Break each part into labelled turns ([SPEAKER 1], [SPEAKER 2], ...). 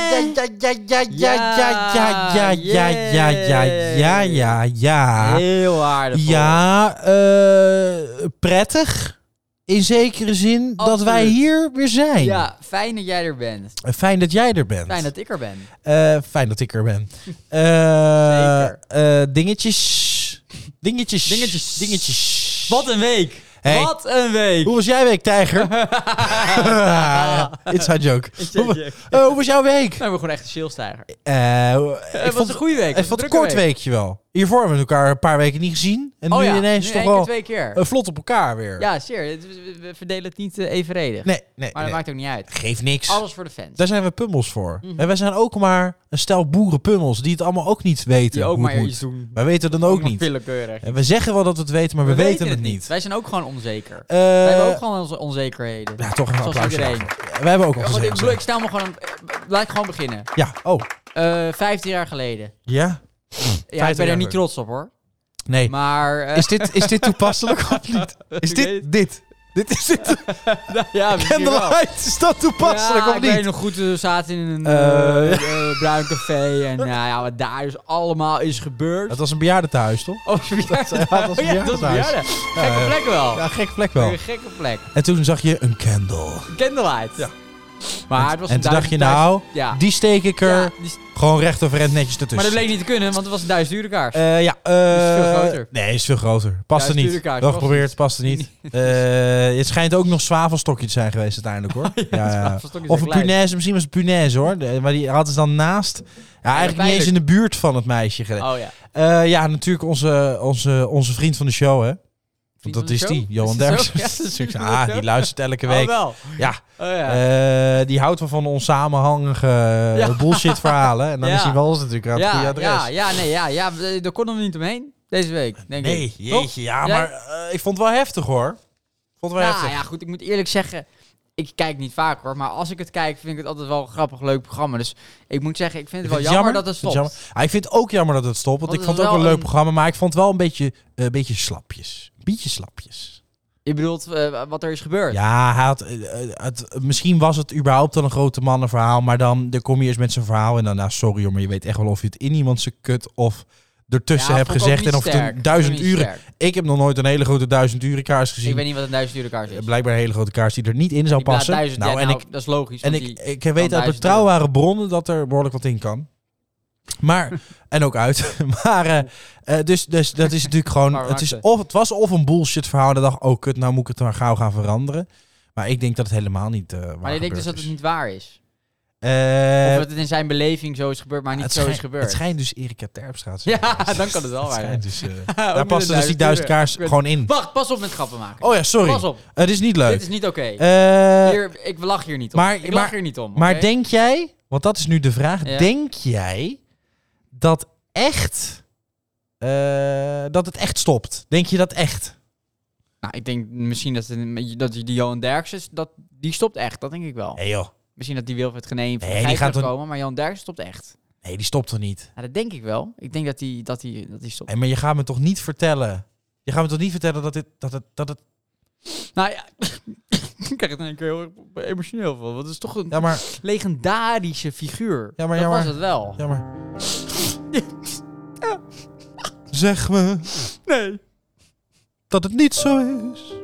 [SPEAKER 1] ja, ja, ja, ja, ja, ja, ja, ja, ja, ja, ja, ja.
[SPEAKER 2] Heel aardig.
[SPEAKER 1] Ja, eh, prettig. In zekere zin dat wij
[SPEAKER 2] Absoluut.
[SPEAKER 1] hier weer zijn.
[SPEAKER 2] Ja, fijn dat jij er bent.
[SPEAKER 1] Fijn dat jij er bent.
[SPEAKER 2] Fijn dat ik er ben.
[SPEAKER 1] Eh, fijn dat ik er ben. Eh, eh, dingetjes. Dingetjes.
[SPEAKER 2] Dingetjes.
[SPEAKER 1] Dingetjes.
[SPEAKER 2] Wat een week.
[SPEAKER 1] Hey.
[SPEAKER 2] Wat een week.
[SPEAKER 1] Hoe was jij week, tijger? Inside joke.
[SPEAKER 2] Inside
[SPEAKER 1] Hoe-
[SPEAKER 2] joke.
[SPEAKER 1] eh, hoe was jouw week?
[SPEAKER 2] We hebben gewoon echt een chillstijger.
[SPEAKER 1] Eh, ik
[SPEAKER 2] Het was een goede week.
[SPEAKER 1] ik
[SPEAKER 2] Het
[SPEAKER 1] vond het een kort weekje wel. Hiervoor hebben we elkaar een paar weken niet gezien. En
[SPEAKER 2] Oh
[SPEAKER 1] nu
[SPEAKER 2] ja,
[SPEAKER 1] ineens
[SPEAKER 2] nu
[SPEAKER 1] toch
[SPEAKER 2] één keer
[SPEAKER 1] wel
[SPEAKER 2] twee keer.
[SPEAKER 1] eh, vlot op elkaar weer.
[SPEAKER 2] Ja, zeer. Het- We we verdelen het niet eh, evenredig.
[SPEAKER 1] Nee, nee,
[SPEAKER 2] Maar dat
[SPEAKER 1] nee.
[SPEAKER 2] maakt ook niet uit.
[SPEAKER 1] geeft niks.
[SPEAKER 2] Alles Mhm. voor de fans.
[SPEAKER 1] Daar zijn we pummels voor. En wij zijn ook maar een stel boerenpummels die het allemaal ook niet weten
[SPEAKER 2] Die ook
[SPEAKER 1] hoe
[SPEAKER 2] maar
[SPEAKER 1] het
[SPEAKER 2] iets
[SPEAKER 1] moet.
[SPEAKER 2] doen.
[SPEAKER 1] Wij weten dan ook
[SPEAKER 2] Maar
[SPEAKER 1] niet.
[SPEAKER 2] Willekeurig.
[SPEAKER 1] En we zeggen wel dat we het weten, maar we, weten, het niet.
[SPEAKER 2] Wij zijn ook gewoon onzeker.
[SPEAKER 1] Eh,
[SPEAKER 2] Wij hebben ook gewoon onze onzekerheden.
[SPEAKER 1] Ja, toch een
[SPEAKER 2] Zoals
[SPEAKER 1] applaus.
[SPEAKER 2] iedereen.
[SPEAKER 1] daarvoor. We hebben ook al
[SPEAKER 2] Ja, want ik,
[SPEAKER 1] gezegd.
[SPEAKER 2] bedoel, ik stel me gewoon... een- eh, Laat ik gewoon beginnen.
[SPEAKER 1] Ja, oh.
[SPEAKER 2] Eh 15 jaar geleden.
[SPEAKER 1] Ja?
[SPEAKER 2] Ja, ik ben
[SPEAKER 1] jaar
[SPEAKER 2] er niet
[SPEAKER 1] geleden.
[SPEAKER 2] trots op hoor.
[SPEAKER 1] Nee.
[SPEAKER 2] Maar... eh,
[SPEAKER 1] Is dit, is dit toepasselijk of niet? Is
[SPEAKER 2] Ik
[SPEAKER 1] dit
[SPEAKER 2] weet-
[SPEAKER 1] dit? Dit is dit.
[SPEAKER 2] ja, misschien wel.
[SPEAKER 1] Candlelight, is dat toepasselijk
[SPEAKER 2] ja,
[SPEAKER 1] of
[SPEAKER 2] ik weet
[SPEAKER 1] niet?
[SPEAKER 2] nog goed, we zaten in een
[SPEAKER 1] Eh.
[SPEAKER 2] eh, eh, bruin café en nou ja, wat daar dus allemaal is gebeurd.
[SPEAKER 1] Dat was een bejaardentehuis, toch?
[SPEAKER 2] Oh, verjaardag.
[SPEAKER 1] ja, dat was
[SPEAKER 2] Oh ja, dat is
[SPEAKER 1] verjaardag.
[SPEAKER 2] verjaardag. Gekke
[SPEAKER 1] ja.
[SPEAKER 2] plek wel.
[SPEAKER 1] Ja, gek plek wel.
[SPEAKER 2] Een gekke plek.
[SPEAKER 1] En toen zag je een candle.
[SPEAKER 2] Candlelight.
[SPEAKER 1] Ja.
[SPEAKER 2] Maar het was
[SPEAKER 1] En
[SPEAKER 2] een
[SPEAKER 1] toen dacht je,
[SPEAKER 2] duizend- duizend-
[SPEAKER 1] nou,
[SPEAKER 2] Ja.
[SPEAKER 1] die Dus- steek ik er
[SPEAKER 2] Ja, die-
[SPEAKER 1] gewoon recht over recht netjes
[SPEAKER 2] maar dat
[SPEAKER 1] ertussen.
[SPEAKER 2] bleek niet te kunnen, want het was een duizend uur kaars.
[SPEAKER 1] Eh, ja,
[SPEAKER 2] Is
[SPEAKER 1] eh
[SPEAKER 2] veel groter.
[SPEAKER 1] Nee, is veel groter. Past
[SPEAKER 2] Ja,
[SPEAKER 1] er niet.
[SPEAKER 2] stuurkaart,
[SPEAKER 1] Wel
[SPEAKER 2] past
[SPEAKER 1] geprobeerd, past er niet. Eh, het schijnt ook nog zwavelstokje te zijn geweest uiteindelijk hoor. Ja, ja.
[SPEAKER 2] zwavelstokjes
[SPEAKER 1] Eh, Of
[SPEAKER 2] zijn
[SPEAKER 1] een
[SPEAKER 2] klein.
[SPEAKER 1] punaise, misschien was het punaise hoor. De- maar die hadden ze dan naast. Ja, eigenlijk niet
[SPEAKER 2] pijnlijk.
[SPEAKER 1] eens in de buurt van het meisje. gele-
[SPEAKER 2] Oh ja.
[SPEAKER 1] Eh, ja, natuurlijk onze, onze, onze vriend van de show hè. Want dat is die, Johan Derksen. ah, die luistert elke
[SPEAKER 2] Oh
[SPEAKER 1] week.
[SPEAKER 2] wel.
[SPEAKER 1] Ja,
[SPEAKER 2] Oh ja.
[SPEAKER 1] eh, die houdt wel van ons samenhangige eh,
[SPEAKER 2] Ja.
[SPEAKER 1] bullshit verhalen. En dan
[SPEAKER 2] Ja.
[SPEAKER 1] is hij wel eens natuurlijk aan het goede
[SPEAKER 2] ja,
[SPEAKER 1] adres.
[SPEAKER 2] ja, ja, nee, ja, ja, we- daar konden we niet omheen deze week, denk
[SPEAKER 1] Nee,
[SPEAKER 2] ik.
[SPEAKER 1] jeetje. Ja,
[SPEAKER 2] Jij-
[SPEAKER 1] maar eh, ik vond het wel heftig hoor. Ik vond het wel
[SPEAKER 2] Nou
[SPEAKER 1] heftig.
[SPEAKER 2] ja, goed, ik moet eerlijk zeggen, ik kijk niet vaak hoor, maar als ik het kijk, vind ik het altijd wel een grappig, leuk programma. Dus ik moet zeggen, ik vind
[SPEAKER 1] Ik
[SPEAKER 2] het
[SPEAKER 1] vind
[SPEAKER 2] wel jammer, dat het
[SPEAKER 1] Ik vind
[SPEAKER 2] stopt.
[SPEAKER 1] jammer. Ah, ik vind het ook jammer dat het stopt. Want,
[SPEAKER 2] Want
[SPEAKER 1] ik
[SPEAKER 2] het
[SPEAKER 1] vond
[SPEAKER 2] is
[SPEAKER 1] het ook wel een
[SPEAKER 2] wel
[SPEAKER 1] leuk
[SPEAKER 2] een-
[SPEAKER 1] programma. Maar ik vond het wel een beetje, eh, een beetje slapjes. Een beetje slapjes.
[SPEAKER 2] Je bedoelt eh, wat er is gebeurd?
[SPEAKER 1] Ja, hij had, eh, eh, het, misschien was het überhaupt al een grote mannenverhaal. Maar dan, dan kom je eerst met zijn verhaal. En dan, nou, sorry hoor, maar je weet echt wel of je het in iemand zijn kut of ertussen
[SPEAKER 2] Ja,
[SPEAKER 1] hebt
[SPEAKER 2] vond ik ook
[SPEAKER 1] gezegd.
[SPEAKER 2] niet
[SPEAKER 1] En of
[SPEAKER 2] sterk.
[SPEAKER 1] het een duizend
[SPEAKER 2] Vond ik niet
[SPEAKER 1] uren...
[SPEAKER 2] sterk.
[SPEAKER 1] Ik heb nog nooit een hele grote duizend uren kaars gezien.
[SPEAKER 2] Ik weet niet wat een duizend uren kaars is.
[SPEAKER 1] Blijkbaar een hele grote kaars die er niet in zou
[SPEAKER 2] Die plaat
[SPEAKER 1] passen.
[SPEAKER 2] duizend,
[SPEAKER 1] nou,
[SPEAKER 2] ja,
[SPEAKER 1] en
[SPEAKER 2] nou,
[SPEAKER 1] ik,
[SPEAKER 2] dat is logisch.
[SPEAKER 1] En
[SPEAKER 2] want
[SPEAKER 1] ik,
[SPEAKER 2] die-
[SPEAKER 1] ik weet uit
[SPEAKER 2] duizend
[SPEAKER 1] betrouwbare bronnen dat er behoorlijk wat in kan. Maar, en ook uit. Maar, eh, eh, dus, dus dat is natuurlijk gewoon.
[SPEAKER 2] Maar eh.
[SPEAKER 1] Het, is
[SPEAKER 2] maakte.
[SPEAKER 1] of, het was of een bullshit verhaal. En dan dacht ik, oh kut, nou moet ik het maar gauw gaan veranderen. Maar ik denk dat het helemaal niet. eh waar
[SPEAKER 2] maar je denkt dus
[SPEAKER 1] gebeurd
[SPEAKER 2] dat het
[SPEAKER 1] is.
[SPEAKER 2] niet waar is.
[SPEAKER 1] Eh,
[SPEAKER 2] of dat het in zijn beleving zo is gebeurd, maar niet
[SPEAKER 1] het
[SPEAKER 2] zo
[SPEAKER 1] schijnt-
[SPEAKER 2] is gebeurd.
[SPEAKER 1] Het schijnt dus Erika Terpstraat. te zijn.
[SPEAKER 2] ja, dan kan het wel
[SPEAKER 1] Het
[SPEAKER 2] waar zijn.
[SPEAKER 1] schijnt dus, eh,
[SPEAKER 2] Ook
[SPEAKER 1] daar
[SPEAKER 2] met
[SPEAKER 1] passen
[SPEAKER 2] een
[SPEAKER 1] dus die
[SPEAKER 2] duizend
[SPEAKER 1] duizend
[SPEAKER 2] uren.
[SPEAKER 1] kaars
[SPEAKER 2] Ik weet-
[SPEAKER 1] gewoon in.
[SPEAKER 2] Wacht, pas op met grappen maken.
[SPEAKER 1] Oh ja, sorry.
[SPEAKER 2] Pas op,
[SPEAKER 1] Het is niet leuk.
[SPEAKER 2] dit is niet oké.
[SPEAKER 1] Eh,
[SPEAKER 2] Hier, ik lach hier niet om.
[SPEAKER 1] maar-
[SPEAKER 2] ik
[SPEAKER 1] maar-
[SPEAKER 2] lach hier niet om.
[SPEAKER 1] Maar
[SPEAKER 2] oké?
[SPEAKER 1] denk jij, want dat is nu de vraag,
[SPEAKER 2] Ja.
[SPEAKER 1] denk jij dat echt eh, dat het echt stopt? Denk je dat echt?
[SPEAKER 2] Nou, ik denk misschien dat, een- dat die Johan Derksen, dat, die stopt echt. Dat denk ik wel.
[SPEAKER 1] Nee joh,
[SPEAKER 2] Misschien dat die Wilfred Genee van
[SPEAKER 1] Nee,
[SPEAKER 2] nee,
[SPEAKER 1] die gaat
[SPEAKER 2] komen, maar Johan Derksen stopt echt.
[SPEAKER 1] nee die stopt er niet.
[SPEAKER 2] Nou, dat denk ik wel. Ik denk dat die, dat die, dat die stopt.
[SPEAKER 1] En maar je gaat me toch niet vertellen, je gaat me toch niet vertellen dat dit dat het dat het.
[SPEAKER 2] Nou ja, ik krijg het in één keer heel erg emotioneel van. Want het is toch een
[SPEAKER 1] Ja maar
[SPEAKER 2] legendarische figuur.
[SPEAKER 1] Ja, maar-
[SPEAKER 2] dat
[SPEAKER 1] ja, maar-
[SPEAKER 2] was het wel.
[SPEAKER 1] ja maar. Zeg me
[SPEAKER 2] Nee.
[SPEAKER 1] dat het niet zo is.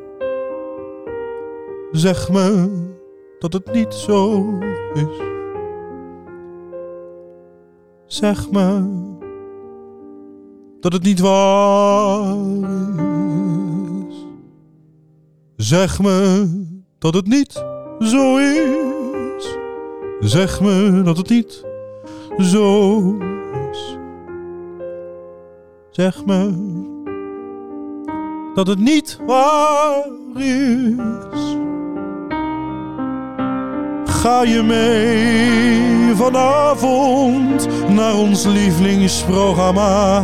[SPEAKER 1] Zeg me dat het niet zo is. Zeg me dat het niet waar is. Zeg me dat het niet zo is. Zeg me dat het niet zo is. Zeg me dat het niet waar is. Ga je mee vanavond naar ons lievelingsprogramma?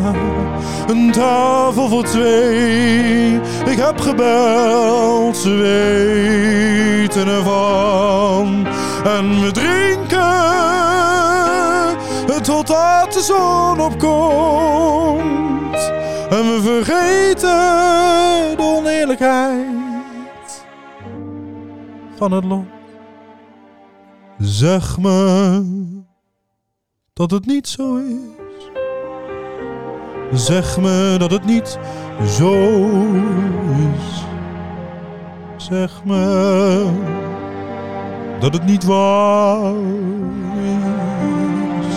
[SPEAKER 1] Een tafel voor twee. Ik heb gebeld, ze weten ervan. En we drinken totdat de zon opkomt. En we vergeten de oneerlijkheid van het lot. Zeg me dat het niet zo is. Zeg me dat het niet zo is. Zeg me dat het niet waar is.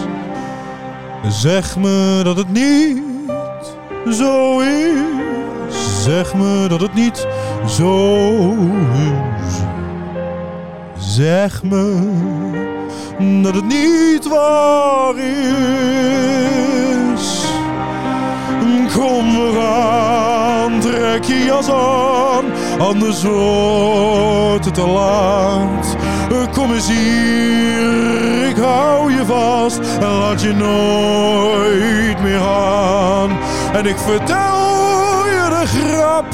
[SPEAKER 1] Zeg me dat het niet zo is. Zeg me dat het niet zo is. Zeg me dat het niet waar is. Kom eraan, trek je jas aan, anders wordt het te laat. Kom eens hier, ik hou je vast en laat je nooit meer aan. En ik vertel je de grap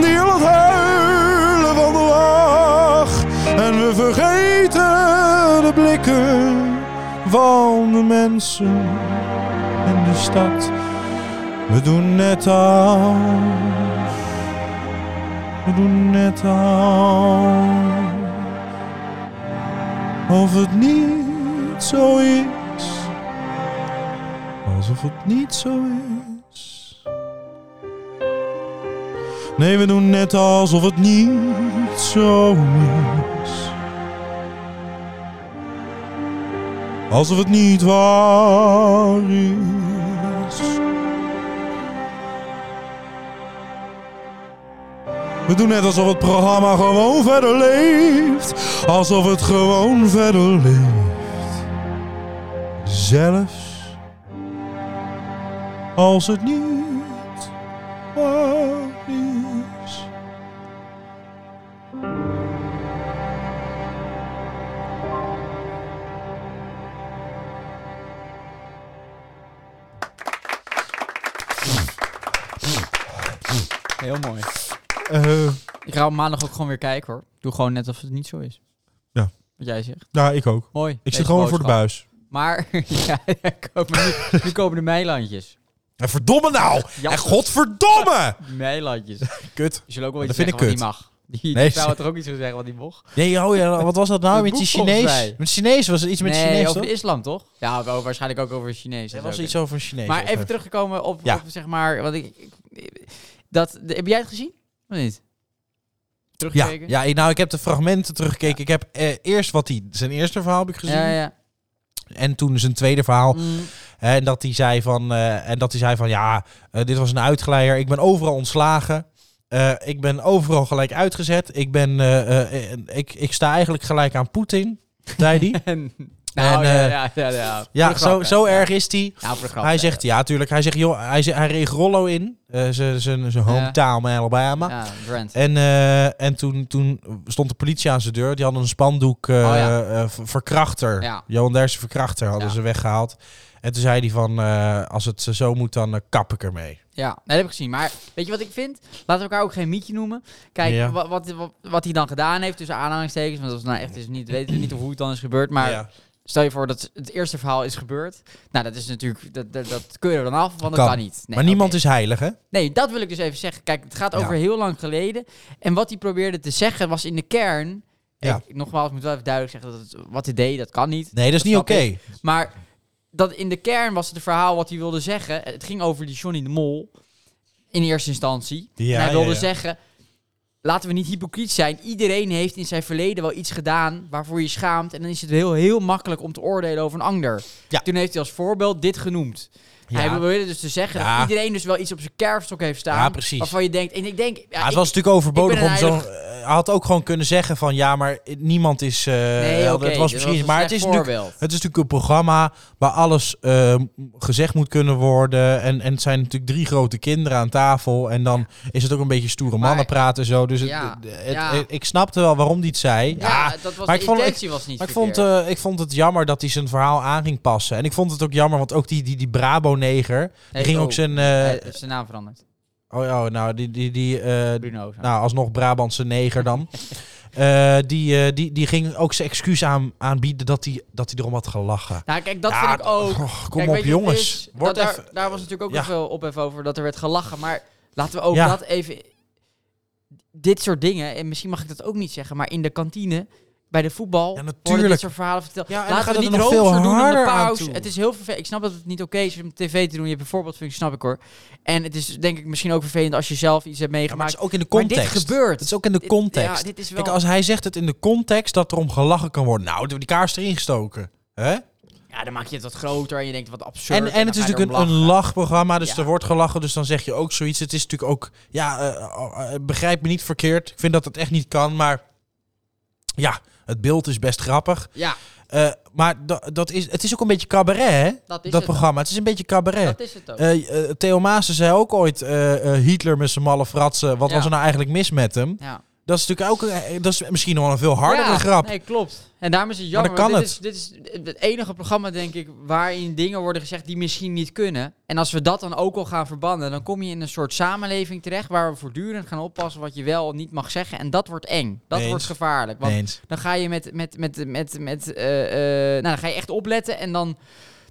[SPEAKER 1] die al het huilen van de lach. En we vergeten de blikken van de mensen in de stad. We doen net als, we doen net als, of het niet zo is, alsof het niet zo is. Nee, we doen net alsof het niet zo is. Alsof het niet waar is. We doen net alsof het programma gewoon verder leeft. Alsof het gewoon verder leeft. Zelfs als het niet waar is.
[SPEAKER 2] Heel mooi.
[SPEAKER 1] Eh,
[SPEAKER 2] Ik ga op maandag ook gewoon weer kijken hoor. Doe gewoon net alsof het niet zo is.
[SPEAKER 1] Ja.
[SPEAKER 2] Wat jij zegt.
[SPEAKER 1] ja, nou, ik ook.
[SPEAKER 2] Mooi.
[SPEAKER 1] Ik zit gewoon voor de buis.
[SPEAKER 2] Maar ja, ja, koop maar nu, nu komen de meilandjes.
[SPEAKER 1] En verdomme nou!
[SPEAKER 2] Ja.
[SPEAKER 1] En godverdomme!
[SPEAKER 2] Meilandjes. Je
[SPEAKER 1] Kut.
[SPEAKER 2] zullen ook wel iets
[SPEAKER 1] Dat vind
[SPEAKER 2] zeggen
[SPEAKER 1] ik
[SPEAKER 2] wat niet
[SPEAKER 1] kut.
[SPEAKER 2] mag. Die,
[SPEAKER 1] Nee,
[SPEAKER 2] die zou het er ook iets van zeggen wat die mocht.
[SPEAKER 1] Nee, oh ja, wat was dat nou
[SPEAKER 2] Dat
[SPEAKER 1] met die
[SPEAKER 2] boek volgens
[SPEAKER 1] Chinees?
[SPEAKER 2] mij.
[SPEAKER 1] Met Chinees was er iets met
[SPEAKER 2] nee,
[SPEAKER 1] Chinees,
[SPEAKER 2] over
[SPEAKER 1] toch?
[SPEAKER 2] de islam toch? Ja, wel, waarschijnlijk ook over Chinees.
[SPEAKER 1] Er
[SPEAKER 2] Dat
[SPEAKER 1] was
[SPEAKER 2] zou
[SPEAKER 1] iets over Chinees.
[SPEAKER 2] Maar
[SPEAKER 1] over.
[SPEAKER 2] even teruggekomen op,
[SPEAKER 1] Ja.
[SPEAKER 2] op, zeg maar, wat ik, ik- dat, de- heb jij het gezien? Of niet?
[SPEAKER 1] Ja,
[SPEAKER 2] Teruggekeken?
[SPEAKER 1] ja, ik- nou, ik heb de fragmenten teruggekeken. Ik heb eh, eerst wat hij, zijn eerste verhaal heb ik gezien. Oh.
[SPEAKER 2] Ja, ja.
[SPEAKER 1] En toen zijn tweede verhaal.
[SPEAKER 2] Mm,
[SPEAKER 1] Hè, En dat hij zei van, eh, en dat hij zei van ja, eh, dit was een uitgeleier. Ik ben overal ontslagen. Eh, ik ben overal gelijk uitgezet. Ik, ben, eh, eh, eh, ik, ik sta eigenlijk gelijk aan Poetin, zei hij.
[SPEAKER 2] en, nou,
[SPEAKER 1] En,
[SPEAKER 2] ja,
[SPEAKER 1] eh,
[SPEAKER 2] ja, ja, ja. Voor
[SPEAKER 1] ja,
[SPEAKER 2] de grap,
[SPEAKER 1] zo,
[SPEAKER 2] hè.
[SPEAKER 1] zo
[SPEAKER 2] Ja.
[SPEAKER 1] erg is hij.
[SPEAKER 2] Ja, voor de grap,
[SPEAKER 1] Hij
[SPEAKER 2] hè.
[SPEAKER 1] zegt ja, tuurlijk. Hij zegt joh, hij, zegt- hij reed Rollo in. eh, zijn- zijn zijn hometown in Alabama.
[SPEAKER 2] Ja, Brent.
[SPEAKER 1] En, eh, en toen, toen stond de politie aan zijn deur. Die hadden een spandoek eh,
[SPEAKER 2] Oh ja.
[SPEAKER 1] eh, ver- verkrachter.
[SPEAKER 2] Ja.
[SPEAKER 1] Johan Derksen verkrachter hadden
[SPEAKER 2] Ja.
[SPEAKER 1] ze weggehaald. En toen zei hij van, eh, als het zo moet, dan eh, kap ik ermee.
[SPEAKER 2] Ja, nee, dat heb ik gezien. Maar weet je wat ik vind? Laten we elkaar ook geen mietje noemen. Kijk,
[SPEAKER 1] Ja.
[SPEAKER 2] wat, wat, wat, wat hij dan gedaan heeft, tussen aanhalingstekens, want dat is nou echt is niet, weten we niet hoe het dan is gebeurd, maar
[SPEAKER 1] ja.
[SPEAKER 2] stel je voor dat het eerste verhaal is gebeurd. Nou, dat is natuurlijk, dat, dat, dat keuren we dan af, want
[SPEAKER 1] Kan.
[SPEAKER 2] dat kan niet. Nee,
[SPEAKER 1] maar niemand
[SPEAKER 2] oké.
[SPEAKER 1] is heilig, hè?
[SPEAKER 2] Nee, dat wil ik dus even zeggen. Kijk, het gaat
[SPEAKER 1] Ja.
[SPEAKER 2] over heel lang geleden. En wat hij probeerde te zeggen was in de kern.
[SPEAKER 1] Ja.
[SPEAKER 2] Ik, nogmaals, ik moet wel even duidelijk zeggen dat het, wat hij deed, dat kan niet.
[SPEAKER 1] Nee, dat is niet
[SPEAKER 2] snap
[SPEAKER 1] oké.
[SPEAKER 2] Maar dat in de kern was het het verhaal wat hij wilde zeggen. Het ging over die Johnny de Mol. In eerste instantie.
[SPEAKER 1] Ja,
[SPEAKER 2] en hij
[SPEAKER 1] ja,
[SPEAKER 2] wilde
[SPEAKER 1] ja.
[SPEAKER 2] zeggen. Laten we niet hypocriet zijn. Iedereen heeft in zijn verleden wel iets gedaan waarvoor je schaamt. En dan is het heel, heel makkelijk om te oordelen over een ander.
[SPEAKER 1] Ja.
[SPEAKER 2] Toen heeft hij als voorbeeld dit genoemd.
[SPEAKER 1] Ja.
[SPEAKER 2] Hij wilde dus te zeggen
[SPEAKER 1] Ja.
[SPEAKER 2] dat iedereen dus wel iets op zijn kerfstok heeft staan.
[SPEAKER 1] Ja, precies.
[SPEAKER 2] Waarvan je denkt, en ik denk... Ja,
[SPEAKER 1] Ja, het
[SPEAKER 2] ik-
[SPEAKER 1] was natuurlijk overbodig
[SPEAKER 2] ik ben
[SPEAKER 1] om
[SPEAKER 2] een
[SPEAKER 1] zo'n... eh, Hij had ook gewoon kunnen zeggen van, ja, maar niemand is... eh,
[SPEAKER 2] nee,
[SPEAKER 1] helder.
[SPEAKER 2] oké,
[SPEAKER 1] het was
[SPEAKER 2] dit
[SPEAKER 1] misschien...
[SPEAKER 2] een
[SPEAKER 1] maar het
[SPEAKER 2] slecht
[SPEAKER 1] is natuurlijk
[SPEAKER 2] voorbeeld.
[SPEAKER 1] Het is natuurlijk een programma waar alles eh, gezegd moet kunnen worden. En, en het zijn natuurlijk drie grote kinderen aan tafel. En dan is het ook een beetje stoere
[SPEAKER 2] Maar-
[SPEAKER 1] mannen praten zo. Dus het-
[SPEAKER 2] Ja,
[SPEAKER 1] het- het-
[SPEAKER 2] ja.
[SPEAKER 1] het- ik snapte wel waarom die het zei. Ja,
[SPEAKER 2] Ja, dat was,
[SPEAKER 1] maar
[SPEAKER 2] de
[SPEAKER 1] ik vond- ik-
[SPEAKER 2] intentie was niet
[SPEAKER 1] maar ik vond,
[SPEAKER 2] verkeerd.
[SPEAKER 1] eh, ik vond het jammer dat hij zijn verhaal aan ging passen. En ik vond het ook jammer, want ook die, die, die Brabo-neger...
[SPEAKER 2] Nee,
[SPEAKER 1] die ging
[SPEAKER 2] oh,
[SPEAKER 1] ook zijn... eh,
[SPEAKER 2] hij heeft zijn naam veranderd.
[SPEAKER 1] oh, oh, nou, die... die, die eh,
[SPEAKER 2] Bruno. zo.
[SPEAKER 1] nou, alsnog Brabantse neger dan. Eh, die, eh, die, die ging ook zijn excuus aan, aanbieden dat hij dat hij erom had gelachen.
[SPEAKER 2] Nou, kijk, dat
[SPEAKER 1] Ja,
[SPEAKER 2] vind ik ook.
[SPEAKER 1] oh, kom op,
[SPEAKER 2] Kijk, weet je wat het
[SPEAKER 1] jongens.
[SPEAKER 2] is?
[SPEAKER 1] Word
[SPEAKER 2] Dat daar,
[SPEAKER 1] even-
[SPEAKER 2] daar was natuurlijk ook
[SPEAKER 1] Ja.
[SPEAKER 2] nog veel ophef over dat er werd gelachen. Maar laten we ook
[SPEAKER 1] Ja.
[SPEAKER 2] dat even. Dit soort dingen, en misschien mag ik dat ook niet zeggen, maar in de kantine bij de voetbal
[SPEAKER 1] Ja,
[SPEAKER 2] worden dit
[SPEAKER 1] natuurlijk.
[SPEAKER 2] soort verhalen verteld.
[SPEAKER 1] Ja, en dan
[SPEAKER 2] Laten
[SPEAKER 1] gaat
[SPEAKER 2] we
[SPEAKER 1] het
[SPEAKER 2] niet
[SPEAKER 1] er nog
[SPEAKER 2] robots
[SPEAKER 1] veel
[SPEAKER 2] doen in de
[SPEAKER 1] harder aan
[SPEAKER 2] pauze.
[SPEAKER 1] toe.
[SPEAKER 2] Het is heel vervelend. Ik snap dat het niet oké is om tv te doen. Je hebt een voorbeeldfunctie, snap ik hoor. En het is denk ik misschien ook vervelend als je zelf iets hebt
[SPEAKER 1] Ja, maar het
[SPEAKER 2] meegemaakt.
[SPEAKER 1] is ook in de
[SPEAKER 2] Maar
[SPEAKER 1] context.
[SPEAKER 2] dit gebeurt.
[SPEAKER 1] Het is ook in de
[SPEAKER 2] Dit-
[SPEAKER 1] context.
[SPEAKER 2] Ja, dit is wel...
[SPEAKER 1] Kijk, als hij zegt het in de context dat er om gelachen kan worden. Nou, door die kaars erin gestoken. Hè?
[SPEAKER 2] ja, dan maak je het wat groter en je denkt wat absurd.
[SPEAKER 1] En, en het
[SPEAKER 2] dan
[SPEAKER 1] is
[SPEAKER 2] ga je
[SPEAKER 1] natuurlijk een,
[SPEAKER 2] erom
[SPEAKER 1] een
[SPEAKER 2] lachen.
[SPEAKER 1] lachprogramma, dus
[SPEAKER 2] Ja.
[SPEAKER 1] er wordt gelachen, dus dan zeg je ook zoiets. Het is natuurlijk ook, ja, eh, eh, eh, begrijp me niet verkeerd. Ik vind dat dat echt niet kan, maar ja, het beeld is best grappig.
[SPEAKER 2] Ja,
[SPEAKER 1] Eh, maar da- dat is, het is ook een beetje cabaret, hè?
[SPEAKER 2] dat is
[SPEAKER 1] dat
[SPEAKER 2] het.
[SPEAKER 1] programma. Het is een beetje cabaret.
[SPEAKER 2] Dat is het ook.
[SPEAKER 1] Eh, eh, Theo Maassen zei ook ooit, eh, eh, Hitler met zijn malle fratsen, wat
[SPEAKER 2] Ja.
[SPEAKER 1] was er nou eigenlijk mis met hem?
[SPEAKER 2] ja.
[SPEAKER 1] Dat is natuurlijk ook, eh, dat is misschien nog wel een veel hardere
[SPEAKER 2] Ja,
[SPEAKER 1] grap.
[SPEAKER 2] Nee, klopt. En daarom is het
[SPEAKER 1] Maar
[SPEAKER 2] jammer.
[SPEAKER 1] dan
[SPEAKER 2] want
[SPEAKER 1] kan
[SPEAKER 2] dit, Is, dit is het enige programma, denk ik, waarin dingen worden gezegd die misschien niet kunnen. En als we dat dan ook al gaan verbannen, dan kom je in een soort samenleving terecht waar we voortdurend gaan oppassen wat je wel en niet mag zeggen. En dat wordt eng. Dat
[SPEAKER 1] Eens.
[SPEAKER 2] wordt gevaarlijk. Want
[SPEAKER 1] Eens.
[SPEAKER 2] dan ga je met, met, met, met, met eh, eh, nou, dan ga je echt opletten en dan,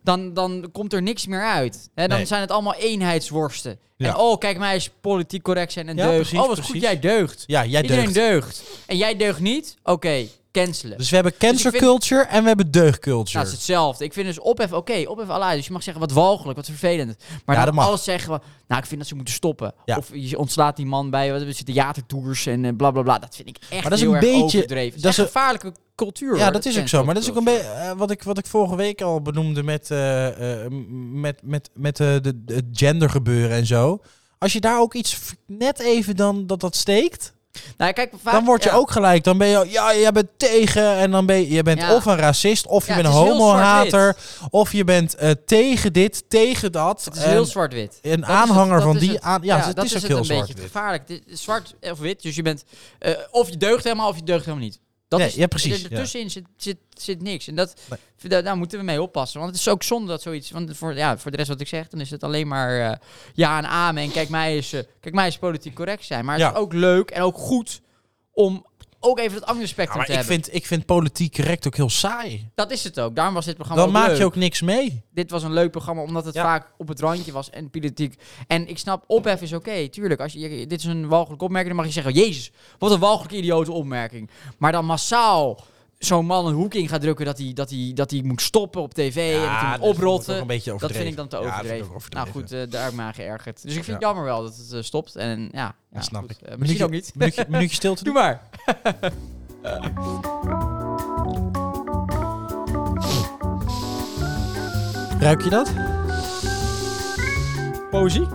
[SPEAKER 2] dan, dan komt er niks meer uit. Hè, dan
[SPEAKER 1] Nee.
[SPEAKER 2] zijn het allemaal eenheidsworsten.
[SPEAKER 1] Ja.
[SPEAKER 2] En oh, kijk mij eens politiek correct zijn en
[SPEAKER 1] Ja,
[SPEAKER 2] deugd.
[SPEAKER 1] precies,
[SPEAKER 2] oh, wat goed,
[SPEAKER 1] precies.
[SPEAKER 2] jij deugt.
[SPEAKER 1] Ja, jij
[SPEAKER 2] Iedereen
[SPEAKER 1] deugt.
[SPEAKER 2] deugt. En jij deugt niet? Oké, cancelen.
[SPEAKER 1] Dus we hebben cancer
[SPEAKER 2] vind-
[SPEAKER 1] culture en we hebben deugculture.
[SPEAKER 2] Nou, het is hetzelfde. Ik vind dus ophef oké, ophef Allah. Dus je mag zeggen wat walgelijk, wat vervelend.
[SPEAKER 1] Ja,
[SPEAKER 2] Maar dan
[SPEAKER 1] dat mag.
[SPEAKER 2] alles zeggen we, nou, ik vind dat ze moeten stoppen.
[SPEAKER 1] Ja.
[SPEAKER 2] Of je ontslaat die man bij, wat hebben ze theatertours en eh, bla bla bla. Dat vind ik echt
[SPEAKER 1] Maar dat is
[SPEAKER 2] heel
[SPEAKER 1] een
[SPEAKER 2] erg
[SPEAKER 1] beetje-
[SPEAKER 2] overdreven. Het
[SPEAKER 1] dat
[SPEAKER 2] is
[SPEAKER 1] is
[SPEAKER 2] echt
[SPEAKER 1] een-
[SPEAKER 2] een gevaarlijke cultuur.
[SPEAKER 1] Ja,
[SPEAKER 2] hoor,
[SPEAKER 1] dat is ook zo.
[SPEAKER 2] cancel
[SPEAKER 1] Maar dat is ook een beetje eh, wat, ik, wat ik vorige week al benoemde met, eh, eh, m- met, met, met eh, de, de- het gendergebeuren en zo. Als je daar ook iets v- net even dan dat dat steekt,
[SPEAKER 2] culture. Nou, kijk, vaak-
[SPEAKER 1] dan word je
[SPEAKER 2] ja.
[SPEAKER 1] ook gelijk. Dan ben je, ja, jij bent tegen en dan ben je, je bent
[SPEAKER 2] Ja.
[SPEAKER 1] of een racist, of je
[SPEAKER 2] Ja,
[SPEAKER 1] bent een
[SPEAKER 2] het is heel
[SPEAKER 1] homohater, of je bent eh, tegen dit, tegen dat.
[SPEAKER 2] Het is
[SPEAKER 1] En
[SPEAKER 2] heel zwart-wit.
[SPEAKER 1] een
[SPEAKER 2] Dat is het-
[SPEAKER 1] aanhanger
[SPEAKER 2] dat
[SPEAKER 1] van
[SPEAKER 2] is
[SPEAKER 1] die
[SPEAKER 2] het.
[SPEAKER 1] aan, ja, dus het
[SPEAKER 2] dat
[SPEAKER 1] is
[SPEAKER 2] is
[SPEAKER 1] ook
[SPEAKER 2] het
[SPEAKER 1] heel
[SPEAKER 2] een beetje
[SPEAKER 1] zwart.
[SPEAKER 2] het gevaarlijk. Dit is zwart of wit, dus je bent eh, of je deugt helemaal of je deugt helemaal niet. Dat
[SPEAKER 1] Nee,
[SPEAKER 2] is,
[SPEAKER 1] ja, precies,
[SPEAKER 2] er-
[SPEAKER 1] ja.
[SPEAKER 2] Ertussenin zit, zit, zit niks. En dat,
[SPEAKER 1] Nee.
[SPEAKER 2] vind- daar, daar moeten we mee oppassen. Want het is ook zonde dat zoiets... Want voor, ja, voor de rest wat ik zeg, dan is het alleen maar eh, ja en amen. En kijk mij, eens, eh, kijk mij eens politiek correct zijn. Maar het
[SPEAKER 1] Ja.
[SPEAKER 2] is ook leuk en ook goed om ook even het andere spectrum
[SPEAKER 1] maar
[SPEAKER 2] te
[SPEAKER 1] ik
[SPEAKER 2] hebben.
[SPEAKER 1] vind, ik vind politiek correct ook heel saai.
[SPEAKER 2] Dat is het ook. Daarom was dit programma
[SPEAKER 1] Dan
[SPEAKER 2] ook
[SPEAKER 1] maak
[SPEAKER 2] leuk
[SPEAKER 1] je ook niks mee.
[SPEAKER 2] dit was een leuk programma omdat het
[SPEAKER 1] Ja.
[SPEAKER 2] vaak op het randje was en politiek. En ik snap, ophef is oké, tuurlijk. Als je, je- dit is een walgelijke opmerking, dan mag je zeggen... Jezus, wat een walgelijke idiote opmerking. Maar dan massaal zo'n man een hoek in gaat drukken... dat hij, dat hij, dat hij moet stoppen op tv en dat hij
[SPEAKER 1] dat
[SPEAKER 2] moet
[SPEAKER 1] is ook
[SPEAKER 2] oprotten.
[SPEAKER 1] een beetje
[SPEAKER 2] Dat vind ik
[SPEAKER 1] overdreven.
[SPEAKER 2] dan te
[SPEAKER 1] Ja, dat vind ik
[SPEAKER 2] overdreven.
[SPEAKER 1] ook overdreven.
[SPEAKER 2] Nou goed, eh, daar heb ik me aan geërgerd. Dus ik vind het
[SPEAKER 1] Ja.
[SPEAKER 2] jammer wel dat het eh, stopt. En ja, ja,
[SPEAKER 1] Dat snap
[SPEAKER 2] goed.
[SPEAKER 1] ik.
[SPEAKER 2] Eh, misschien ook niet.
[SPEAKER 1] Minuutje, minuutje stilte.
[SPEAKER 2] Doe maar.
[SPEAKER 1] Ruik je dat?
[SPEAKER 2] Poëzie?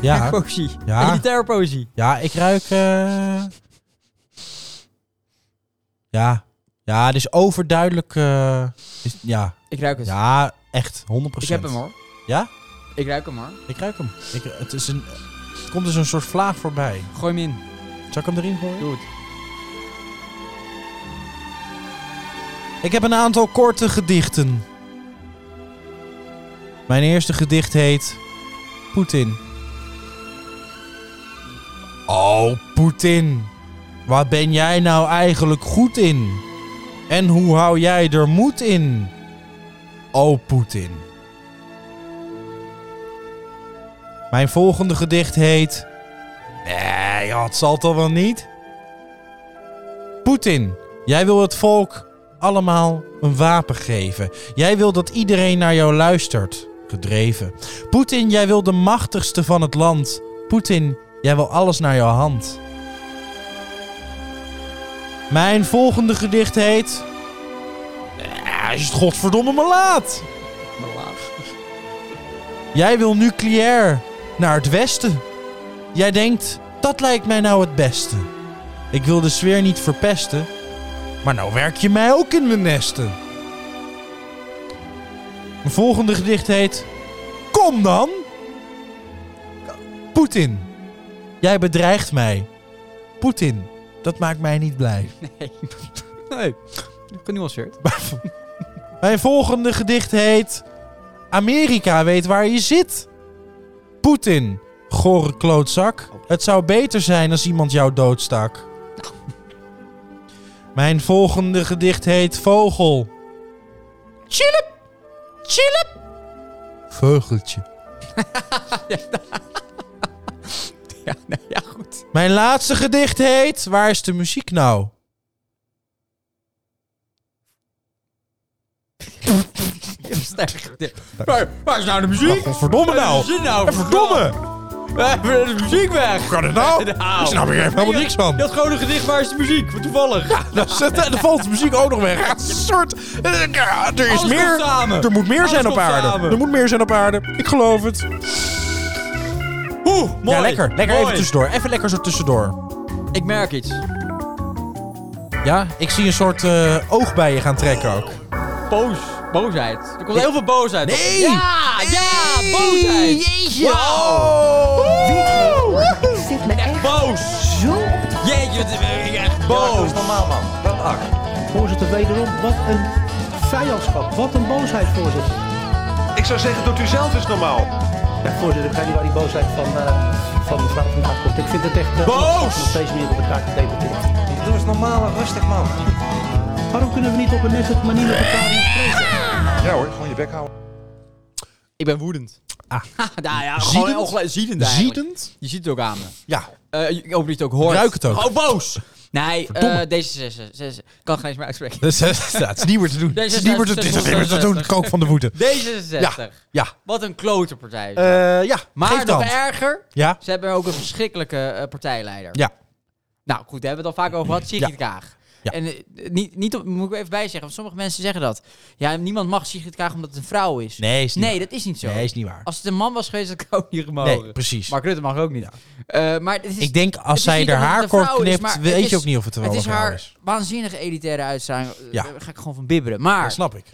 [SPEAKER 1] Ja.
[SPEAKER 2] Poëzie.
[SPEAKER 1] Ja.
[SPEAKER 2] Militaire poëzie.
[SPEAKER 1] Ja, ik ruik... eh, Ja. Ja, het is overduidelijk... eh, is- Ja.
[SPEAKER 2] Ik ruik het.
[SPEAKER 1] Ja, echt. 100%.
[SPEAKER 2] ik heb hem hoor.
[SPEAKER 1] Ja?
[SPEAKER 2] Ik ruik hem hoor.
[SPEAKER 1] Ik ruik hem. Ik, het is een... Er komt dus een soort vlaag voorbij.
[SPEAKER 2] Gooi hem in.
[SPEAKER 1] Zal ik hem erin gooien?
[SPEAKER 2] Doe het.
[SPEAKER 1] Ik heb een aantal korte gedichten. Mijn eerste gedicht heet Poetin. Oh, Poetin. Waar ben jij nou eigenlijk goed in? En hoe hou jij er moed in? Oh, Poetin. Mijn volgende gedicht heet. Nee, ja, het zal toch wel niet? Poetin, jij wil het volk allemaal een wapen geven. Jij wil dat iedereen naar jou luistert. Gedreven. Poetin, jij wil de machtigste van het land. Poetin, jij wil alles naar jouw hand. Mijn volgende gedicht heet. Eh, Hij is het godverdomme maar laat.
[SPEAKER 2] Maar laat.
[SPEAKER 1] Jij wil nucleair naar het westen. Jij denkt, dat lijkt mij nou het beste. Ik wil de sfeer niet verpesten. Maar nou werk je mij ook in mijn nesten. Mijn volgende gedicht heet... Kom dan! Poetin, jij bedreigt mij. Poetin, dat maakt mij niet blij.
[SPEAKER 2] Nee. Nee. Genuanceerd.
[SPEAKER 1] Mijn volgende gedicht heet... Amerika weet waar je zit. Poetin, gore klootzak. Het zou beter zijn als iemand jou doodstak. Mijn volgende gedicht heet Vogel. Chillip, chillip. Vogeltje.
[SPEAKER 2] Ja, nou ja, goed.
[SPEAKER 1] Mijn laatste gedicht heet Waar is de muziek nou?
[SPEAKER 2] erg. Maar waar is nou de muziek?
[SPEAKER 3] Godverdomme nou.
[SPEAKER 2] Zin nou?
[SPEAKER 3] En verdomme.
[SPEAKER 2] We hebben de muziek weg.
[SPEAKER 3] Kan het nou?
[SPEAKER 2] Nou.
[SPEAKER 3] Ik snap er helemaal niks van.
[SPEAKER 2] Dat gewoon een gedicht, waar is de muziek? Wat toevallig.
[SPEAKER 3] Dan zet- dan valt de muziek ook nog weg. Het is een soort... eh, ja, Er is
[SPEAKER 2] Alles
[SPEAKER 3] meer.
[SPEAKER 2] komt samen.
[SPEAKER 3] Er moet meer
[SPEAKER 2] Alles
[SPEAKER 3] zijn op
[SPEAKER 2] komt
[SPEAKER 3] aarde.
[SPEAKER 2] samen.
[SPEAKER 3] Er moet meer zijn op aarde. Ik geloof het.
[SPEAKER 2] Oeh, mooi.
[SPEAKER 1] Ja, lekker. Lekker
[SPEAKER 2] Mooi.
[SPEAKER 1] even tussendoor. Even lekker zo tussendoor.
[SPEAKER 2] Ik merk iets.
[SPEAKER 1] Ja, ik zie een soort eh, oog bij je gaan trekken ook.
[SPEAKER 2] Boos. Boosheid. Er komt heel veel boosheid. op.
[SPEAKER 1] Nee!
[SPEAKER 2] Ja, ja, boosheid.
[SPEAKER 1] Jeetje!
[SPEAKER 2] Wauw.
[SPEAKER 4] Dit heel erg. zit me echt
[SPEAKER 2] Boos.
[SPEAKER 4] zo op het
[SPEAKER 2] Jeetje, wat ben ik echt boos.
[SPEAKER 5] Voorzitter, wederom, wat een vijandschap. Wat een boosheid, voorzitter.
[SPEAKER 6] Ik zou zeggen, doet u zelf eens normaal.
[SPEAKER 5] Ja, voorzitter, ik ga niet waar die boosheid van, eh van mevrouw vandaan komt. Ik vind het echt... eh,
[SPEAKER 2] Boos!
[SPEAKER 5] ...nog steeds meer op elkaar te debatteren. Doe eens normaal en rustig, man. Waarom kunnen we niet op een nette manier met elkaar...
[SPEAKER 6] Ja hoor, gewoon je bek houden.
[SPEAKER 2] Ik ben woedend.
[SPEAKER 1] Ah.
[SPEAKER 2] nou ja,
[SPEAKER 1] Ziedend?
[SPEAKER 2] gewoon ongelijk- ziedend eigenlijk.
[SPEAKER 1] Ziedend?
[SPEAKER 2] Je ziet het ook aan me.
[SPEAKER 1] Ja.
[SPEAKER 2] Eh, ik hoop dat je het ook hoort.
[SPEAKER 1] Ruik het ook.
[SPEAKER 2] Oh, boos. Nee,
[SPEAKER 1] Verdomme.
[SPEAKER 2] eh D66. Ik kan geen eens meer uitspreken.
[SPEAKER 1] Dat is, dat is niet meer te doen. Dat is niet meer te doen. Dat is niet meer te doen. Kook van de woede.
[SPEAKER 2] D66.
[SPEAKER 1] Ja.
[SPEAKER 2] Wat een klote partij.
[SPEAKER 1] Eh, ja,
[SPEAKER 2] maar
[SPEAKER 1] geef
[SPEAKER 2] nog
[SPEAKER 1] dan.
[SPEAKER 2] erger,
[SPEAKER 1] Ja.
[SPEAKER 2] ze hebben ook een verschrikkelijke eh, partijleider.
[SPEAKER 1] Ja.
[SPEAKER 2] Nou goed, daar hebben we het al vaak over gehad. Sigrid Kaag.
[SPEAKER 1] Ja.
[SPEAKER 2] En eh, niet, niet op, moet ik er even bij zeggen, want sommige mensen zeggen dat. Ja, niemand mag Sigrid Kaag omdat het een vrouw is.
[SPEAKER 1] Nee, Oh. is niet
[SPEAKER 2] Nee, dat is niet zo.
[SPEAKER 1] Nee, is niet waar.
[SPEAKER 2] Als het een man was geweest, had ik ook niet gemogen.
[SPEAKER 1] Nee, precies.
[SPEAKER 2] Mark Rutte mag ook niet. Eh, maar dit is,
[SPEAKER 1] Ik denk als
[SPEAKER 2] het is
[SPEAKER 1] zij
[SPEAKER 2] niet
[SPEAKER 1] er
[SPEAKER 2] omdat het
[SPEAKER 1] haar
[SPEAKER 2] een
[SPEAKER 1] kort
[SPEAKER 2] vrouw is,
[SPEAKER 1] knipt,
[SPEAKER 2] maar
[SPEAKER 1] weet
[SPEAKER 2] het
[SPEAKER 1] je
[SPEAKER 2] is-
[SPEAKER 1] ook niet of het er wel
[SPEAKER 2] Het
[SPEAKER 1] een
[SPEAKER 2] is
[SPEAKER 1] vrouw
[SPEAKER 2] haar
[SPEAKER 1] is.
[SPEAKER 2] waanzinnige elitaire uitstraling. Eh,
[SPEAKER 1] Ja.
[SPEAKER 2] Daar ga ik gewoon van bibberen. Maar
[SPEAKER 1] Dat snap ik.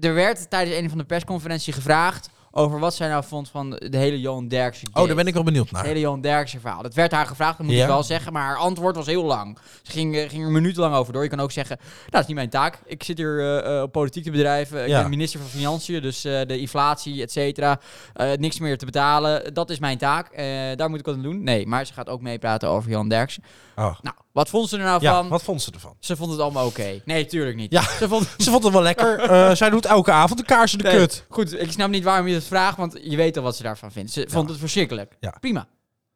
[SPEAKER 2] er werd tijdens een van de persconferenties gevraagd over wat zij nou vond van de hele Johan Derksen.
[SPEAKER 1] Oh, daar ben ik wel benieuwd naar.
[SPEAKER 2] Het hele Johan Derksen verhaal. Dat werd haar gevraagd, dat moet
[SPEAKER 1] Ja.
[SPEAKER 2] ik wel zeggen. Maar haar antwoord was heel lang. Ze ging, eh, ging er minutenlang over door. Je kan ook zeggen, nou, dat is niet mijn taak. Ik zit hier eh, eh, op politiek te bedrijven. Ik
[SPEAKER 1] Ja.
[SPEAKER 2] ben minister van Financiën, dus eh, de inflatie, et cetera. eh, niks meer te betalen. Dat is mijn taak. Eh, daar moet ik wat aan doen. Nee, maar ze gaat ook meepraten over Johan Derksen.
[SPEAKER 1] Oh.
[SPEAKER 2] Nou, wat vond ze er nou
[SPEAKER 1] Ja,
[SPEAKER 2] van?
[SPEAKER 1] wat vond ze ervan?
[SPEAKER 2] Ze vond het allemaal oké. Nee, tuurlijk niet.
[SPEAKER 1] Ja.
[SPEAKER 2] Ze vond
[SPEAKER 1] Ze vond het wel lekker. Eh, zij doet elke avond een kaars in de
[SPEAKER 2] Nee,
[SPEAKER 1] kut.
[SPEAKER 2] Goed, ik snap niet waarom je dat vraagt, want je weet al wat ze daarvan vindt. Ze vond het verschrikkelijk.
[SPEAKER 1] Ja.
[SPEAKER 2] Prima.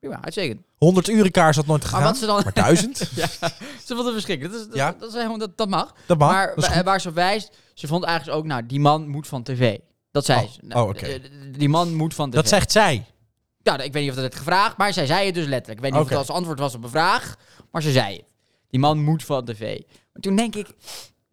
[SPEAKER 2] Prima, uitstekend.
[SPEAKER 1] 100 uren kaars had nooit gegaan.
[SPEAKER 2] wat ze dan-
[SPEAKER 1] Maar 1000?
[SPEAKER 2] Ja, ze vond het verschrikkelijk. Dat, is, dat,
[SPEAKER 1] Ja.
[SPEAKER 2] dat, is helemaal, dat, dat mag.
[SPEAKER 1] Dat mag.
[SPEAKER 2] Maar
[SPEAKER 1] dat is
[SPEAKER 2] wa-
[SPEAKER 1] goed.
[SPEAKER 2] waar ze op wijst, ze vond eigenlijk ook, nou, die man moet van tv. Dat zei
[SPEAKER 1] Oh,
[SPEAKER 2] ze.
[SPEAKER 1] oh, oké.
[SPEAKER 2] d- d- Die man moet van tv.
[SPEAKER 1] Dat zegt zij.
[SPEAKER 2] Nou, ik weet niet of dat het gevraagd, maar zij zei het dus letterlijk. Ik weet niet
[SPEAKER 1] Oké.
[SPEAKER 2] of het als antwoord was op een vraag, maar ze zei het. Die man moet van tv. Maar toen denk ik,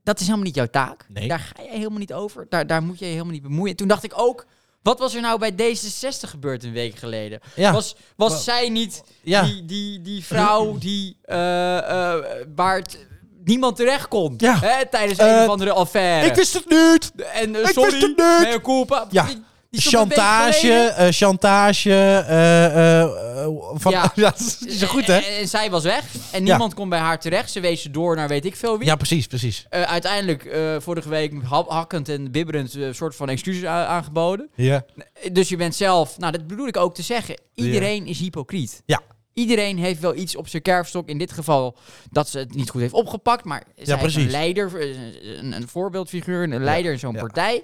[SPEAKER 2] dat is helemaal niet jouw taak.
[SPEAKER 1] Nee.
[SPEAKER 2] Daar ga je helemaal niet over. Daar, daar moet je je helemaal niet bemoeien. Toen dacht ik ook, wat was er nou bij D66 gebeurd een week geleden?
[SPEAKER 1] Ja.
[SPEAKER 2] Was, was
[SPEAKER 1] Wa-
[SPEAKER 2] zij niet
[SPEAKER 1] Ja.
[SPEAKER 2] die, die, die vrouw die, eh, eh, waar het niemand terecht kon
[SPEAKER 1] Ja.
[SPEAKER 2] hè, tijdens
[SPEAKER 1] Eh,
[SPEAKER 2] een of andere affaire?
[SPEAKER 1] Ik wist het niet.
[SPEAKER 2] en, eh,
[SPEAKER 1] ik
[SPEAKER 2] sorry,
[SPEAKER 1] wist het niet.
[SPEAKER 2] mea culpa.
[SPEAKER 1] Ja.
[SPEAKER 2] Die- die stond een week
[SPEAKER 1] Chantage,
[SPEAKER 2] geleden-
[SPEAKER 1] eh, chantage, eh, eh, eh, van, ja. Eh,
[SPEAKER 2] Ja.
[SPEAKER 1] dat is niet zo goed, hè?
[SPEAKER 2] En, en zij was weg.
[SPEAKER 1] Ja.
[SPEAKER 2] En niemand kon bij haar terecht. Ze wees ze door naar weet ik veel wie.
[SPEAKER 1] Ja, precies, precies.
[SPEAKER 2] Eh, uiteindelijk, eh, vorige week, ha- hakkend en bibberend, een soort van excuses a- aangeboden.
[SPEAKER 1] Ja.
[SPEAKER 2] Eh, Dus je bent zelf, nou dat bedoel ik ook te zeggen, iedereen is hypocriet.
[SPEAKER 1] Ja.
[SPEAKER 2] Iedereen heeft wel iets op zijn kerfstok. In dit geval dat ze het niet goed heeft opgepakt. Maar zij is
[SPEAKER 1] precies.
[SPEAKER 2] een leider, eh, een, een voorbeeldfiguur, een leider in zo'n
[SPEAKER 1] Ja.
[SPEAKER 2] partij.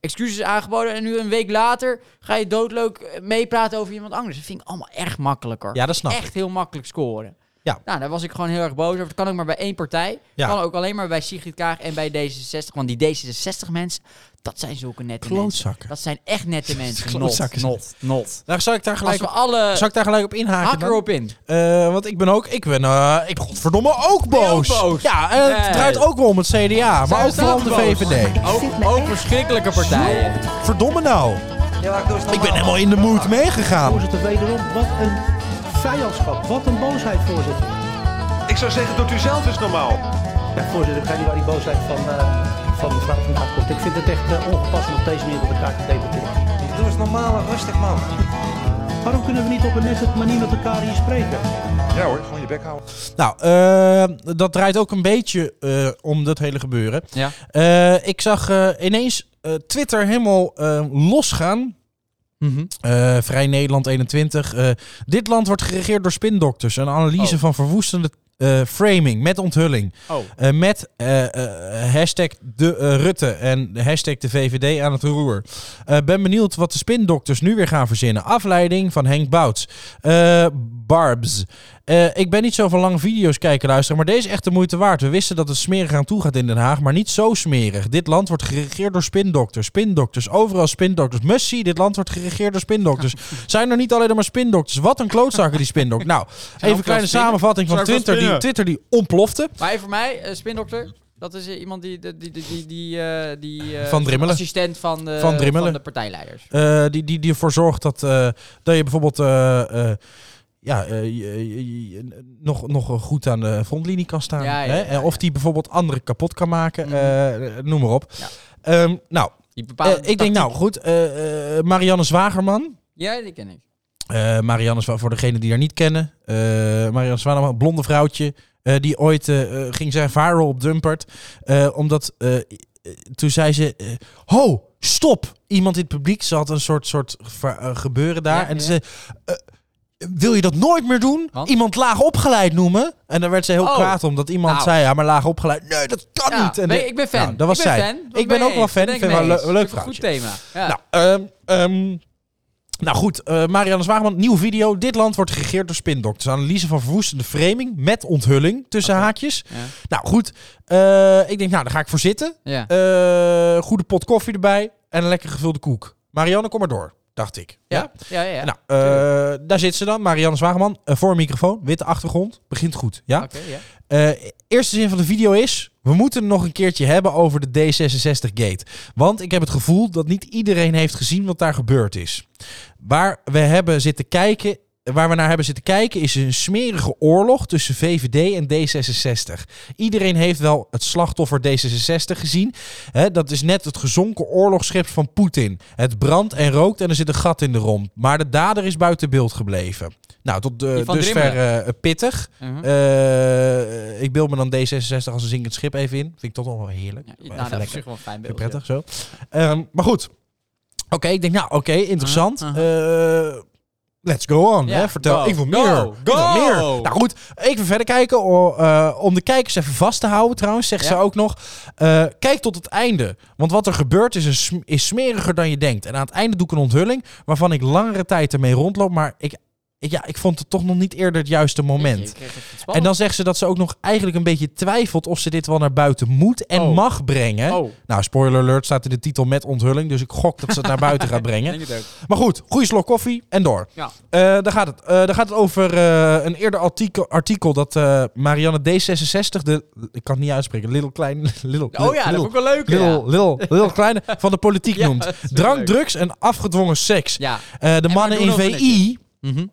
[SPEAKER 2] Excuses aangeboden. En nu een week later ga je doodleuk eh, meepraten over iemand anders. Dat vind ik allemaal erg makkelijker
[SPEAKER 1] ja, dat snap ik.
[SPEAKER 2] echt heel makkelijk scoren.
[SPEAKER 1] Ja.
[SPEAKER 2] Nou, daar was ik gewoon heel erg boos over. Het kan ook maar bij één partij.
[SPEAKER 1] Ja.
[SPEAKER 2] Kan ook alleen maar bij Sigrid Kaag en bij D66. Want die D66 mensen, dat zijn zulke nette mensen.
[SPEAKER 1] Klootzakken.
[SPEAKER 2] Dat zijn echt nette mensen. Not,
[SPEAKER 1] Klootzakken zijn
[SPEAKER 2] not, not.
[SPEAKER 1] Daar zou ik daar
[SPEAKER 2] Als
[SPEAKER 1] gelijk
[SPEAKER 2] we
[SPEAKER 1] op,
[SPEAKER 2] alle
[SPEAKER 1] zou ik daar gelijk op inhaken
[SPEAKER 2] hak
[SPEAKER 1] dan?
[SPEAKER 2] erop in.
[SPEAKER 1] Eh, want ik ben ook, ik ben, eh, ik ben godverdomme ook boos.
[SPEAKER 2] ook boos?
[SPEAKER 1] Ja, eh, het
[SPEAKER 2] Nee.
[SPEAKER 1] draait ook wel om het CDA, maar
[SPEAKER 2] Zij
[SPEAKER 1] ook
[SPEAKER 2] zijn
[SPEAKER 1] vooral
[SPEAKER 2] ook
[SPEAKER 1] om de
[SPEAKER 2] boos. Oh.
[SPEAKER 1] VVD.
[SPEAKER 4] zit
[SPEAKER 2] Ook,
[SPEAKER 4] me
[SPEAKER 2] ook
[SPEAKER 4] echt
[SPEAKER 2] verschrikkelijke partijen.
[SPEAKER 1] Verdomme nou. Ik ben helemaal in de mood meegegaan.
[SPEAKER 5] Voorzitter, wederom, wat een vijandschap. Wat een boosheid, voorzitter.
[SPEAKER 6] Ik zou zeggen, doet u zelf eens normaal.
[SPEAKER 5] Ja, voorzitter, ik ga niet waar die boosheid van, eh van mevrouw vandaan komt. Ik vind het echt eh, ongepast om op deze manier op elkaar te debatteren.
[SPEAKER 7] Doe eens normaal en rustig, man.
[SPEAKER 5] Waarom kunnen we niet op een nette manier met elkaar hier spreken?
[SPEAKER 6] Ja hoor, gewoon je bek houden.
[SPEAKER 1] Nou, eh, dat draait ook een beetje eh, om dat hele gebeuren.
[SPEAKER 2] Ja.
[SPEAKER 1] Eh, ik zag eh, ineens eh, Twitter helemaal eh, losgaan. Eh, Vrij Nederland 21. Eh, dit land wordt geregeerd door spindokters. Een analyse van verwoestende eh, framing met onthulling.
[SPEAKER 2] Oh.
[SPEAKER 1] Eh, met eh, eh, hashtag de eh, Rutte en hashtag de VVD aan het roer. Eh, ben benieuwd wat de spindokters nu weer gaan verzinnen. Afleiding van Henk Bouts. Eh, Barbs. Eh, ik ben niet zo van lang video's kijken luisteren, maar deze is echt de moeite waard. We wisten dat het smerig aan toe gaat in Den Haag, maar niet zo smerig. Dit land wordt geregeerd door spindokters. Spindokters, overal spindokters. Must see, dit land wordt geregeerd door spindokters. Zijn er niet alleen maar spindokters? Wat een klootzakken die spindokters. Nou, even een
[SPEAKER 2] ook
[SPEAKER 1] kleine
[SPEAKER 2] wel spinnen?
[SPEAKER 1] samenvatting van
[SPEAKER 3] Zijn ook wel
[SPEAKER 1] Twitter die,
[SPEAKER 3] spinnen?
[SPEAKER 1] Twitter die ontplofte.
[SPEAKER 2] Maar voor mij, eh, spindokter, dat is eh, iemand die... die, die, die, die, eh, die eh,
[SPEAKER 1] Van Drimmelen.
[SPEAKER 2] Assistent van de,
[SPEAKER 1] Van Drimmelen.
[SPEAKER 2] van de partijleiders.
[SPEAKER 1] Eh, die, die, die ervoor zorgt dat, eh, dat je bijvoorbeeld eh, eh, ja, eh, je- je- je- nog, nog goed aan de frontlinie kan staan.
[SPEAKER 2] Ja, ja,
[SPEAKER 1] hè?
[SPEAKER 2] ja,
[SPEAKER 1] Eh, Of die bijvoorbeeld anderen kapot kan maken.
[SPEAKER 2] Mhm.
[SPEAKER 1] eh, noem maar op.
[SPEAKER 2] Ja.
[SPEAKER 1] Ehm, nou,
[SPEAKER 2] Die bepaalde
[SPEAKER 1] eh, ik denk nou goed, eh, eh, Marianne Zwagerman.
[SPEAKER 2] Ja, die ken ik.
[SPEAKER 1] Eh, Marianne Zwa- voor degenen die haar niet kennen. eh, Marianne Zwaneman, een blonde vrouwtje. eh, die ooit eh, eh, ging zijn viral op Dumpert. eh, omdat eh, eh, toen zei ze... eh, ho, stop! Iemand in het publiek zat een soort, soort ver- eh, gebeuren daar.
[SPEAKER 2] Ja,
[SPEAKER 1] en
[SPEAKER 2] ja.
[SPEAKER 1] ze eh, wil je dat nooit meer doen?
[SPEAKER 2] Want?
[SPEAKER 1] Iemand laag opgeleid noemen? En daar werd ze heel
[SPEAKER 2] Oh.
[SPEAKER 1] kwaad om. Dat iemand
[SPEAKER 2] Nou.
[SPEAKER 1] zei, ja, maar laag opgeleid... Nee, dat kan
[SPEAKER 2] Ja,
[SPEAKER 1] niet. En
[SPEAKER 2] ben-
[SPEAKER 1] de-
[SPEAKER 2] ik ben fan.
[SPEAKER 1] Nou, dat was
[SPEAKER 2] ik ben
[SPEAKER 1] zij.
[SPEAKER 2] fan. Dat
[SPEAKER 1] Ik ben ook
[SPEAKER 2] ik
[SPEAKER 1] wel fan.
[SPEAKER 2] Dat
[SPEAKER 1] Ik
[SPEAKER 2] ben
[SPEAKER 1] vind wel
[SPEAKER 2] mee
[SPEAKER 1] leuk-
[SPEAKER 2] eens.
[SPEAKER 1] leuk
[SPEAKER 2] Vind ik een goed
[SPEAKER 1] vrouwtje.
[SPEAKER 2] thema. Ja.
[SPEAKER 1] Nou, ehm, ehm, nou goed, eh Marianne Zwageman, nieuwe video. Dit land wordt geregeerd door spindokters. Analyse van verwoestende framing met onthulling tussen haakjes.
[SPEAKER 2] Ja.
[SPEAKER 1] Nou goed, eh, ik denk, nou, daar ga ik voor zitten.
[SPEAKER 2] ja.
[SPEAKER 1] Eh, goede pot koffie erbij en een lekker gevulde koek. Marianne, kom maar door, dacht ik.
[SPEAKER 2] ja. ja, ja, ja.
[SPEAKER 1] Nou, eh, daar zit ze dan, Marianne Zwageman, eh, voor een microfoon, witte achtergrond. Begint goed, ja?
[SPEAKER 2] Oké, ja.
[SPEAKER 1] Eh, eerste zin van de video is... We moeten het nog een keertje hebben over de D66-gate. Want ik heb het gevoel dat niet iedereen heeft gezien wat daar gebeurd is. Waar we, hebben zitten kijken, waar we naar hebben zitten kijken is een smerige oorlog tussen VVD en D66. Iedereen heeft wel het slachtoffer D66 gezien. Hè, dat is net het gezonken oorlogsschip van Poetin. Het brandt en rookt en er zit een gat in de romp. Maar de dader is buiten beeld gebleven. Nou, tot eh,
[SPEAKER 2] Die van
[SPEAKER 1] dusver
[SPEAKER 2] Drimmelen.
[SPEAKER 1] eh, pittig.
[SPEAKER 2] Mhm.
[SPEAKER 1] Eh, ik beeld me dan D66 als een zinkend schip even in. Vind ik toch nog wel heerlijk.
[SPEAKER 2] Ja,
[SPEAKER 1] Even
[SPEAKER 2] nou, dat is op
[SPEAKER 1] lekker.
[SPEAKER 2] zich wel een fijn
[SPEAKER 1] Vind ik
[SPEAKER 2] beeld.
[SPEAKER 1] prettig zo. Ehm, maar goed. Oké, ik denk, nou oké, interessant.
[SPEAKER 2] Aha,
[SPEAKER 1] Eh, let's go on.
[SPEAKER 2] Uh-huh, Ja,
[SPEAKER 1] hè. Vertel,
[SPEAKER 2] go,
[SPEAKER 1] ik wil
[SPEAKER 2] go,
[SPEAKER 1] meer. Ik wil
[SPEAKER 2] go.
[SPEAKER 1] meer. Nou goed, even verder kijken. O- eh, om de kijkers even vast te houden trouwens, zegt
[SPEAKER 2] Ja.
[SPEAKER 1] ze ook nog. eh, kijk tot het einde. Want wat er gebeurt is, een sm- is smeriger dan je denkt. En aan het einde doe ik een onthulling waarvan ik langere tijd ermee rondloop. Maar ik, ik- ja, ik vond het toch nog niet eerder het juiste moment.
[SPEAKER 2] Ik kreeg even iets
[SPEAKER 1] En dan zegt ze dat ze ook nog eigenlijk een beetje twijfelt of ze dit wel naar buiten moet en
[SPEAKER 2] Oh.
[SPEAKER 1] mag brengen.
[SPEAKER 2] Oh,
[SPEAKER 1] Nou, spoiler alert staat in de titel met onthulling, dus ik gok dat ze het naar buiten gaat
[SPEAKER 2] ik
[SPEAKER 1] brengen.
[SPEAKER 2] denk het ook.
[SPEAKER 1] Maar goed, goede slok koffie en door.
[SPEAKER 2] Ja.
[SPEAKER 1] Eh, daar, gaat het. Eh, daar gaat het over eh, een eerder artikel, artikel dat eh, Marianne D66, de, ik kan het niet uitspreken, Little Klein, Little,
[SPEAKER 2] Oh ja, dat
[SPEAKER 1] Little-
[SPEAKER 2] vond ik wel leuk.
[SPEAKER 1] Little,
[SPEAKER 2] ja.
[SPEAKER 1] Little, Little Kleine van de politiek
[SPEAKER 2] Ja,
[SPEAKER 1] noemt.
[SPEAKER 2] dat is wel
[SPEAKER 1] Drank,
[SPEAKER 2] leuk.
[SPEAKER 1] drugs en afgedwongen seks.
[SPEAKER 2] Ja.
[SPEAKER 1] Eh, de
[SPEAKER 2] maar
[SPEAKER 1] mannen
[SPEAKER 2] doen
[SPEAKER 1] in
[SPEAKER 2] ook wel
[SPEAKER 1] VI
[SPEAKER 2] Mhm.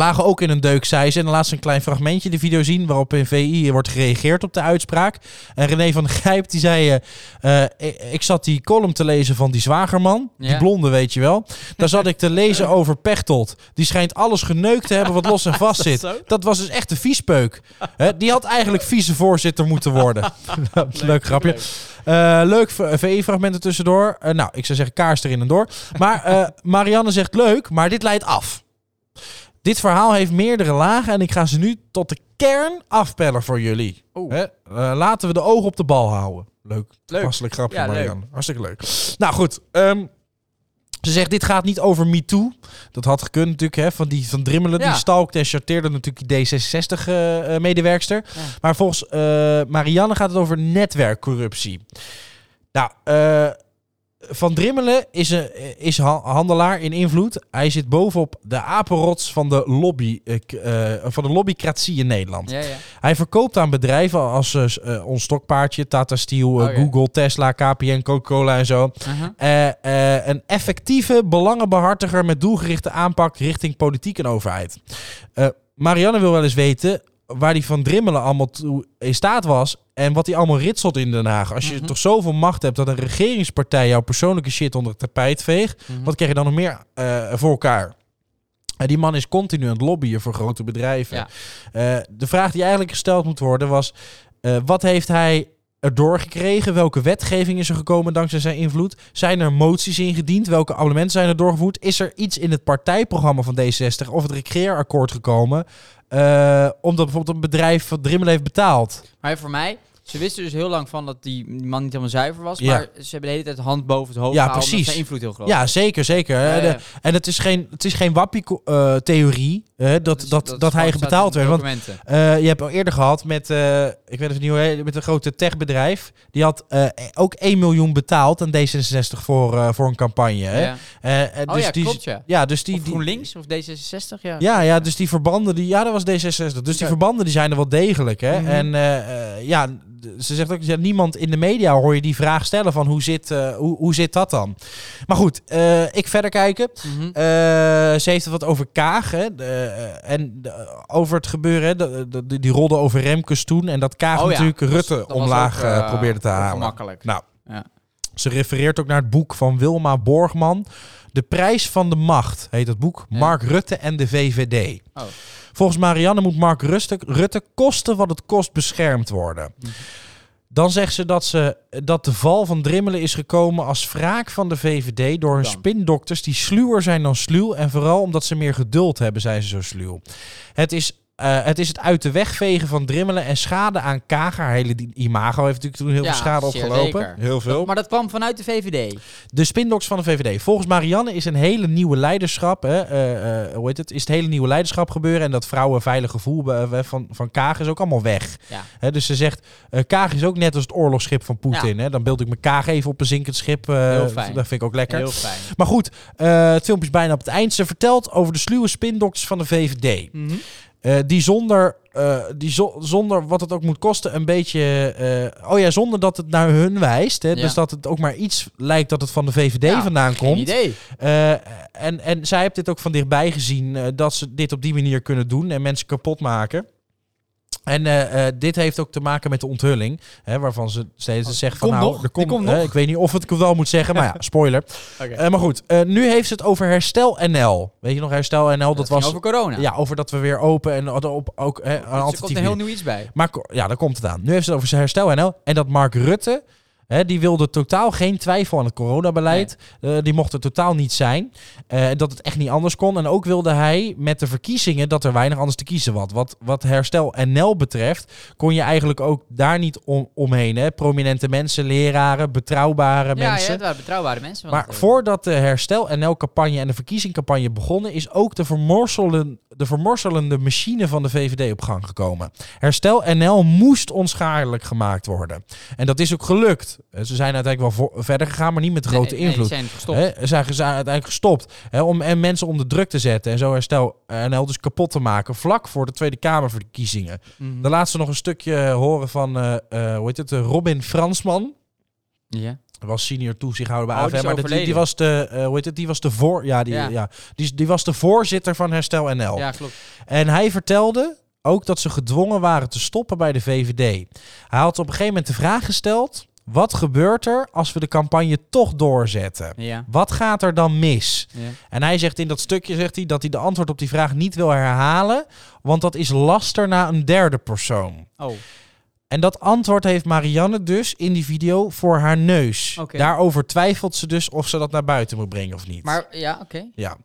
[SPEAKER 1] lagen ook in een deuk, zei ze. En dan laat ze een klein fragmentje de video zien waarop in VI wordt gereageerd op de uitspraak. En René van Gijp die zei, eh, eh, ik zat die column te lezen van die zwagerman, die
[SPEAKER 2] Ja.
[SPEAKER 1] blonde weet je wel. Daar zat ik te lezen over Pechtold. Die schijnt alles geneukt te hebben wat los en vast zit.
[SPEAKER 2] zo?
[SPEAKER 1] Dat, was dus echt een viespeuk. Hè, die had eigenlijk vicevoorzitter moeten worden. leuk, grapje. Eh, leuk VI-fragmenten tussendoor. Eh, nou, ik zou zeggen kaars erin en door. Maar eh, Marianne zegt leuk, maar dit leidt af. Dit verhaal heeft meerdere lagen en ik ga ze nu tot de kern afpellen voor jullie.
[SPEAKER 2] Oeh.
[SPEAKER 1] Hè? Eh, laten we de ogen op de bal houden. Leuk.
[SPEAKER 2] Leuk.
[SPEAKER 1] Hartstikke grapje,
[SPEAKER 2] Ja,
[SPEAKER 1] Marianne. Hartstikke leuk. Nou goed, ehm, ze zegt dit gaat niet over MeToo. Dat had gekund natuurlijk, hè, van die van Drimmelen.
[SPEAKER 2] Ja.
[SPEAKER 1] Die stalkte en charteerde natuurlijk die D66-medewerkster.
[SPEAKER 2] Ja.
[SPEAKER 1] Maar volgens eh, Marianne gaat het over netwerkcorruptie. Nou, eh, Van Drimmelen is, een, is ha- handelaar in invloed. Hij zit bovenop de apenrots van de, lobby, eh, k- eh, van de lobbycratie in Nederland.
[SPEAKER 2] Ja, ja.
[SPEAKER 1] Hij verkoopt aan bedrijven als eh, s- eh, ons stokpaardje, Tata Steel, eh,
[SPEAKER 2] Oh, ja.
[SPEAKER 1] Google, Tesla, KPN, Coca-Cola en zo.
[SPEAKER 2] Aha.
[SPEAKER 1] Eh, eh, een effectieve belangenbehartiger met doelgerichte aanpak richting politiek en overheid. Eh, Marianne wil wel eens weten waar die van Drimmelen allemaal toe in staat was en wat hij allemaal ritselt in Den Haag. Als je toch zoveel macht hebt dat een regeringspartij jouw persoonlijke shit onder het tapijt veegt, wat krijg je dan nog meer eh, voor elkaar? En die man is continu aan het lobbyen voor grote bedrijven.
[SPEAKER 2] Ja.
[SPEAKER 1] Eh, de vraag die eigenlijk gesteld moet worden was: eh, wat heeft hij erdoor gekregen? Welke wetgeving is er gekomen dankzij zijn invloed? Zijn er moties ingediend? Welke abonnementen zijn er doorgevoerd? Is er iets in het partijprogramma van D60 of het regeerakkoord gekomen? eh, omdat bijvoorbeeld een bedrijf van Drimmel heeft betaald.
[SPEAKER 2] Maar voor mij, Ze wisten dus heel lang van dat die man niet helemaal zuiver was.
[SPEAKER 1] Ja.
[SPEAKER 2] Maar ze hebben de hele tijd de hand boven het hoofd
[SPEAKER 1] Ja,
[SPEAKER 2] gehouden.
[SPEAKER 1] precies.
[SPEAKER 2] Omdat zijn invloed heel groot.
[SPEAKER 1] Ja, zeker, zeker.
[SPEAKER 2] Ja,
[SPEAKER 1] En,
[SPEAKER 2] ja. Dus
[SPEAKER 1] eh, En het is geen, het is geen wappie-theorie dat, dat,
[SPEAKER 2] Dus
[SPEAKER 1] dat,
[SPEAKER 2] is
[SPEAKER 1] hij
[SPEAKER 2] gewoon-
[SPEAKER 1] betaald
[SPEAKER 2] staat
[SPEAKER 1] werd.
[SPEAKER 2] in
[SPEAKER 1] Want
[SPEAKER 2] documenten.
[SPEAKER 1] eh, je hebt al eerder gehad met, eh, ik weet even niet hoe hij- met een grote techbedrijf. Die had eh, ook 1 miljoen betaald aan D66 voor, eh, voor een campagne. Hè?
[SPEAKER 2] Ja.
[SPEAKER 1] Eh, eh,
[SPEAKER 2] Oh
[SPEAKER 1] dus
[SPEAKER 2] ja,
[SPEAKER 1] die,
[SPEAKER 2] klopt ja.
[SPEAKER 1] Ja, dus die,
[SPEAKER 2] Of
[SPEAKER 1] die-
[SPEAKER 2] GroenLinks of D66, ja.
[SPEAKER 1] ja, ja, dus die verbanden, die, ja, dat was D66. Dus die
[SPEAKER 2] Ja.
[SPEAKER 1] verbanden die zijn er wel degelijk. Hè?
[SPEAKER 2] Mhm.
[SPEAKER 1] En eh, eh, ja, d- ze zegt ook, ja, niemand in de media hoor je die vraag stellen van hoe zit, eh, hoe, hoe zit dat dan? Maar goed, eh, ik verder kijken.
[SPEAKER 2] Mhm.
[SPEAKER 1] Eh, ze heeft het wat over Kaag. Hè? De, eh, en de- over het gebeuren, hè? De, de- de- die rolde over Remkes toen. En dat Kaag
[SPEAKER 2] Oh ja,
[SPEAKER 1] natuurlijk
[SPEAKER 2] dat was-
[SPEAKER 1] Rutte
[SPEAKER 2] dat was
[SPEAKER 1] omlaag
[SPEAKER 2] ook, eh,
[SPEAKER 1] eh, probeerde te halen.
[SPEAKER 2] Ongemakkelijk.
[SPEAKER 1] Nou,
[SPEAKER 2] Ja.
[SPEAKER 1] ze refereert ook naar het boek van Wilma Borgman. De prijs van de macht heet het boek.
[SPEAKER 2] Ja.
[SPEAKER 1] Mark Rutte en de VVD.
[SPEAKER 2] Oh.
[SPEAKER 1] Volgens Marianne moet Mark Rutte, Rutte kosten wat het kost beschermd worden.
[SPEAKER 2] Mhm.
[SPEAKER 1] Dan zegt ze dat, ze dat de val van Drimmelen is gekomen als wraak van de VVD door hun
[SPEAKER 2] Dan.
[SPEAKER 1] spindokters die sluwer zijn dan sluw. En vooral omdat ze meer geduld hebben, zijn ze zo sluw. Het is, eh, het, is het uit de weg vegen van Drimmelen en schade aan Kaag. Haar hele di- imago heeft natuurlijk toen heel
[SPEAKER 2] Ja,
[SPEAKER 1] veel schade
[SPEAKER 2] zeer
[SPEAKER 1] opgelopen.
[SPEAKER 2] zeker.
[SPEAKER 1] Heel veel.
[SPEAKER 2] Maar dat kwam vanuit de VVD.
[SPEAKER 1] De spindoks van de VVD. Volgens Marianne is een hele nieuwe leiderschap. Hè, eh, eh, hoe heet het? Is het hele nieuwe leiderschap gebeuren. En dat vrouwenveilig gevoel eh, van, van Kaag is ook allemaal weg.
[SPEAKER 2] Ja.
[SPEAKER 1] Hè, dus ze zegt. eh, Kaag is ook net als het oorlogsschip van Poetin. Hè? Dan beeld ik mijn Kaag even op een zinkend schip. eh,
[SPEAKER 2] Heel fijn.
[SPEAKER 1] Dat vind ik ook lekker.
[SPEAKER 2] Heel fijn.
[SPEAKER 1] Maar goed, eh, het filmpje is bijna op het eind. Ze vertelt over de sluwe spindokters van de VVD.
[SPEAKER 2] Mhm.
[SPEAKER 1] Eh, die zonder, eh, die zo- zonder wat het ook moet kosten, een beetje. eh, oh ja, zonder dat het naar hun wijst. Hè,
[SPEAKER 2] Ja.
[SPEAKER 1] Dus dat het ook maar iets lijkt dat het van de VVD
[SPEAKER 2] Ja,
[SPEAKER 1] vandaan
[SPEAKER 2] Geen
[SPEAKER 1] komt.
[SPEAKER 2] idee.
[SPEAKER 1] Eh, en, en zij heeft dit ook van dichtbij gezien eh, dat ze dit op die manier kunnen doen en mensen kapot maken. En eh, eh, dit heeft ook te maken met de onthulling, hè, waarvan ze steeds zegt van
[SPEAKER 2] komt
[SPEAKER 1] nou,
[SPEAKER 2] nog,
[SPEAKER 1] er
[SPEAKER 2] die komt
[SPEAKER 1] hè,
[SPEAKER 2] nog.
[SPEAKER 1] ik weet niet of het ik wel moet zeggen, maar ja, spoiler.
[SPEAKER 2] Oké.
[SPEAKER 1] Eh, maar goed, eh, nu heeft ze het over Herstel NL. Weet je nog, Herstel NL, dat,
[SPEAKER 2] Dat
[SPEAKER 1] was
[SPEAKER 2] was over corona.
[SPEAKER 1] ja, over dat we weer open en hadden op ook hè, een
[SPEAKER 2] Dus er
[SPEAKER 1] alternatief. Eh,
[SPEAKER 2] komt een heel
[SPEAKER 1] nieuw-
[SPEAKER 2] nieuw iets bij.
[SPEAKER 1] Maar ko- ja, daar komt het aan. Nu heeft ze het over zijn herstel NL en dat Mark Rutte. Hè, die wilde totaal geen twijfel aan het coronabeleid. Eh, die mocht er totaal niet zijn. Eh, dat het echt niet anders kon. En ook wilde hij met de verkiezingen dat er weinig anders te kiezen was. Wat, wat herstel NL betreft, kon je eigenlijk ook daar niet om, omheen. Hè? Prominente mensen, leraren, betrouwbare
[SPEAKER 2] Ja, ja,
[SPEAKER 1] mensen.
[SPEAKER 2] het waren betrouwbare mensen. want,
[SPEAKER 1] Maar
[SPEAKER 2] eh,
[SPEAKER 1] voordat de herstel NL-campagne en de verkiezingcampagne begonnen, is ook de, vermorselen, de vermorselende machine van de VVD op gang gekomen. Herstel NL moest onschadelijk gemaakt worden. En dat is ook gelukt. Eh, Ze zijn uiteindelijk wel vo- verder gegaan, maar niet met grote
[SPEAKER 2] eh, nee, nee, die
[SPEAKER 1] invloed.
[SPEAKER 2] zijn gestopt.
[SPEAKER 1] Hè, Ze zijn, ze zijn uiteindelijk gestopt hè, om en mensen onder druk te zetten en zo herstel NL dus kapot te maken vlak voor de Tweede Kamerverkiezingen.
[SPEAKER 2] Mhm.
[SPEAKER 1] Dan laat ze nog een stukje horen van eh, eh, hoe heet het, eh, Robin Fransman.
[SPEAKER 2] Ja.
[SPEAKER 1] Er was senior toezichthouder bij
[SPEAKER 2] Oh, die
[SPEAKER 1] AFM.
[SPEAKER 2] is
[SPEAKER 1] Maar dat- die, die
[SPEAKER 2] overleden.
[SPEAKER 1] was de, eh, hoe heet het? Die was de voor, ja, die, ja.
[SPEAKER 2] Ja.
[SPEAKER 1] die, die was de voorzitter van Herstel NL.
[SPEAKER 2] ja, klopt.
[SPEAKER 1] En hij vertelde ook dat ze gedwongen waren te stoppen bij de VVD. Hij had op een gegeven moment de vraag gesteld: wat gebeurt er als we de campagne toch doorzetten?
[SPEAKER 2] Ja.
[SPEAKER 1] Wat gaat er dan mis?
[SPEAKER 2] Ja.
[SPEAKER 1] En hij zegt in dat stukje zegt hij dat hij de antwoord op die vraag niet wil herhalen, want dat is laster naar een derde persoon.
[SPEAKER 2] Oh,
[SPEAKER 1] En dat antwoord heeft Marianne dus in die video voor haar neus.
[SPEAKER 2] Oké.
[SPEAKER 1] Daarover twijfelt ze dus of ze dat naar buiten moet brengen of niet.
[SPEAKER 2] maar ja, oké.
[SPEAKER 1] Ja.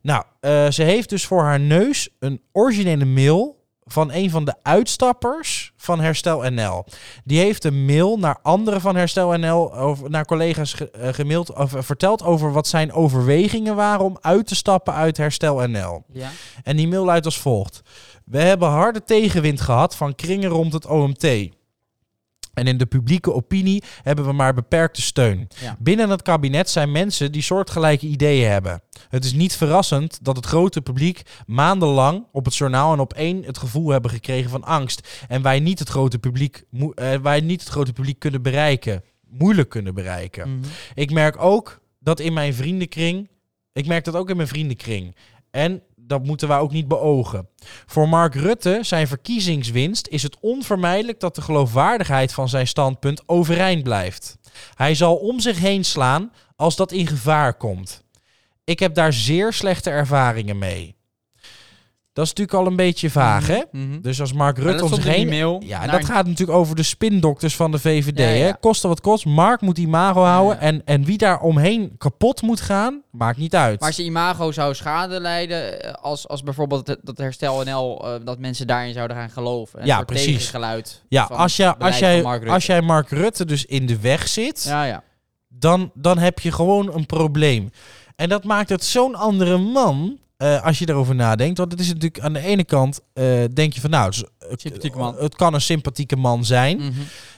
[SPEAKER 1] Nou, eh, ze heeft dus voor haar neus een originele mail van een van de uitstappers van Herstel NL. Die heeft een mail naar anderen van Herstel NL, over, naar collega's ge, eh, gemaild, of, eh, verteld over wat zijn overwegingen waren om uit te stappen uit Herstel NL.
[SPEAKER 2] Ja.
[SPEAKER 1] En die mail luidt als volgt. We hebben harde tegenwind gehad van kringen rond het OMT. En in de publieke opinie hebben we maar beperkte steun.
[SPEAKER 2] Ja.
[SPEAKER 1] Binnen het kabinet zijn mensen die soortgelijke ideeën hebben. Het is niet verrassend dat het grote publiek maandenlang op het journaal en op één het gevoel hebben gekregen van angst. En wij niet het grote publiek, moe- eh, wij niet het grote publiek kunnen bereiken. Moeilijk kunnen bereiken.
[SPEAKER 2] Mhm.
[SPEAKER 1] Ik merk ook dat in mijn vriendenkring. Ik merk dat ook in mijn vriendenkring. En dat moeten wij ook niet beogen. Voor Mark Rutte, zijn verkiezingswinst, is het onvermijdelijk dat de geloofwaardigheid van zijn standpunt overeind blijft. Hij zal om zich heen slaan als dat in gevaar komt. Ik heb daar zeer slechte ervaringen mee. Dat is natuurlijk al een beetje vaag, hè?
[SPEAKER 2] Mhm.
[SPEAKER 1] Dus als Mark
[SPEAKER 2] Maar
[SPEAKER 1] Rutte
[SPEAKER 2] dat
[SPEAKER 1] om zich
[SPEAKER 2] stond in
[SPEAKER 1] heen...
[SPEAKER 2] die mail.
[SPEAKER 1] Ja, en
[SPEAKER 2] Naar-
[SPEAKER 1] dat gaat natuurlijk over de spindokters van de VVD,
[SPEAKER 2] Ja, ja.
[SPEAKER 1] hè? Kosten wat kost, Mark moet imago houden.
[SPEAKER 2] Ja.
[SPEAKER 1] En, en wie daar omheen kapot moet gaan, maakt niet uit.
[SPEAKER 2] Maar zijn imago zou schade leiden eh, als, als bijvoorbeeld het- dat Herstel NL, eh, dat mensen daarin zouden gaan geloven. Een
[SPEAKER 1] Ja,
[SPEAKER 2] soort
[SPEAKER 1] precies.
[SPEAKER 2] tegengeluid
[SPEAKER 1] ja,
[SPEAKER 2] van
[SPEAKER 1] als,
[SPEAKER 2] het
[SPEAKER 1] jij
[SPEAKER 2] beleid
[SPEAKER 1] als,
[SPEAKER 2] van
[SPEAKER 1] jij,
[SPEAKER 2] Mark Rutte.
[SPEAKER 1] als jij Mark Rutte dus in de weg zit,
[SPEAKER 2] Ja, ja.
[SPEAKER 1] dan, dan heb je gewoon een probleem. En dat maakt het zo'n andere man, eh, als je erover nadenkt. Want het is natuurlijk aan de ene kant, eh, denk je van nou, het, is- het-
[SPEAKER 2] Sympathieke man.
[SPEAKER 1] het kan een sympathieke man zijn.
[SPEAKER 2] Mhm.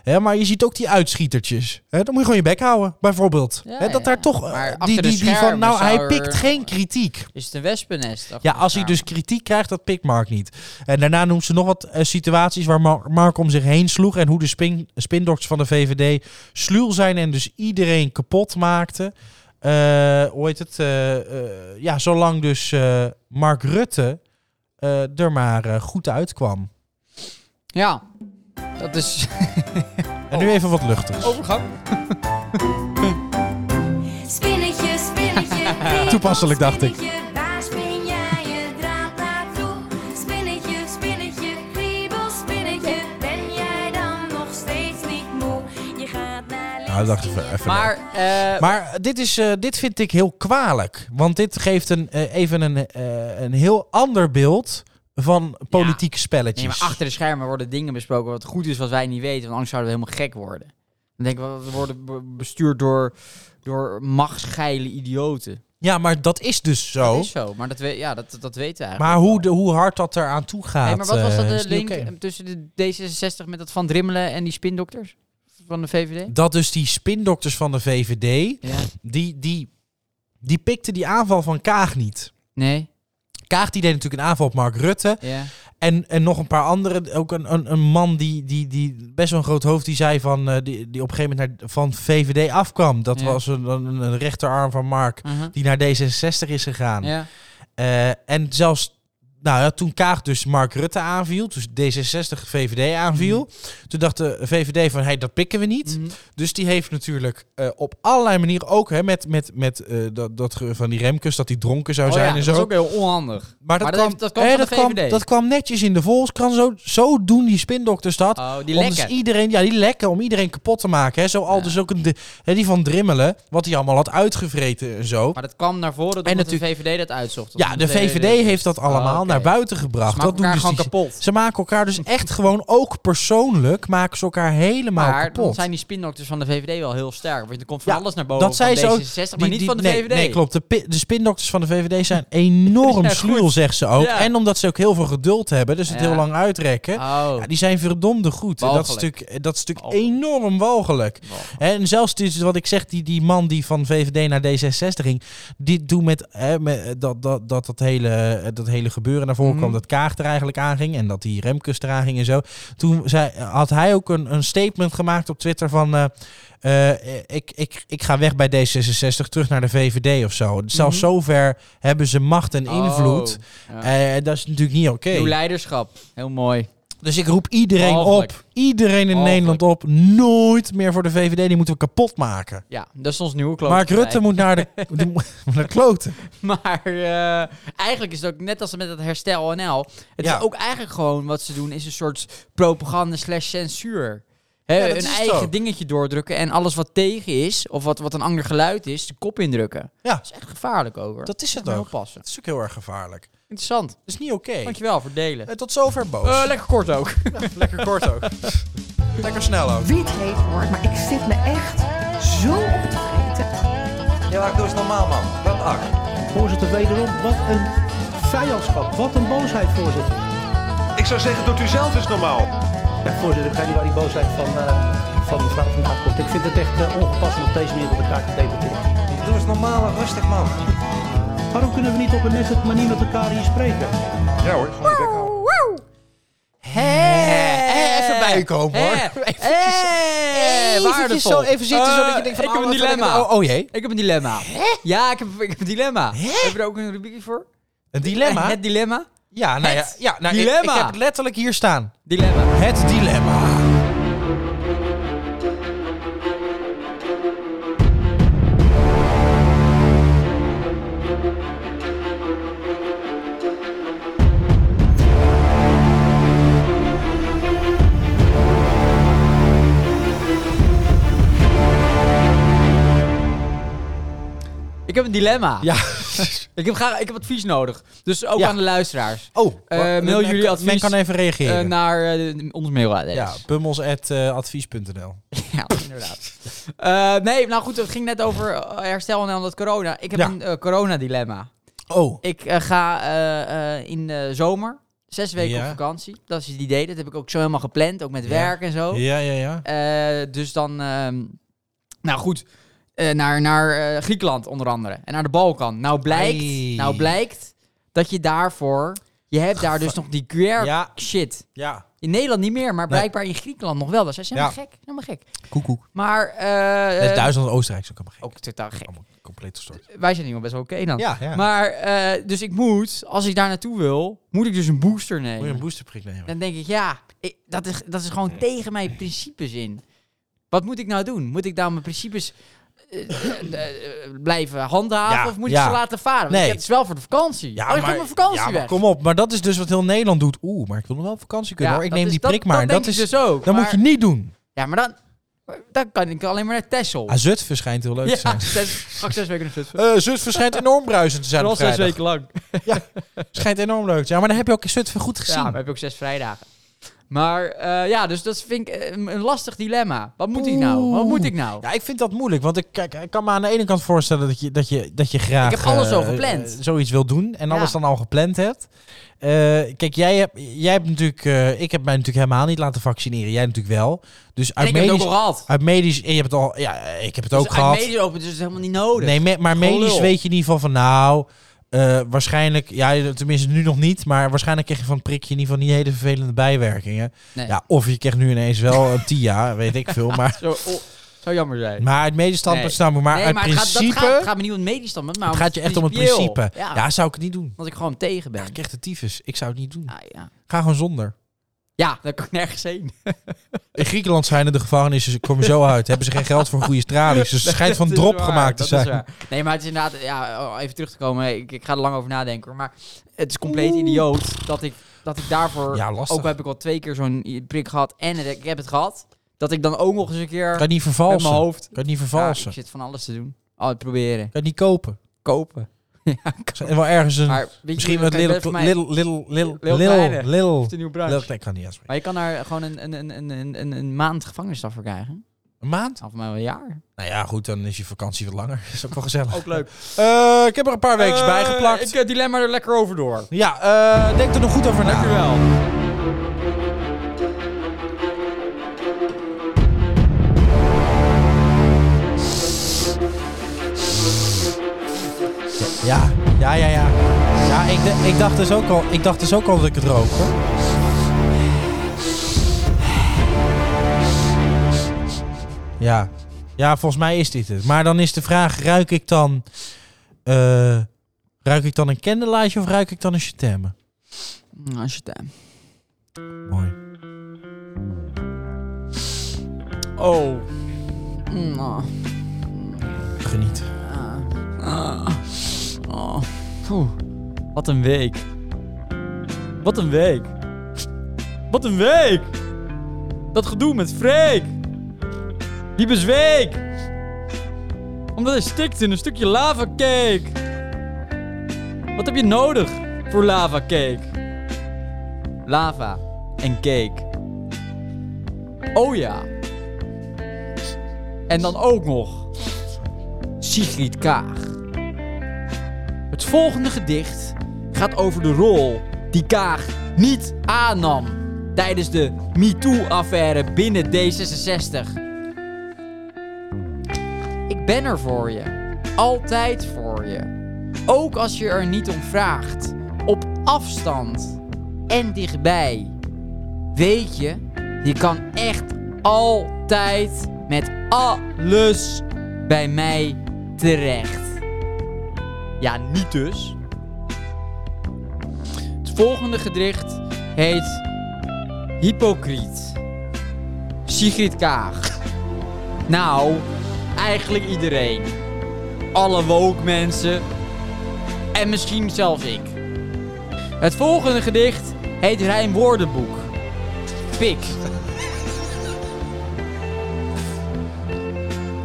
[SPEAKER 1] Hè, maar je ziet ook die uitschietertjes. Hè, dan moet je gewoon je bek houden, bijvoorbeeld.
[SPEAKER 2] Ja,
[SPEAKER 1] Hè, dat
[SPEAKER 2] ja.
[SPEAKER 1] daar toch... eh,
[SPEAKER 2] Maar
[SPEAKER 1] die,
[SPEAKER 2] achter de
[SPEAKER 1] die, die van,
[SPEAKER 2] schermen
[SPEAKER 1] nou,
[SPEAKER 2] zou
[SPEAKER 1] hij
[SPEAKER 2] er-
[SPEAKER 1] pikt geen kritiek.
[SPEAKER 2] Is het een wespennest? achter
[SPEAKER 1] Ja,
[SPEAKER 2] de
[SPEAKER 1] als hij
[SPEAKER 2] schermen?
[SPEAKER 1] dus kritiek krijgt, dat pikt Mark niet. En daarna noemt ze nog wat eh, situaties waar Mar- Mark om zich heen sloeg. En hoe de spin spindokters van de VVD sluw zijn en dus iedereen kapot maakten. Eh, hoe heet het? Eh, eh, ja, zolang dus eh, Mark Rutte eh, er maar eh, goed uitkwam.
[SPEAKER 2] Ja, dat is
[SPEAKER 1] En
[SPEAKER 2] Oh.
[SPEAKER 1] nu even wat luchtigs.
[SPEAKER 2] overgang.
[SPEAKER 8] Spinnetje, spinnetje. web.
[SPEAKER 1] Toepasselijk, dacht ik.
[SPEAKER 8] Spinnetje, Waar spin jij je draad naartoe? Spinnetje, spinnetje, kriebel, spinnetje. Ben jij dan nog steeds niet moe? Je gaat naar links.
[SPEAKER 1] Nou, ik dacht even, even
[SPEAKER 2] Maar, eh,
[SPEAKER 1] Maar dit, is, eh, dit vind ik heel kwalijk. Want dit geeft een, eh, even een, eh, een heel ander beeld van politieke spelletjes.
[SPEAKER 2] nee, maar achter de schermen worden dingen besproken wat goed is wat wij niet weten. Want anders zouden we helemaal gek worden. Dan denk ik, we worden be- bestuurd door, door machtsgeile idioten.
[SPEAKER 1] Ja, maar dat is dus zo.
[SPEAKER 2] Dat is zo, maar dat, we, ja, dat, dat weten we eigenlijk.
[SPEAKER 1] maar hoe, de, hoe hard dat eraan toe gaat.
[SPEAKER 2] Hey, maar wat was dat
[SPEAKER 1] eh,
[SPEAKER 2] de
[SPEAKER 1] is niet
[SPEAKER 2] link
[SPEAKER 1] oké.
[SPEAKER 2] eh, tussen de D66 met dat Van Drimmelen en die spindokters van de VVD?
[SPEAKER 1] Dat dus die spindokters van de VVD,
[SPEAKER 2] Ja.
[SPEAKER 1] die, die, die pikten die aanval van Kaag niet.
[SPEAKER 2] Nee?
[SPEAKER 1] Kaag die deed natuurlijk een aanval op Mark Rutte.
[SPEAKER 2] Ja.
[SPEAKER 1] En, en nog een paar anderen. Ook een, een, een man die, die, die best wel een groot hoofd die zei van eh, die, die op een gegeven moment naar, van VVD afkwam. Dat
[SPEAKER 2] Ja.
[SPEAKER 1] was een, een, een rechterarm van Mark
[SPEAKER 2] Mhm.
[SPEAKER 1] die naar D66 is gegaan.
[SPEAKER 2] ja.
[SPEAKER 1] Eh, en zelfs nou ja, toen Kaag dus Mark Rutte aanviel, dus D66 VVD aanviel,
[SPEAKER 2] Mm.
[SPEAKER 1] toen dacht de VVD van hey, dat pikken we niet.
[SPEAKER 2] Mhm.
[SPEAKER 1] Dus die heeft natuurlijk eh, op allerlei manieren ook hè, met, met, met eh, dat, dat ge- van die Remkes dat hij dronken zou
[SPEAKER 2] Oh
[SPEAKER 1] zijn
[SPEAKER 2] ja,
[SPEAKER 1] en
[SPEAKER 2] dat
[SPEAKER 1] zo.
[SPEAKER 2] is ook heel onhandig.
[SPEAKER 1] Maar dat,
[SPEAKER 2] Maar dat
[SPEAKER 1] kwam,
[SPEAKER 2] heeft- dat kwam
[SPEAKER 1] hè,
[SPEAKER 2] van de
[SPEAKER 1] dat, kwam,
[SPEAKER 2] VVD.
[SPEAKER 1] dat kwam netjes in de Volkskrant. Zo, zo doen die spindokters dat.
[SPEAKER 2] Oh, die
[SPEAKER 1] om dus
[SPEAKER 2] lekken.
[SPEAKER 1] iedereen, ja, die lekken om iedereen kapot te maken. Hè. Zo al
[SPEAKER 2] Ja.
[SPEAKER 1] dus ook een, de, hè, die van Drimmelen, wat hij allemaal had uitgevreten en zo.
[SPEAKER 2] Maar dat kwam naar voren omdat
[SPEAKER 1] En
[SPEAKER 2] de VVD dat uitzocht.
[SPEAKER 1] ja, de VVD heeft dat allemaal
[SPEAKER 2] Oh, oké.
[SPEAKER 1] naar buiten
[SPEAKER 2] Ze
[SPEAKER 1] gebracht.
[SPEAKER 2] maken
[SPEAKER 1] Dat doen
[SPEAKER 2] elkaar
[SPEAKER 1] dus
[SPEAKER 2] gewoon
[SPEAKER 1] die-
[SPEAKER 2] kapot.
[SPEAKER 1] Ze maken elkaar dus echt gewoon ook persoonlijk, maken ze elkaar helemaal
[SPEAKER 2] Maar
[SPEAKER 1] kapot.
[SPEAKER 2] dan zijn die spindokters van de VVD wel heel sterk. Want er komt van
[SPEAKER 1] Ja,
[SPEAKER 2] alles naar boven
[SPEAKER 1] dat zijn
[SPEAKER 2] van
[SPEAKER 1] ze ook.
[SPEAKER 2] D66, maar
[SPEAKER 1] Die-
[SPEAKER 2] niet
[SPEAKER 1] die-
[SPEAKER 2] van de
[SPEAKER 1] nee,
[SPEAKER 2] VVD.
[SPEAKER 1] Nee, klopt. De, pi- de spindokters van de VVD zijn enorm
[SPEAKER 2] Ja, goed.
[SPEAKER 1] sluw, zegt ze ook.
[SPEAKER 2] Ja.
[SPEAKER 1] En omdat ze ook heel veel geduld hebben, dus het
[SPEAKER 2] Ja.
[SPEAKER 1] heel lang uitrekken.
[SPEAKER 2] Oh,
[SPEAKER 1] Ja, die zijn verdomde goed. En Dat is
[SPEAKER 2] Walgelijk.
[SPEAKER 1] natuurlijk, dat is natuurlijk
[SPEAKER 2] Walgelijk.
[SPEAKER 1] enorm walgelijk.
[SPEAKER 2] Walgelijk.
[SPEAKER 1] En zelfs dus wat ik zeg, die, die man die van VVD naar D66 ging, dit doen met, hè, met eh, dat, dat, dat, dat, hele, eh, dat hele gebeuren naar voren
[SPEAKER 2] Mhm.
[SPEAKER 1] kwam, dat Kaag er eigenlijk aan ging en dat die Remkes eraan ging en zo. Toen zei, had hij ook een, een statement gemaakt op Twitter van, eh, eh, ik, ik, ik ga weg bij D66, terug naar de VVD of zo. Zelfs zover hebben ze macht en invloed.
[SPEAKER 2] Mhm. Oh, ja.
[SPEAKER 1] Eh, dat is natuurlijk niet oké.
[SPEAKER 2] Nieuw leiderschap. Heel mooi.
[SPEAKER 1] Dus ik roep iedereen
[SPEAKER 2] Walgelijk.
[SPEAKER 1] op, iedereen in
[SPEAKER 2] Walgelijk.
[SPEAKER 1] Nederland op, nooit meer voor de VVD. Die moeten we kapot maken.
[SPEAKER 2] Ja, dat is ons nieuwe kloof.
[SPEAKER 1] Mark Rutte moet naar de, die moet naar de kloten.
[SPEAKER 2] Maar eh, eigenlijk is het ook net als met dat herstel NL. Het
[SPEAKER 1] Ja.
[SPEAKER 2] is ook eigenlijk gewoon wat ze doen is een soort propaganda slash censuur. Hè,
[SPEAKER 1] Ja, dat
[SPEAKER 2] een
[SPEAKER 1] is het
[SPEAKER 2] eigen
[SPEAKER 1] ook.
[SPEAKER 2] dingetje doordrukken en alles wat tegen is, of wat, wat een ander geluid is, de kop indrukken.
[SPEAKER 1] Ja.
[SPEAKER 2] Dat is echt gevaarlijk ook hoor.
[SPEAKER 1] Dat Dus- is het
[SPEAKER 2] Moet je
[SPEAKER 1] ook.
[SPEAKER 2] Heel passen.
[SPEAKER 1] Dat is ook heel erg gevaarlijk. Dat
[SPEAKER 2] Interessant.
[SPEAKER 1] is niet oké.
[SPEAKER 2] Dankjewel voor het delen.
[SPEAKER 1] Eh, Tot zover, Boos.
[SPEAKER 2] Eh, lekker kort ook.
[SPEAKER 1] lekker kort ook. lekker snel ook.
[SPEAKER 4] Wie het heeft hoort, maar ik zit me echt zo op te vreten.
[SPEAKER 7] Ja, doe eens normaal, man. Wat ak.
[SPEAKER 5] Voorzitter, wederom, wat een vijandschap. Wat een boosheid, voorzitter.
[SPEAKER 6] Ik zou zeggen, doet u zelf eens normaal.
[SPEAKER 5] Ja, voorzitter, ik ga niet waar die boosheid van, eh, van mevrouw vandaan komt. Ik vind het echt eh, ongepast om op deze manier op elkaar te debatteren.
[SPEAKER 7] Doe eens normaal en rustig, man.
[SPEAKER 5] Waarom kunnen we niet op een nette manier met elkaar hier spreken?
[SPEAKER 6] Ja hoor, gewoon je bek houden.
[SPEAKER 1] Eh, even bij u komen, hoor.
[SPEAKER 2] Hè?
[SPEAKER 1] Eventjes-
[SPEAKER 2] Hè? Eh, Waardevol.
[SPEAKER 1] zo even zitten, zodat je
[SPEAKER 2] Eh,
[SPEAKER 1] denkt van...
[SPEAKER 2] ik heb
[SPEAKER 1] oh,
[SPEAKER 2] een
[SPEAKER 1] wat ben
[SPEAKER 2] dilemma. Eh,
[SPEAKER 1] nou- Oh, oh jee.
[SPEAKER 2] Ik heb een dilemma. Ja, ik heb, ik heb een dilemma. Heb je er ook een rubriekje voor?
[SPEAKER 1] Een dilemma?
[SPEAKER 2] Het dilemma?
[SPEAKER 1] ja, nou ja.
[SPEAKER 2] het
[SPEAKER 1] ja nou, ik- Ik,
[SPEAKER 2] dilemma.
[SPEAKER 1] heb het letterlijk hier staan.
[SPEAKER 2] Dilemma.
[SPEAKER 1] Het dilemma.
[SPEAKER 2] Ik heb een dilemma.
[SPEAKER 1] Ja.
[SPEAKER 2] Ik, heb graag, ik heb advies nodig. Dus ook
[SPEAKER 1] Ja.
[SPEAKER 2] aan de luisteraars.
[SPEAKER 1] Oh,
[SPEAKER 2] Eh,
[SPEAKER 1] wa-
[SPEAKER 2] mail
[SPEAKER 1] men-
[SPEAKER 2] jullie
[SPEAKER 1] kan-
[SPEAKER 2] advies,
[SPEAKER 1] Men kan even reageren.
[SPEAKER 2] Eh, naar ons ons mailadres.
[SPEAKER 1] ja, eh, pummels.advies.nl.
[SPEAKER 2] Ja, inderdaad. Eh, nee, nou goed, het ging net over eh, herstel en al dat corona. Ik heb
[SPEAKER 1] Ja.
[SPEAKER 2] een eh, corona-dilemma.
[SPEAKER 1] Oh,
[SPEAKER 2] Ik eh, ga eh, eh, in de zomer zes weken
[SPEAKER 1] Ja.
[SPEAKER 2] op vakantie. Dat is het idee. Dat heb ik ook zo helemaal gepland, ook met
[SPEAKER 1] Ja.
[SPEAKER 2] werk en zo.
[SPEAKER 1] ja, ja, ja.
[SPEAKER 2] Eh, dus dan, ehm, nou goed, eh, naar, naar eh, Griekenland onder andere. En naar de Balkan. Nou blijkt,
[SPEAKER 1] Ai.
[SPEAKER 2] nou blijkt dat je daarvoor, je hebt daar dus nog die
[SPEAKER 1] Ja.
[SPEAKER 2] QR-shit.
[SPEAKER 1] Ja.
[SPEAKER 2] In Nederland niet meer, maar blijkbaar in Griekenland nog wel. Dus zij zijn
[SPEAKER 1] Ja.
[SPEAKER 2] helemaal gek, helemaal gek.
[SPEAKER 1] Koekoek.
[SPEAKER 2] Maar, eh,
[SPEAKER 1] Net
[SPEAKER 2] eh,
[SPEAKER 1] Duitsland en Oostenrijk is ook allemaal gek.
[SPEAKER 2] ook totaal gek.
[SPEAKER 1] Allemaal compleet gestort.
[SPEAKER 2] Wij zijn hier wel best wel oké dan.
[SPEAKER 1] Ja, ja.
[SPEAKER 2] Maar, eh, dus ik moet, als ik daar naartoe wil, moet ik dus een booster
[SPEAKER 1] Moet
[SPEAKER 2] nemen.
[SPEAKER 1] je een boosterprik nemen?
[SPEAKER 2] Dan denk ik, ja, ik- dat, is, dat is gewoon tegen mijn principes in. Wat moet ik nou doen? Moet ik daar mijn principes eh, eh, eh, blijven handhaven
[SPEAKER 1] Ja,
[SPEAKER 2] of moet
[SPEAKER 1] ja.
[SPEAKER 2] ik ze laten varen? Want
[SPEAKER 1] Nee.
[SPEAKER 2] ik heb het wel voor de vakantie. Ja, oh, ik maar, mijn vakantie
[SPEAKER 1] ja, maar
[SPEAKER 2] weg.
[SPEAKER 1] kom op. Maar dat is dus wat heel Nederland doet. Oeh, maar ik wil nog wel op vakantie kunnen
[SPEAKER 2] Ja,
[SPEAKER 1] hoor. Ik
[SPEAKER 2] dat
[SPEAKER 1] neem
[SPEAKER 2] is-
[SPEAKER 1] die
[SPEAKER 2] dat-
[SPEAKER 1] prik maar.
[SPEAKER 2] Dat,
[SPEAKER 1] Dat,
[SPEAKER 2] denk ik
[SPEAKER 1] is,
[SPEAKER 2] dus ook.
[SPEAKER 1] dat moet
[SPEAKER 2] maar-
[SPEAKER 1] je niet doen.
[SPEAKER 2] Ja, maar dan, dan kan ik alleen maar naar Texel.
[SPEAKER 1] Ah, Zutphen schijnt heel leuk te
[SPEAKER 2] ja,
[SPEAKER 1] zijn.
[SPEAKER 2] zes, ga ik zes weken naar Zutphen.
[SPEAKER 1] Eh Zutphen schijnt enorm bruisend te zijn
[SPEAKER 2] Wel
[SPEAKER 1] op
[SPEAKER 2] zes
[SPEAKER 1] vrijdag.
[SPEAKER 2] weken lang.
[SPEAKER 1] Schijnt enorm leuk te zijn. Maar dan heb je ook in Zutphen goed gezien.
[SPEAKER 2] Ja, we hebben ook zes vrijdagen. Maar eh, ja, dus dat vind ik eh, een, een lastig dilemma. Wat moet ik nou? Wat moet ik nou?
[SPEAKER 1] Ja, ik vind dat moeilijk, want ik, kijk, ik kan me aan de ene kant voorstellen dat je, dat je, dat je graag...
[SPEAKER 2] Ik heb alles
[SPEAKER 1] eh,
[SPEAKER 2] al gepland.
[SPEAKER 1] eh, zoiets wil doen en
[SPEAKER 2] Ja.
[SPEAKER 1] alles dan al gepland hebt. Eh, kijk, jij hebt, jij hebt natuurlijk... eh, ik heb mij natuurlijk helemaal niet laten vaccineren. Jij natuurlijk wel. Dus
[SPEAKER 2] en
[SPEAKER 1] uit
[SPEAKER 2] ik heb het
[SPEAKER 1] medisch...
[SPEAKER 2] ook al gehad.
[SPEAKER 1] Uit medisch... Je hebt het al... Ja, ik heb het ook
[SPEAKER 2] dus
[SPEAKER 1] gehad.
[SPEAKER 2] Uit medisch open, dus het is helemaal niet nodig.
[SPEAKER 1] Nee, me- maar
[SPEAKER 2] Gewoon
[SPEAKER 1] medisch
[SPEAKER 2] lul.
[SPEAKER 1] weet je in ieder geval van nou, eh, waarschijnlijk, ja, tenminste nu nog niet, maar waarschijnlijk krijg je van het prikje in ieder geval niet hele vervelende bijwerkingen.
[SPEAKER 2] Nee.
[SPEAKER 1] Ja, of je krijgt nu ineens wel een TIA, weet ik veel, maar,
[SPEAKER 2] Zo, oh, zou jammer zijn.
[SPEAKER 1] maar het medisch standpunt
[SPEAKER 2] Nee.
[SPEAKER 1] snap ik, maar
[SPEAKER 2] nee,
[SPEAKER 1] uit
[SPEAKER 2] maar het gaat,
[SPEAKER 1] principe,
[SPEAKER 2] dat gaat, het gaat me niet om het medisch standpunt, maar
[SPEAKER 1] het
[SPEAKER 2] om
[SPEAKER 1] gaat je echt om het
[SPEAKER 2] principieel.
[SPEAKER 1] principe. Ja.
[SPEAKER 2] Ja,
[SPEAKER 1] zou ik het niet doen.
[SPEAKER 2] omdat ik gewoon tegen ben.
[SPEAKER 1] Ja, ik krijg de tyfus, ik zou het niet doen.
[SPEAKER 2] Ah, ja.
[SPEAKER 1] Ga gewoon zonder.
[SPEAKER 2] ja, daar kan ik nergens heen.
[SPEAKER 1] In Griekenland zijn er de gevangenissen, kom je zo uit, hebben ze geen geld voor goede stralies, dus het schijnt van
[SPEAKER 2] Dat is
[SPEAKER 1] drop
[SPEAKER 2] waar,
[SPEAKER 1] gemaakt te
[SPEAKER 2] dat is
[SPEAKER 1] zijn.
[SPEAKER 2] waar. Nee, maar het is inderdaad, ja, oh, even terug te komen, ik, ik ga er lang over nadenken hoor, maar het is compleet idioot dat ik, dat ik daarvoor,
[SPEAKER 1] Ja, lastig.
[SPEAKER 2] ook al heb ik al twee keer zo'n i- prik gehad en het- ik heb het gehad, dat ik dan ook nog eens een keer
[SPEAKER 1] Kan je niet
[SPEAKER 2] met
[SPEAKER 1] vervalsen.
[SPEAKER 2] mijn
[SPEAKER 1] Kan
[SPEAKER 2] hoofd,
[SPEAKER 1] je het niet
[SPEAKER 2] ja,
[SPEAKER 1] vervalsen.
[SPEAKER 2] ik zit van alles te doen, al het proberen,
[SPEAKER 1] Kan je het niet kopen.
[SPEAKER 2] kopen. ja,
[SPEAKER 1] En wel ergens een
[SPEAKER 2] maar weet je
[SPEAKER 1] Misschien met
[SPEAKER 2] wat kan je
[SPEAKER 1] Little
[SPEAKER 2] voor
[SPEAKER 1] Little
[SPEAKER 2] mij-
[SPEAKER 1] Little Little Little
[SPEAKER 2] Lil
[SPEAKER 1] Little
[SPEAKER 2] Kleine.
[SPEAKER 1] Little
[SPEAKER 2] Of de nieuwe branche.
[SPEAKER 1] Kleine kan niet aanspreken.
[SPEAKER 2] Maar je kan daar gewoon een, een, een, een, een, een, een maand gevangenisstraf voor krijgen.
[SPEAKER 1] Een maand?
[SPEAKER 2] Of maar wel een jaar.
[SPEAKER 1] Nou ja, goed, dan is je vakantie wat langer. Is ook wel gezellig.
[SPEAKER 2] Ook leuk.
[SPEAKER 1] Eh, ik heb er een paar weken bij
[SPEAKER 2] bijgeplakt.
[SPEAKER 1] geplakt.
[SPEAKER 2] Ik eh, dilemma er lekker over door.
[SPEAKER 1] Ja, eh, denk er nog goed over na.
[SPEAKER 2] Dankjewel.
[SPEAKER 1] Ja, ja, ja, ja. Ja, ik, d- ik, dacht dus ook al, ik dacht dus ook al dat ik het rook, hoor. Ja. ja, volgens mij is dit het. Maar dan is de vraag, ruik ik dan... eh, ruik ik dan een candelight of ruik ik dan een chatemme?
[SPEAKER 2] Nou, als je het, eh,
[SPEAKER 1] Mooi.
[SPEAKER 2] Oh. Mm, ah.
[SPEAKER 1] Geniet.
[SPEAKER 2] Ah. Oh. Oeh. Wat een week. Wat een week. Wat een week. Dat gedoe met Freek. Die bezweek. Omdat hij stikt in een stukje lavacake. Wat heb je nodig voor lavacake? Lava en cake. Oh ja. En dan ook nog Sigrid Kaag. Het volgende gedicht gaat over de rol die Kaag niet aannam tijdens de MeToo-affaire binnen D66. Ik ben er voor je, altijd voor je. Ook als je er niet om vraagt, op afstand en dichtbij. Weet je, je kan echt altijd met alles bij mij terecht. Ja, niet dus. Het volgende gedicht heet Hypocriet. Sigrid Kaag. Nou, eigenlijk iedereen. Alle woke mensen. En misschien zelfs ik. Het volgende gedicht heet Rijn Woordenboek. Pik.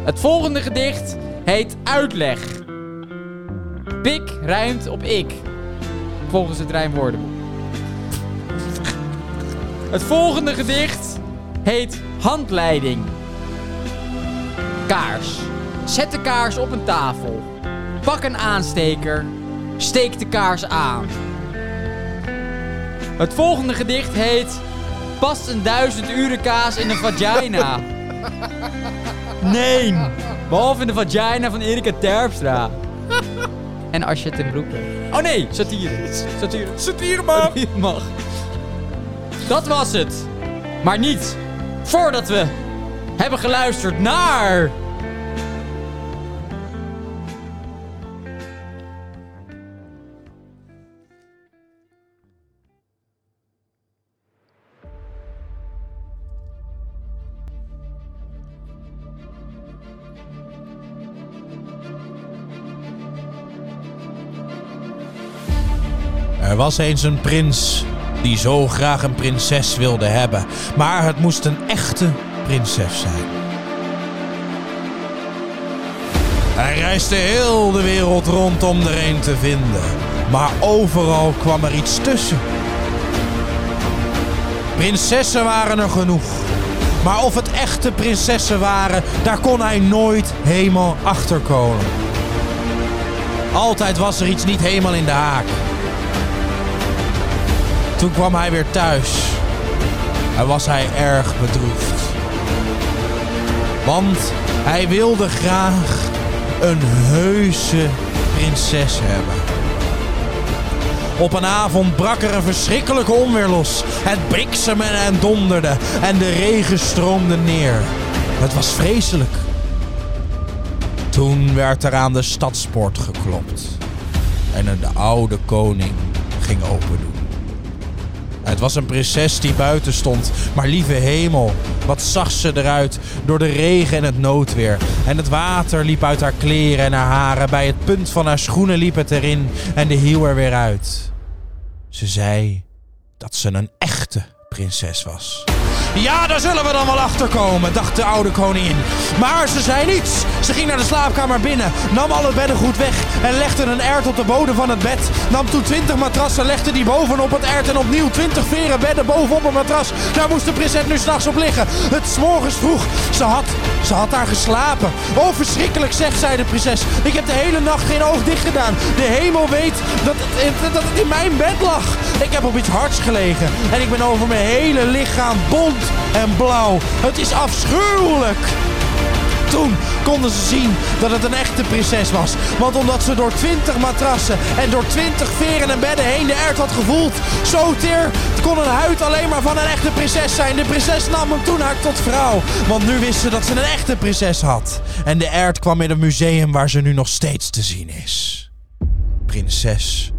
[SPEAKER 2] Het volgende gedicht heet Uitleg. Pik rijmt op ik. Volgens het rijmwoordenboek. Het volgende gedicht heet Handleiding. Kaars. Zet de kaars op een tafel. Pak een aansteker. Steek de kaars aan. Het volgende gedicht heet Past een duizend uren kaas in een vagina? Nee. Behalve in de vagina van Erika Terpstra. En Asje ten Broeke. Oh nee, satire. Satire.
[SPEAKER 1] Satire, man!
[SPEAKER 2] Satire mag. Dat was het. Maar niet voordat we hebben geluisterd naar...
[SPEAKER 1] Er was eens een prins die zo graag een prinses wilde hebben, maar het moest een echte prinses zijn. Hij reisde heel de wereld rond om er een te vinden, maar overal kwam er iets tussen. Prinsessen waren er genoeg, maar of het echte prinsessen waren, daar kon hij nooit helemaal achter komen. Altijd was er iets niet helemaal in de haak. Toen kwam hij weer thuis. En was hij erg bedroefd. Want hij wilde graag een heuse prinses hebben. Op een avond brak er een verschrikkelijke onweer los. Het bliksemde en donderde en de regen stroomde neer. Het was vreselijk. Toen werd er aan de stadspoort geklopt. En de oude koning ging open doen. Het was een prinses die buiten stond. Maar lieve hemel, wat zag ze eruit door de regen en het noodweer. En het water liep uit haar kleren en haar haren. Bij het punt van haar schoenen liep het erin en de hiel er weer uit. Ze zei dat ze een echte prinses was. Ja, daar zullen we dan wel achter komen, dacht de oude koningin. Maar ze zei niets. Ze ging naar de slaapkamer binnen, nam al het beddengoed weg en legde een ert op de bodem van het bed. Nam toen twintig matrassen, legde die bovenop het ert en opnieuw twintig veren bedden bovenop een matras. Daar moest de prinses nu s'nachts op liggen. Het is morgens vroeg. Ze had, ze had daar geslapen. Oh, verschrikkelijk, zegt zij de prinses. Ik heb de hele nacht geen oog dicht gedaan. De hemel weet dat het, dat het in mijn bed lag. Ik heb op iets hards gelegen en ik ben over mijn hele lichaam bont en blauw. Het is afschuwelijk. Toen konden ze zien dat het een echte prinses was. Want omdat ze door twintig matrassen en door twintig veren en bedden heen de ert had gevoeld. Zo teer kon een huid alleen maar van een echte prinses zijn. De prinses nam hem toen haar tot vrouw. Want nu wist ze dat ze een echte prinses had. En de ert kwam in een museum waar ze nu nog steeds te zien is. Prinses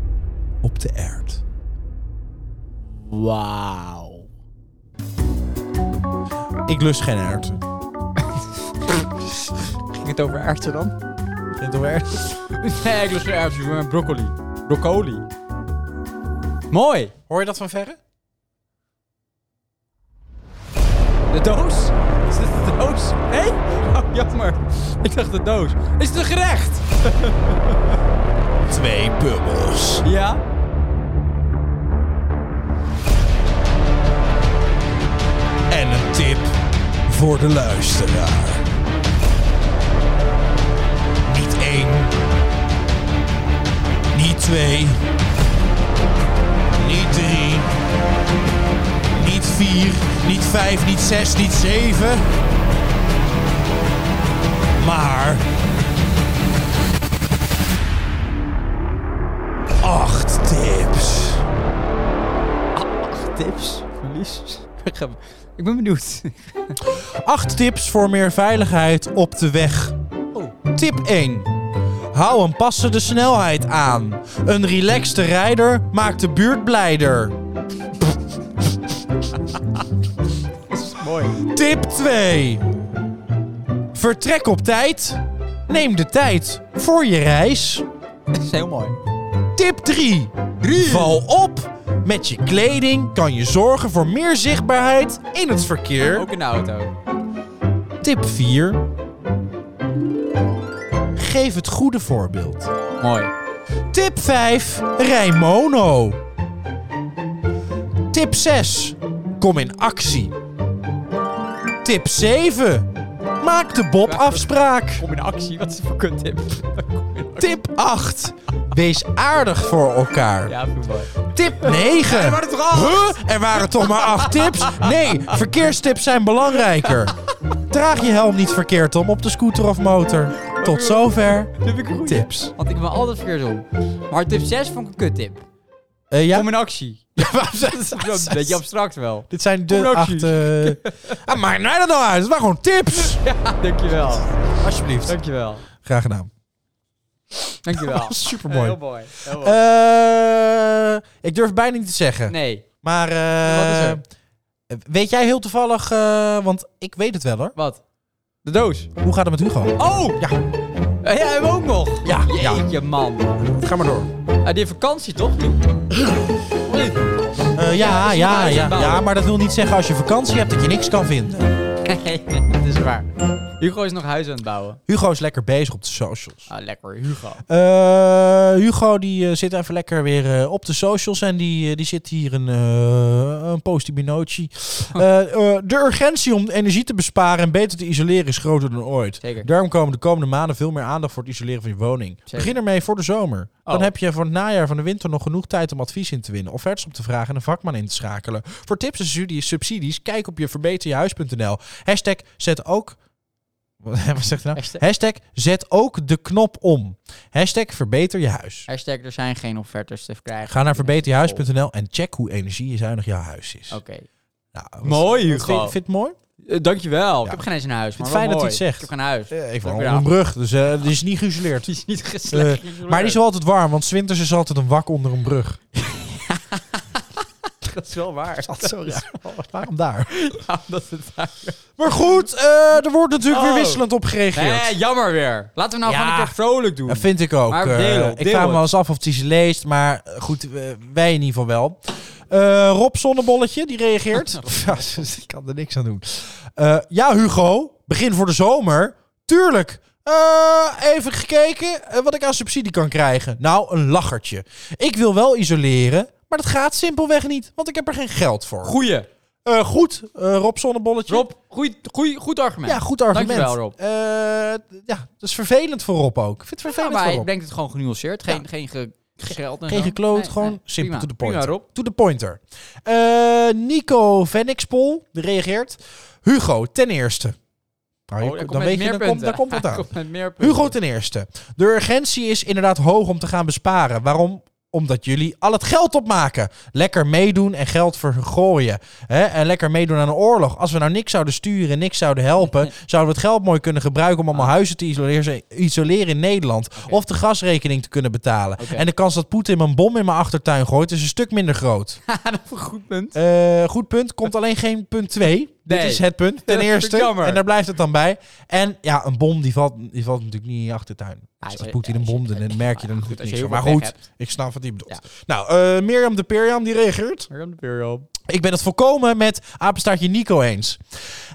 [SPEAKER 1] op de ert.
[SPEAKER 2] Wauw.
[SPEAKER 1] Ik lust geen erwten.
[SPEAKER 2] Ging het over erwten dan?
[SPEAKER 1] Vindt u erwten?
[SPEAKER 2] Nee, ik lust geen erwten, maar broccoli. Broccoli. Mooi.
[SPEAKER 1] Hoor je dat van verre?
[SPEAKER 2] De doos? Is dit de doos? Hé? Oh, jammer. Ik dacht de doos. Is het een gerecht?
[SPEAKER 1] Twee bubbels.
[SPEAKER 2] Ja.
[SPEAKER 1] En een tip voor de luisteraar. Niet één. Niet twee. Niet drie. Niet vier. Niet vijf. Niet zes. Niet zeven. Maar... Acht tips.
[SPEAKER 2] Tips? Verlies? Ik ben benieuwd.
[SPEAKER 1] Acht tips voor meer veiligheid op de weg. Tip 1. Hou een passende snelheid aan. Een relaxte rijder maakt de buurt blijder.
[SPEAKER 2] Mooi.
[SPEAKER 1] Tip 2. Vertrek op tijd. Neem de tijd voor je reis.
[SPEAKER 2] Dat is heel mooi.
[SPEAKER 1] Tip 3. Val op. Met je kleding kan je zorgen voor meer zichtbaarheid in het verkeer.
[SPEAKER 2] Ook in de auto.
[SPEAKER 1] Tip 4. Geef het goede voorbeeld.
[SPEAKER 2] Mooi.
[SPEAKER 1] Tip 5. Rij mono. Tip 6. Kom in actie. Tip 7. Maak de Bob afspraak.
[SPEAKER 2] Kom in actie, wat is het voor kuttip?
[SPEAKER 1] Tip 8. Wees aardig voor elkaar.
[SPEAKER 2] Ja, voetbal.
[SPEAKER 1] Tip 9. Er waren toch Huh? Er waren toch maar 8 tips? Nee, verkeerstips zijn belangrijker. Draag je helm niet verkeerd om op de scooter of motor. Tot zover
[SPEAKER 2] Heb ik een goeie?
[SPEAKER 1] tips.
[SPEAKER 2] Want ik ben altijd verkeerd om. Maar tip 6 vond ik een kuttip.
[SPEAKER 1] Eh, ja?
[SPEAKER 2] Kom in actie. Dat is nou, een beetje abstract wel.
[SPEAKER 1] Dit zijn de acht...
[SPEAKER 2] Combinaties.
[SPEAKER 1] eh, ah, maakt mij dat nou uit? Het waren gewoon tips.
[SPEAKER 2] Dankjewel.
[SPEAKER 1] Alsjeblieft.
[SPEAKER 2] Dankjewel.
[SPEAKER 1] Graag gedaan.
[SPEAKER 2] Dankjewel.
[SPEAKER 1] Supermooi.
[SPEAKER 2] Heel mooi. Heel mooi.
[SPEAKER 1] Eh, ik durf bijna niet te zeggen.
[SPEAKER 2] nee,
[SPEAKER 1] Maar eh,
[SPEAKER 2] Wat is er?
[SPEAKER 1] weet jij heel toevallig... eh, want ik weet het wel hoor.
[SPEAKER 2] wat? De doos.
[SPEAKER 1] Hoe gaat het met Hugo?
[SPEAKER 2] Oh! Ja. ja, hebben we ook nog.
[SPEAKER 1] Ja, ja.
[SPEAKER 2] Jeetje, man.
[SPEAKER 1] Ga maar door.
[SPEAKER 2] Ah, die heeft vakantie, toch? nu? Nee.
[SPEAKER 1] Eh, ja, ja,
[SPEAKER 2] Ja, dus je huis
[SPEAKER 1] ja,
[SPEAKER 2] bouwen.
[SPEAKER 1] ja, maar dat wil niet zeggen als je vakantie hebt dat je niks kan vinden.
[SPEAKER 2] dat is waar. Hugo is nog huis aan het bouwen.
[SPEAKER 1] Hugo is lekker bezig op de socials.
[SPEAKER 2] Ah, lekker, Hugo.
[SPEAKER 1] Eh, Hugo die eh, zit even lekker weer eh, op de socials en die, eh, die zit hier een, eh een postie binootje. Eh, eh, de urgentie om energie te besparen en beter te isoleren is groter dan ooit.
[SPEAKER 2] Zeker.
[SPEAKER 1] Daarom komen de komende maanden veel meer aandacht voor het isoleren van je woning. Begin ermee voor de zomer. Dan
[SPEAKER 2] Oh.
[SPEAKER 1] heb je voor het najaar van de winter nog genoeg tijd om advies in te winnen, offertes op te vragen en een vakman in te schakelen. Voor tips en studie- subsidies, kijk op je verbeterjehuis.nl. Hashtag zet ook. Wat wat zegt hij nou?
[SPEAKER 2] Hashtag-
[SPEAKER 1] Hashtag zet ook de knop om. Hashtag verbeter je huis.
[SPEAKER 2] Hashtag, er zijn geen offertes te krijgen.
[SPEAKER 1] Ga naar verbeterjehuis.nl en check hoe energiezuinig jouw huis is.
[SPEAKER 2] Oké.
[SPEAKER 1] Nou, wat-
[SPEAKER 2] Mooi,
[SPEAKER 1] wat
[SPEAKER 2] Hugo.
[SPEAKER 1] Vind, vind je het mooi?
[SPEAKER 2] Eh, dankjewel. Ik
[SPEAKER 1] Ja.
[SPEAKER 2] heb geen eens een huis, maar
[SPEAKER 1] het
[SPEAKER 2] wel
[SPEAKER 1] fijn dat
[SPEAKER 2] mooi.
[SPEAKER 1] hij het zegt.
[SPEAKER 2] Ik heb geen huis.
[SPEAKER 1] Eh, ik
[SPEAKER 2] Dank
[SPEAKER 1] woon
[SPEAKER 2] je
[SPEAKER 1] onder
[SPEAKER 2] wel.
[SPEAKER 1] een brug, dus eh, het is niet geïsoleerd.
[SPEAKER 2] Het is niet geslaagd.
[SPEAKER 1] Eh, maar die is wel altijd warm, want 's winters is altijd een wak onder een brug.
[SPEAKER 2] dat is wel waar.
[SPEAKER 1] Dat is zo raar. Waarom daar?
[SPEAKER 2] Ja, omdat het daar...
[SPEAKER 1] Maar goed, eh, er wordt natuurlijk
[SPEAKER 2] Oh.
[SPEAKER 1] weer wisselend op gereageerd.
[SPEAKER 2] Nee, jammer weer. Laten we nou
[SPEAKER 1] Ja.
[SPEAKER 2] gewoon een keer vrolijk doen.
[SPEAKER 1] Dat vind ik ook.
[SPEAKER 2] Maar
[SPEAKER 1] eh,
[SPEAKER 2] deel het,
[SPEAKER 1] ik
[SPEAKER 2] deel
[SPEAKER 1] vraag me
[SPEAKER 2] het.
[SPEAKER 1] wel eens af of hij ze leest, maar eh, goed, eh, wij in ieder geval wel. Eh, Rob Zonnebolletje, die reageert. Ja, dus ik kan er niks aan doen. Eh, ja, Hugo, begin voor de zomer. Tuurlijk. Eh, even gekeken eh, wat ik aan subsidie kan krijgen. Nou, een lachertje. Ik wil wel isoleren, maar dat gaat simpelweg niet, want ik heb er geen geld voor.
[SPEAKER 2] Goeie.
[SPEAKER 1] Eh, goed eh, Rob Zonnebolletje.
[SPEAKER 2] Rob, goeie, goeie, goed argument.
[SPEAKER 1] Ja, goed argument.
[SPEAKER 2] Dankjewel, Rob.
[SPEAKER 1] Eh, ja, dat is vervelend voor Rob ook. Ik vind het
[SPEAKER 2] Ja,
[SPEAKER 1] vervelend
[SPEAKER 2] maar
[SPEAKER 1] voor
[SPEAKER 2] ik
[SPEAKER 1] Rob.
[SPEAKER 2] denk het gewoon genuanceerd. Geen, geen ge- geld en
[SPEAKER 1] Geen
[SPEAKER 2] zo.
[SPEAKER 1] gekloot,
[SPEAKER 2] Nee,
[SPEAKER 1] gewoon
[SPEAKER 2] nee.
[SPEAKER 1] simpel
[SPEAKER 2] Prima,
[SPEAKER 1] to the pointer.
[SPEAKER 2] Prima, Rob.
[SPEAKER 1] To the pointer. Eh, Nico Venixpol reageert. Hugo, ten eerste. Nou, je-
[SPEAKER 2] Oh, daar komt
[SPEAKER 1] dan
[SPEAKER 2] met
[SPEAKER 1] weet je,
[SPEAKER 2] meer
[SPEAKER 1] dan komt,
[SPEAKER 2] punten.
[SPEAKER 1] daar komt wat
[SPEAKER 2] Hij
[SPEAKER 1] aan.
[SPEAKER 2] komt met meer punten.
[SPEAKER 1] Hugo ten eerste. De urgentie is inderdaad hoog om te gaan besparen. Waarom? Omdat jullie al het geld opmaken. Lekker meedoen en geld vergooien. Hè? En lekker meedoen aan een oorlog. Als we nou niks zouden sturen en niks zouden helpen... zouden we het geld mooi kunnen gebruiken om allemaal huizen te isoleren, isoleren in Nederland. Of de gasrekening te kunnen betalen.
[SPEAKER 2] Oké.
[SPEAKER 1] En de kans dat Poetin een bom in mijn achtertuin gooit... is een stuk minder groot.
[SPEAKER 2] Dat is een goed punt.
[SPEAKER 1] Eh, goed punt. Komt alleen geen punt 2. Dit
[SPEAKER 2] Nee.
[SPEAKER 1] is het punt. Ten
[SPEAKER 2] Dat vind ik
[SPEAKER 1] eerste.
[SPEAKER 2] jammer.
[SPEAKER 1] En daar blijft het dan bij. En ja, een bom die valt, die valt natuurlijk niet in je achtertuin. Dus als
[SPEAKER 2] als je-
[SPEAKER 1] Poetin een
[SPEAKER 2] als je-
[SPEAKER 1] bom doet, dan merk je
[SPEAKER 2] ja,
[SPEAKER 1] dan
[SPEAKER 2] goed,
[SPEAKER 1] natuurlijk
[SPEAKER 2] als je
[SPEAKER 1] niks
[SPEAKER 2] heel
[SPEAKER 1] van. Maar
[SPEAKER 2] veel
[SPEAKER 1] goed,
[SPEAKER 2] pech
[SPEAKER 1] ik snap wat hij bedoelt.
[SPEAKER 2] Ja.
[SPEAKER 1] Nou, eh, Mirjam de Perjam die reageert.
[SPEAKER 2] Maar dan weer, Rob.
[SPEAKER 1] Ik ben het volkomen met apenstaartje Nico eens.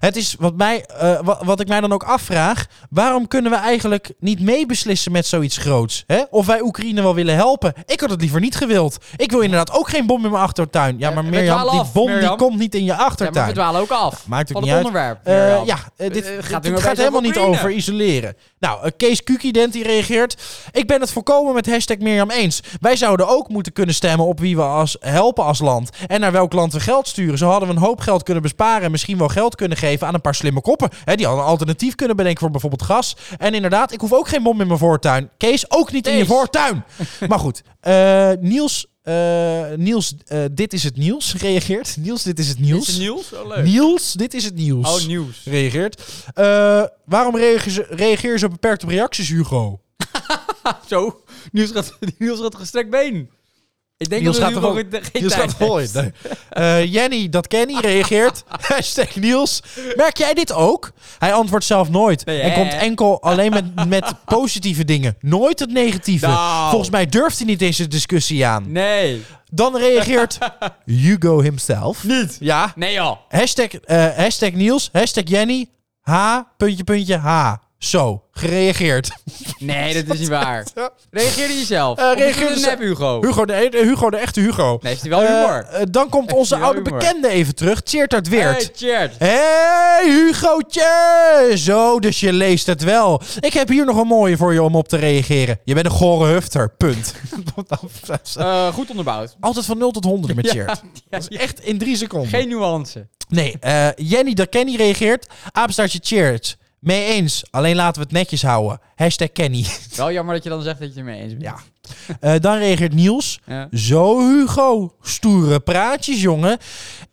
[SPEAKER 1] Het is wat, mij, eh, wa- wat ik mij dan ook afvraag. Waarom kunnen we eigenlijk niet meebeslissen met zoiets groots? Hè? Of wij Oekraïne wel willen helpen? Ik had het liever niet gewild. Ik wil inderdaad ook geen bom in mijn achtertuin. Ja,
[SPEAKER 2] Ja,
[SPEAKER 1] maar
[SPEAKER 2] we
[SPEAKER 1] Mirjam,
[SPEAKER 2] dwalen
[SPEAKER 1] die
[SPEAKER 2] af,
[SPEAKER 1] bom die
[SPEAKER 2] Mirjam.
[SPEAKER 1] komt niet in je
[SPEAKER 2] Ja, maar we
[SPEAKER 1] achtertuin.
[SPEAKER 2] dwalen ook af.
[SPEAKER 1] Maakt ook
[SPEAKER 2] van
[SPEAKER 1] niet
[SPEAKER 2] het
[SPEAKER 1] uit.
[SPEAKER 2] onderwerp.
[SPEAKER 1] Eh,
[SPEAKER 2] Mirjam.
[SPEAKER 1] ja, eh, dit
[SPEAKER 2] Eh,
[SPEAKER 1] dit- dit
[SPEAKER 2] gaat nu
[SPEAKER 1] gaat,
[SPEAKER 2] opeens over
[SPEAKER 1] helemaal niet
[SPEAKER 2] Oekraïne.
[SPEAKER 1] over isoleren. Nou, eh, Kees Kukident die reageert. Ik ben het volkomen met hashtag Mirjam eens. Wij zouden ook moeten kunnen stemmen op wie we als helpen als land. En naar welk land we geld sturen. Zo hadden we een hoop geld kunnen besparen. En misschien wel geld kunnen geven aan een paar slimme koppen. Hè, die hadden een alternatief kunnen bedenken voor bijvoorbeeld gas. En inderdaad, ik hoef ook geen bom in mijn voortuin. Kees, ook niet in je
[SPEAKER 2] Kees.
[SPEAKER 1] voortuin. maar goed, eh, Niels... eh, Niels, eh, dit is het nieuws, reageert. Niels, dit is het
[SPEAKER 2] Is
[SPEAKER 1] nieuws.
[SPEAKER 2] het nieuws? Oh, leuk.
[SPEAKER 1] Niels, dit is het nieuws.
[SPEAKER 2] Oh, nieuws.
[SPEAKER 1] Reageert. Eh, waarom reageer ze, reageer je zo beperkt op reacties, Hugo?
[SPEAKER 2] Zo, nieuws gaat, nieuws gaat gestrekt been. Ik denk
[SPEAKER 1] Niels
[SPEAKER 2] dat
[SPEAKER 1] gaat
[SPEAKER 2] we nu
[SPEAKER 1] toch
[SPEAKER 2] nog
[SPEAKER 1] ook-
[SPEAKER 2] geen tijd
[SPEAKER 1] Niels gaat
[SPEAKER 2] hebben.
[SPEAKER 1] gooien. Nee. Eh, Jenny, dat Kenny reageert. Hashtag Niels. Merk jij dit ook? Hij antwoordt zelf nooit.
[SPEAKER 2] Nee,
[SPEAKER 1] en
[SPEAKER 2] hè?
[SPEAKER 1] komt enkel alleen met, met positieve dingen. Nooit het negatieve.
[SPEAKER 2] Nou.
[SPEAKER 1] Volgens mij durft hij niet deze discussie aan.
[SPEAKER 2] Nee,
[SPEAKER 1] Dan reageert Hugo himself. Niet. Ja.
[SPEAKER 2] nee joh.
[SPEAKER 1] Hashtag, eh, hashtag Niels. Hashtag Jenny. H. Puntje, puntje, H. Zo, gereageerd.
[SPEAKER 2] Nee, dat is niet waar. Reageer jezelf.
[SPEAKER 1] Eh,
[SPEAKER 2] Uh, reageer
[SPEAKER 1] reageer
[SPEAKER 2] je
[SPEAKER 1] jezelf.
[SPEAKER 2] nep, Hugo.
[SPEAKER 1] Hugo de, e- Hugo, de echte Hugo.
[SPEAKER 2] Nee, heeft hij wel humor.
[SPEAKER 1] Eh, eh, dan komt onze
[SPEAKER 2] Heeft hij
[SPEAKER 1] oude
[SPEAKER 2] wel humor.
[SPEAKER 1] bekende even terug, Tjeerd Weert.
[SPEAKER 2] Hey, Tjeerd.
[SPEAKER 1] Hey Hugootje! Zo, dus je leest het wel. Ik heb hier nog een mooie voor je om op te reageren. Je bent een gore hufter, punt.
[SPEAKER 2] Eh, goed onderbouwd.
[SPEAKER 1] Altijd van 0 tot 100 met Tjeerd.
[SPEAKER 2] Ja,
[SPEAKER 1] Dat is echt in drie seconden.
[SPEAKER 2] Geen nuance.
[SPEAKER 1] Nee, eh, Jenny de Kenny reageert. Apenstaartje Tjeerd. Mee eens, alleen laten we het netjes houden. Hashtag Kenny.
[SPEAKER 2] Wel jammer dat je dan zegt dat je het ermee eens bent.
[SPEAKER 1] Ja. Eh, dan reageert Niels.
[SPEAKER 2] Ja.
[SPEAKER 1] Zo Hugo, stoere praatjes jongen.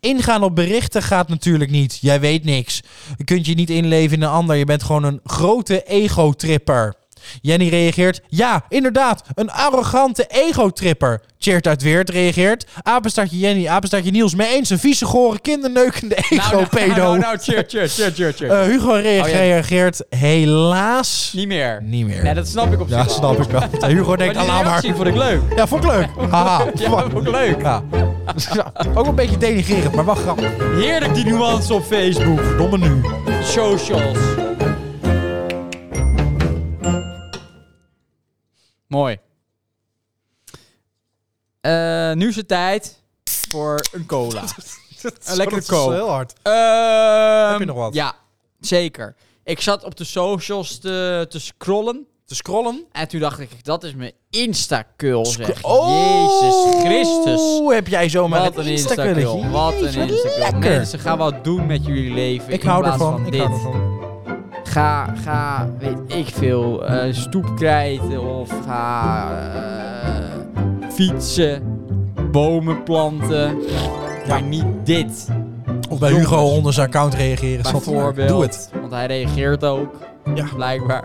[SPEAKER 1] Ingaan op berichten gaat natuurlijk niet. Jij weet niks. Je kunt je niet inleven in een ander. Je bent gewoon een grote egotripper. Jenny reageert, ja, inderdaad, een arrogante egotripper. Cheert uit Weert reageert, apenstaartje Jenny, apenstaartje Niels, mee eens een vieze, gore, kinderneukende
[SPEAKER 2] Nou, nou,
[SPEAKER 1] egopedo.
[SPEAKER 2] nou, nou, nou, Tjeerd, Tjeerd, Tjeerd, Tjeerd, Tjeerd.
[SPEAKER 1] Eh, Hugo rea-
[SPEAKER 2] Oh, ja.
[SPEAKER 1] reageert, helaas,
[SPEAKER 2] Niet meer.
[SPEAKER 1] niet meer.
[SPEAKER 2] Nee, dat snap ik op zich.
[SPEAKER 1] Ja, snap ik wel. Hugo denkt,
[SPEAKER 2] Maar die
[SPEAKER 1] "Alla maar.
[SPEAKER 2] reactie vond ik leuk.
[SPEAKER 1] Ja, vond ik leuk. Haha.
[SPEAKER 2] Ja, vond ik leuk.
[SPEAKER 1] Ja. Ja, Ook een beetje denigrerend, maar wel grappig.
[SPEAKER 2] Heerlijk die nuance op Facebook.
[SPEAKER 1] Verdomme nu.
[SPEAKER 2] Socials. Mooi. Eh, nu is het tijd voor een cola. een lekkere
[SPEAKER 1] Dat is
[SPEAKER 2] cola.
[SPEAKER 1] heel hard.
[SPEAKER 2] Heb
[SPEAKER 1] je nog wat?
[SPEAKER 2] Ja, zeker. Ik zat op de socials te, te scrollen.
[SPEAKER 1] Te scrollen.
[SPEAKER 2] En toen dacht ik, dat is mijn Insta-cul, zeg.
[SPEAKER 1] Oh,
[SPEAKER 2] Jezus Christus.
[SPEAKER 1] heb jij zomaar
[SPEAKER 2] Wat een Insta-cul. Wat een Insta-cul. Mensen, gaan wat doen met jullie leven.
[SPEAKER 1] Ik
[SPEAKER 2] in
[SPEAKER 1] hou
[SPEAKER 2] plaats
[SPEAKER 1] ervan.
[SPEAKER 2] Van
[SPEAKER 1] Ik
[SPEAKER 2] dit.
[SPEAKER 1] hou ervan.
[SPEAKER 2] Ga, ga, weet ik veel, eh, stoepkrijten of ga eh, fietsen, bomen planten. Maar niet dit,
[SPEAKER 1] Of bij
[SPEAKER 2] Jongens.
[SPEAKER 1] Hugo onder zijn account reageren. Zat-
[SPEAKER 2] bijvoorbeeld.
[SPEAKER 1] Doe het.
[SPEAKER 2] Want hij reageert ook,
[SPEAKER 1] Ja.
[SPEAKER 2] blijkbaar.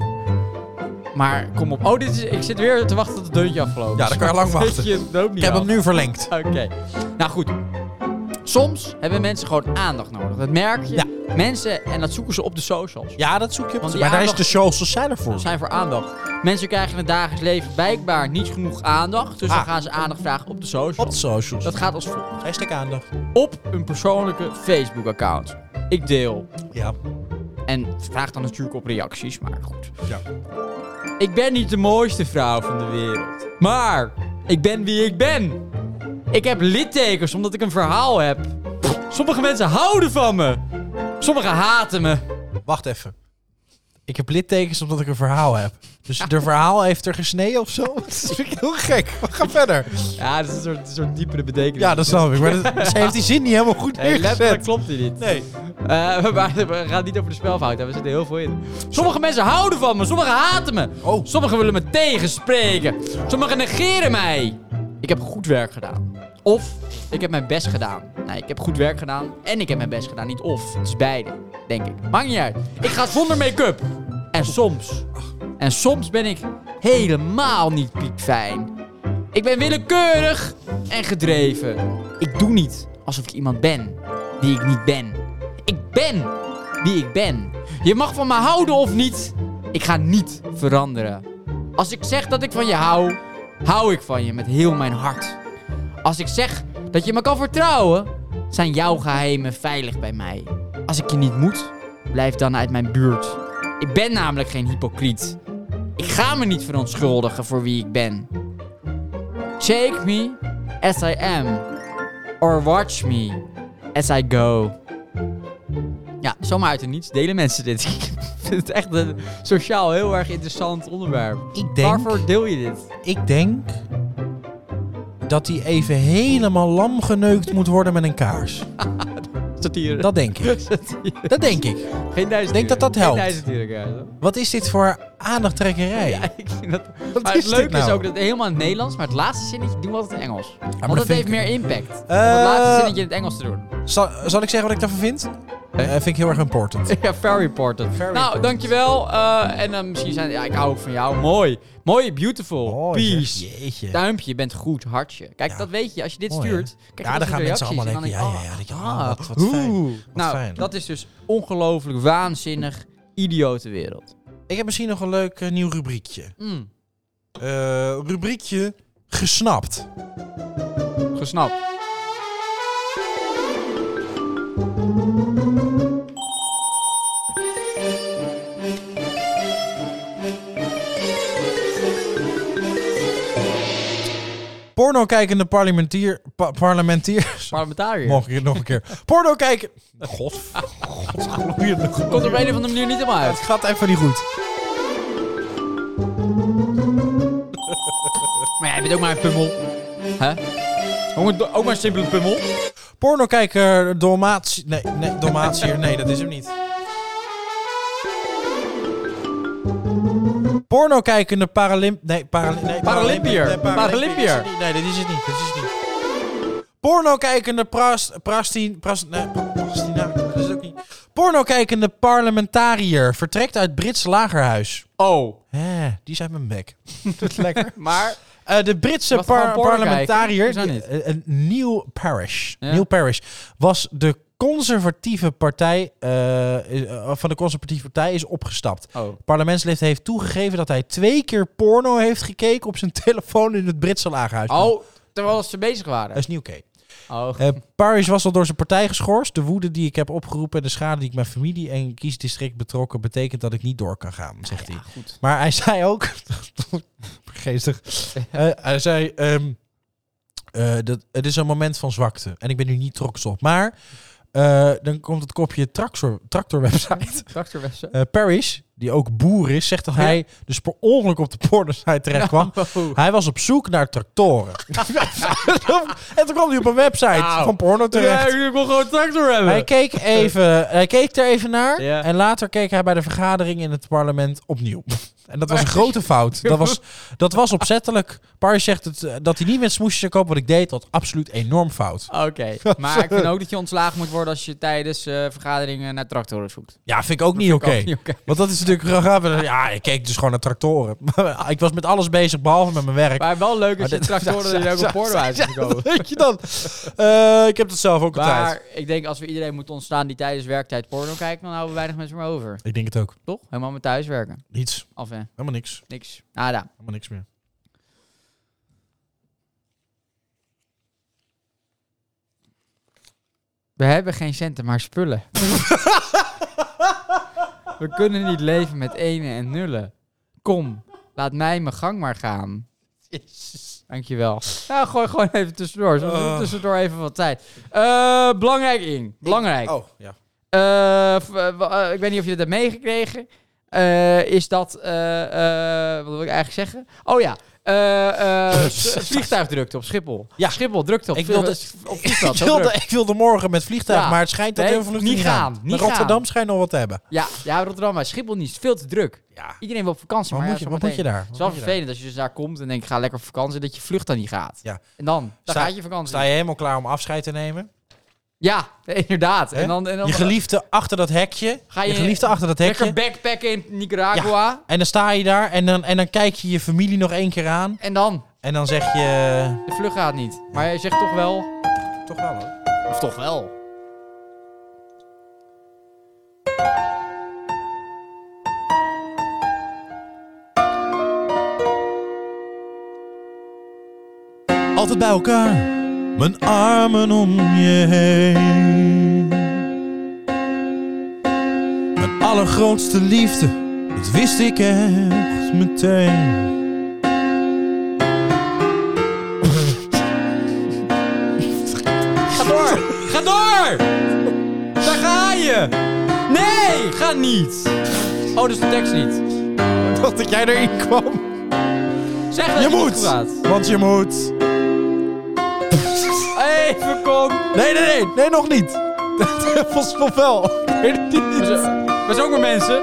[SPEAKER 2] Maar kom op. Oh, dit is, ik zit weer te wachten tot het deuntje afloopt.
[SPEAKER 1] Ja, dan kan je lang wachten.
[SPEAKER 2] Je loopt niet
[SPEAKER 1] Ik heb hem
[SPEAKER 2] af.
[SPEAKER 1] nu verlengd.
[SPEAKER 2] Oké. Nou goed. Soms hebben mensen gewoon aandacht nodig. Dat merk je. Mensen, en dat zoeken ze op de socials.
[SPEAKER 1] Ja, dat zoek je op.
[SPEAKER 2] Want
[SPEAKER 1] Maar
[SPEAKER 2] die
[SPEAKER 1] daar is
[SPEAKER 2] aandacht-
[SPEAKER 1] de socials zijn er
[SPEAKER 2] Dat
[SPEAKER 1] voor.
[SPEAKER 2] zijn voor aandacht. Mensen krijgen in het dagelijks leven blijkbaar niet genoeg aandacht. Dus
[SPEAKER 1] Ah.
[SPEAKER 2] dan gaan ze aandacht vragen op de socials.
[SPEAKER 1] Op de socials.
[SPEAKER 2] Dat gaat als volgt.
[SPEAKER 1] Hashtag aandacht.
[SPEAKER 2] Op een persoonlijke Facebook-account. Ik deel.
[SPEAKER 1] Ja.
[SPEAKER 2] En vraag dan natuurlijk op reacties, maar goed.
[SPEAKER 1] Ja.
[SPEAKER 2] Ik ben niet de mooiste vrouw van de wereld. Maar ik ben wie ik ben. Ik heb littekens omdat ik een verhaal heb. Sommige mensen houden van me. Sommigen haten me.
[SPEAKER 1] Wacht even. Ik heb littekens omdat ik een verhaal heb. Dus de verhaal heeft er gesneden of zo? Dat vind ik heel gek. We gaan verder.
[SPEAKER 2] Ja, dat is een soort, een soort diepere betekenis.
[SPEAKER 1] Ja, dat snap ik. Maar dat, ze heeft die zin niet helemaal goed
[SPEAKER 2] Nee, letterlijk
[SPEAKER 1] neergezet.
[SPEAKER 2] klopt hij niet.
[SPEAKER 1] Nee.
[SPEAKER 2] Eh, we, maar- we gaan niet over de spelfout hebben, we zitten heel veel in. Sommige mensen houden van me, sommigen haten me.
[SPEAKER 1] Oh.
[SPEAKER 2] Sommigen willen me tegenspreken. Sommigen negeren mij. Ik heb goed werk gedaan. Of ik heb mijn best gedaan. Nee, ik heb goed werk gedaan en ik heb mijn best gedaan. Niet of, het is beide, denk ik. Maakt niet uit. Ik ga zonder make-up. En soms, en soms ben ik helemaal niet piekfijn. Ik ben willekeurig en gedreven. Ik doe niet alsof ik iemand ben die ik niet ben. Ik ben wie ik ben. Je mag van me houden of niet. Ik ga niet veranderen. Als ik zeg dat ik van je hou, hou ik van je met heel mijn hart. Als ik zeg dat je me kan vertrouwen, zijn jouw geheimen veilig bij mij. Als ik je niet moet, blijf dan uit mijn buurt. Ik ben namelijk geen hypocriet. Ik ga me niet verontschuldigen voor wie ik ben. Take me as I am. Or watch me as I go. Ja, zomaar uit het niets delen mensen dit. Ik vind het echt een sociaal heel erg interessant onderwerp.
[SPEAKER 1] Ik denk,
[SPEAKER 2] Waarvoor deel je dit?
[SPEAKER 1] ik denk dat hij even helemaal lam geneukt moet worden met een kaars.
[SPEAKER 2] Satire.
[SPEAKER 1] Dat denk ik.
[SPEAKER 2] Satire.
[SPEAKER 1] Dat denk ik.
[SPEAKER 2] Geen duizend
[SPEAKER 1] Denk dat dat
[SPEAKER 2] euro.
[SPEAKER 1] helpt.
[SPEAKER 2] Geen duizend euro, ja.
[SPEAKER 1] Wat is dit voor aandachttrekkerij?
[SPEAKER 2] Ja, ik vind dat...
[SPEAKER 1] Wat
[SPEAKER 2] maar
[SPEAKER 1] is
[SPEAKER 2] het
[SPEAKER 1] dit
[SPEAKER 2] leuke is
[SPEAKER 1] nou?
[SPEAKER 2] ook dat helemaal in het Nederlands, maar het laatste zinnetje doen we altijd in het Engels.
[SPEAKER 1] dat
[SPEAKER 2] Want dat
[SPEAKER 1] vind
[SPEAKER 2] heeft
[SPEAKER 1] ik-
[SPEAKER 2] meer impact. Om
[SPEAKER 1] Eh.
[SPEAKER 2] het laatste zinnetje in het Engels te doen.
[SPEAKER 1] Zal, zal ik zeggen wat ik daarvan vind? Eh, vind ik heel erg important.
[SPEAKER 2] Ja, very important. nou, dankjewel. Eh, en dan misschien zijn... Ja, ik hou ook van jou. Mooi. Mooi, beautiful. Peace.
[SPEAKER 1] Jeetje.
[SPEAKER 2] Duimpje, je bent goed, hartje. Kijk, dat weet je. Als je dit
[SPEAKER 1] Mooi, hè?
[SPEAKER 2] stuurt, krijg
[SPEAKER 1] Ja, dan
[SPEAKER 2] je dat
[SPEAKER 1] gaan
[SPEAKER 2] soort
[SPEAKER 1] mensen allemaal
[SPEAKER 2] reacties.
[SPEAKER 1] denken,
[SPEAKER 2] En
[SPEAKER 1] ja,
[SPEAKER 2] dan
[SPEAKER 1] ja, ja.
[SPEAKER 2] denk
[SPEAKER 1] dat
[SPEAKER 2] ik,
[SPEAKER 1] je- ah, wat,
[SPEAKER 2] ah, ah.
[SPEAKER 1] wat fijn.
[SPEAKER 2] Oeh.
[SPEAKER 1] Wat
[SPEAKER 2] Nou,
[SPEAKER 1] fijn.
[SPEAKER 2] dat is dus ongelooflijk, waanzinnig, idiote wereld.
[SPEAKER 1] Ik heb misschien nog een leuk eh, nieuw rubriekje.
[SPEAKER 2] Mm,
[SPEAKER 1] Eh, rubriekje gesnapt.
[SPEAKER 2] gesnapt.
[SPEAKER 1] Porno-kijkende parlementier... pa- parlementiers...
[SPEAKER 2] Parlementariër.
[SPEAKER 1] Mocht ik het nog een keer. Porno kijken. God. Godgloeiende.
[SPEAKER 2] Komt er op een of andere manier niet helemaal
[SPEAKER 1] Het
[SPEAKER 2] uit.
[SPEAKER 1] gaat even niet goed.
[SPEAKER 2] Maar jij bent ook maar een pummel. Hè? Ook, een- ook maar een simpele pummel.
[SPEAKER 1] Porno kijken Dalmatie... Nee, nee, Dalmatier. Nee, dat is hem niet. Porno kijkende Paralymp... Nee, Paralymp... Nee,
[SPEAKER 2] Paralympier.
[SPEAKER 1] Nee, Dat is het
[SPEAKER 2] Paralympier.
[SPEAKER 1] niet. Nee, dat is het niet. Dat is het niet. Porno kijkende pras... Prastien... Pras, nee, prastina. Dat is het ook niet. Porno kijkende parlementariër. Vertrekt uit Brits lagerhuis.
[SPEAKER 2] Oh.
[SPEAKER 1] Hè, die zijn mijn bek. Dat is lekker.
[SPEAKER 2] Maar
[SPEAKER 1] Eh, de Britse
[SPEAKER 2] Wacht, we gaan
[SPEAKER 1] par-
[SPEAKER 2] porno
[SPEAKER 1] parlementariër,
[SPEAKER 2] kijken. Hoezo
[SPEAKER 1] die- eh, eh, Neil Parish,
[SPEAKER 2] Ja.
[SPEAKER 1] Neil Parish was de conservatieve partij eh, is- eh, van de conservatieve partij is opgestapt.
[SPEAKER 2] Oh.
[SPEAKER 1] Parlementslid heeft toegegeven dat hij twee keer porno heeft gekeken op zijn telefoon in het Britse lagerhuis.
[SPEAKER 2] Oh, terwijl ze bezig
[SPEAKER 1] dat
[SPEAKER 2] waren.
[SPEAKER 1] is niet oké.
[SPEAKER 2] Oh.
[SPEAKER 1] Eh, Parish was al door zijn partij geschorst. De woede die ik heb opgeroepen en de schade die ik mijn familie en kiesdistrict betrokken, betekent dat ik niet door kan gaan, zegt hij.
[SPEAKER 2] Goed.
[SPEAKER 1] Maar hij zei ook. Geestig. Eh, hij zei. ehm, eh, dat, het is een moment van zwakte. En ik ben nu niet trots op. Maar. eh, dan komt het kopje tractor, tractorwebsite.
[SPEAKER 2] Tractorwessen.
[SPEAKER 1] Eh Paris, die ook boer is, zegt dat hij dus per ongeluk op de pornosite terecht kwam.
[SPEAKER 2] Oh.
[SPEAKER 1] Hij was op zoek naar tractoren. en toen kwam hij op een website
[SPEAKER 2] Nou.
[SPEAKER 1] van porno terecht.
[SPEAKER 2] Ja, ik wil gewoon een tractor hebben.
[SPEAKER 1] Hij keek, even, hij keek er even naar.
[SPEAKER 2] Ja.
[SPEAKER 1] En later keek hij bij de vergadering in het parlement opnieuw. En dat was een grote fout. Dat was, dat was opzettelijk. Paris zegt het, eh, dat hij niet met smoesjes zou kopen wat ik deed. Dat was absoluut enorm fout.
[SPEAKER 2] Oké, maar ik vind ook dat je ontslagen moet worden als je tijdens eh, vergaderingen naar tractoren zoekt.
[SPEAKER 1] Ja, vind ik ook niet oké.
[SPEAKER 2] Ook niet oké.
[SPEAKER 1] Want dat is natuurlijk grappig. Ja, ik keek dus gewoon naar tractoren. Maar ik was met alles bezig, behalve met mijn werk.
[SPEAKER 2] Maar wel leuk
[SPEAKER 1] Maar
[SPEAKER 2] als je
[SPEAKER 1] dit-
[SPEAKER 2] tractoren er ook op porno uit ziet komen.
[SPEAKER 1] Dat weet je dan. Eh, ik heb dat zelf ook altijd.
[SPEAKER 2] Maar ik denk als we iedereen moeten ontstaan die tijdens werktijd porno kijkt, dan houden we weinig mensen meer over.
[SPEAKER 1] Ik denk het ook.
[SPEAKER 2] Toch? Helemaal met thuiswerken.
[SPEAKER 1] Niets.
[SPEAKER 2] Af en
[SPEAKER 1] Helemaal niks.
[SPEAKER 2] niks. Nada.
[SPEAKER 1] Helemaal niks meer.
[SPEAKER 2] We hebben geen centen, maar spullen. we kunnen niet leven met ene en nullen. Kom, laat mij mijn gang maar gaan. Dankjewel. Nou, gooi gewoon even tussendoor. Soms is het
[SPEAKER 1] Oh.
[SPEAKER 2] tussendoor even wat tijd. Eh, belangrijk, Ing. Belangrijk.
[SPEAKER 1] Oh, ja.
[SPEAKER 2] Eh, v- eh, w- eh, ik weet niet of je dat hebt meegekregen. Eh, is dat. eh, eh, wat wil ik eigenlijk zeggen? Oh ja. eh, eh, s- vliegtuigdrukte op Schiphol.
[SPEAKER 1] Ja.
[SPEAKER 2] Schiphol drukte op,
[SPEAKER 1] Ik
[SPEAKER 2] vlie-
[SPEAKER 1] wilde-
[SPEAKER 2] op vliegveld.
[SPEAKER 1] ik,
[SPEAKER 2] heel
[SPEAKER 1] wilde,
[SPEAKER 2] druk.
[SPEAKER 1] ik wilde morgen met vliegtuig,
[SPEAKER 2] Ja.
[SPEAKER 1] maar het schijnt dat
[SPEAKER 2] Nee,
[SPEAKER 1] heel veel vluchten
[SPEAKER 2] niet
[SPEAKER 1] niet
[SPEAKER 2] gaan,
[SPEAKER 1] gaan.
[SPEAKER 2] niet
[SPEAKER 1] Maar
[SPEAKER 2] gaan.
[SPEAKER 1] Rotterdam schijnt nog wat te hebben.
[SPEAKER 2] Ja, ja, Rotterdam, maar Schiphol niet. Veel te druk.
[SPEAKER 1] Ja.
[SPEAKER 2] Iedereen wil op vakantie.
[SPEAKER 1] Wat,
[SPEAKER 2] maar
[SPEAKER 1] moet,
[SPEAKER 2] ja,
[SPEAKER 1] je, wat moet je
[SPEAKER 2] zometeen-
[SPEAKER 1] daar?
[SPEAKER 2] Het
[SPEAKER 1] Wat
[SPEAKER 2] is wel
[SPEAKER 1] moet je daar?
[SPEAKER 2] vervelend als je dus daar komt en denkt, ga lekker op vakantie, dat je vlucht dan niet gaat.
[SPEAKER 1] Ja.
[SPEAKER 2] En dan, dan
[SPEAKER 1] Sta-
[SPEAKER 2] gaat je vakantie.
[SPEAKER 1] Sta je helemaal klaar om afscheid te nemen?
[SPEAKER 2] Ja, inderdaad.
[SPEAKER 1] Hè?
[SPEAKER 2] En dan, en dan
[SPEAKER 1] Je geliefde achter dat hekje.
[SPEAKER 2] Ga
[SPEAKER 1] Ga
[SPEAKER 2] je
[SPEAKER 1] je, geliefde achter dat
[SPEAKER 2] lekker
[SPEAKER 1] hekje.
[SPEAKER 2] backpacken in Nicaragua.
[SPEAKER 1] En dan sta je daar en dan, en dan kijk je je familie nog één keer aan.
[SPEAKER 2] En dan,
[SPEAKER 1] En dan zeg je...
[SPEAKER 2] de vlucht gaat niet. Maar je zegt toch wel...
[SPEAKER 1] Toch wel hoor.
[SPEAKER 2] Of toch wel?
[SPEAKER 1] Altijd bij elkaar. Mijn armen om je heen. Mijn allergrootste liefde. Dat wist ik echt meteen.
[SPEAKER 2] Ga door! Ga door! Daar ga je! Nee! Ga niet! Oh, dus de tekst niet.
[SPEAKER 1] Ik dacht dat jij erin kwam.
[SPEAKER 2] Zeg dat
[SPEAKER 1] Je
[SPEAKER 2] goed
[SPEAKER 1] moet!
[SPEAKER 2] praat.
[SPEAKER 1] Want je moet.
[SPEAKER 2] Even kom!
[SPEAKER 1] Nee, nee, nee. Nee, nog niet. Volgens mij wel.
[SPEAKER 2] We zijn- we zijn ook maar mensen.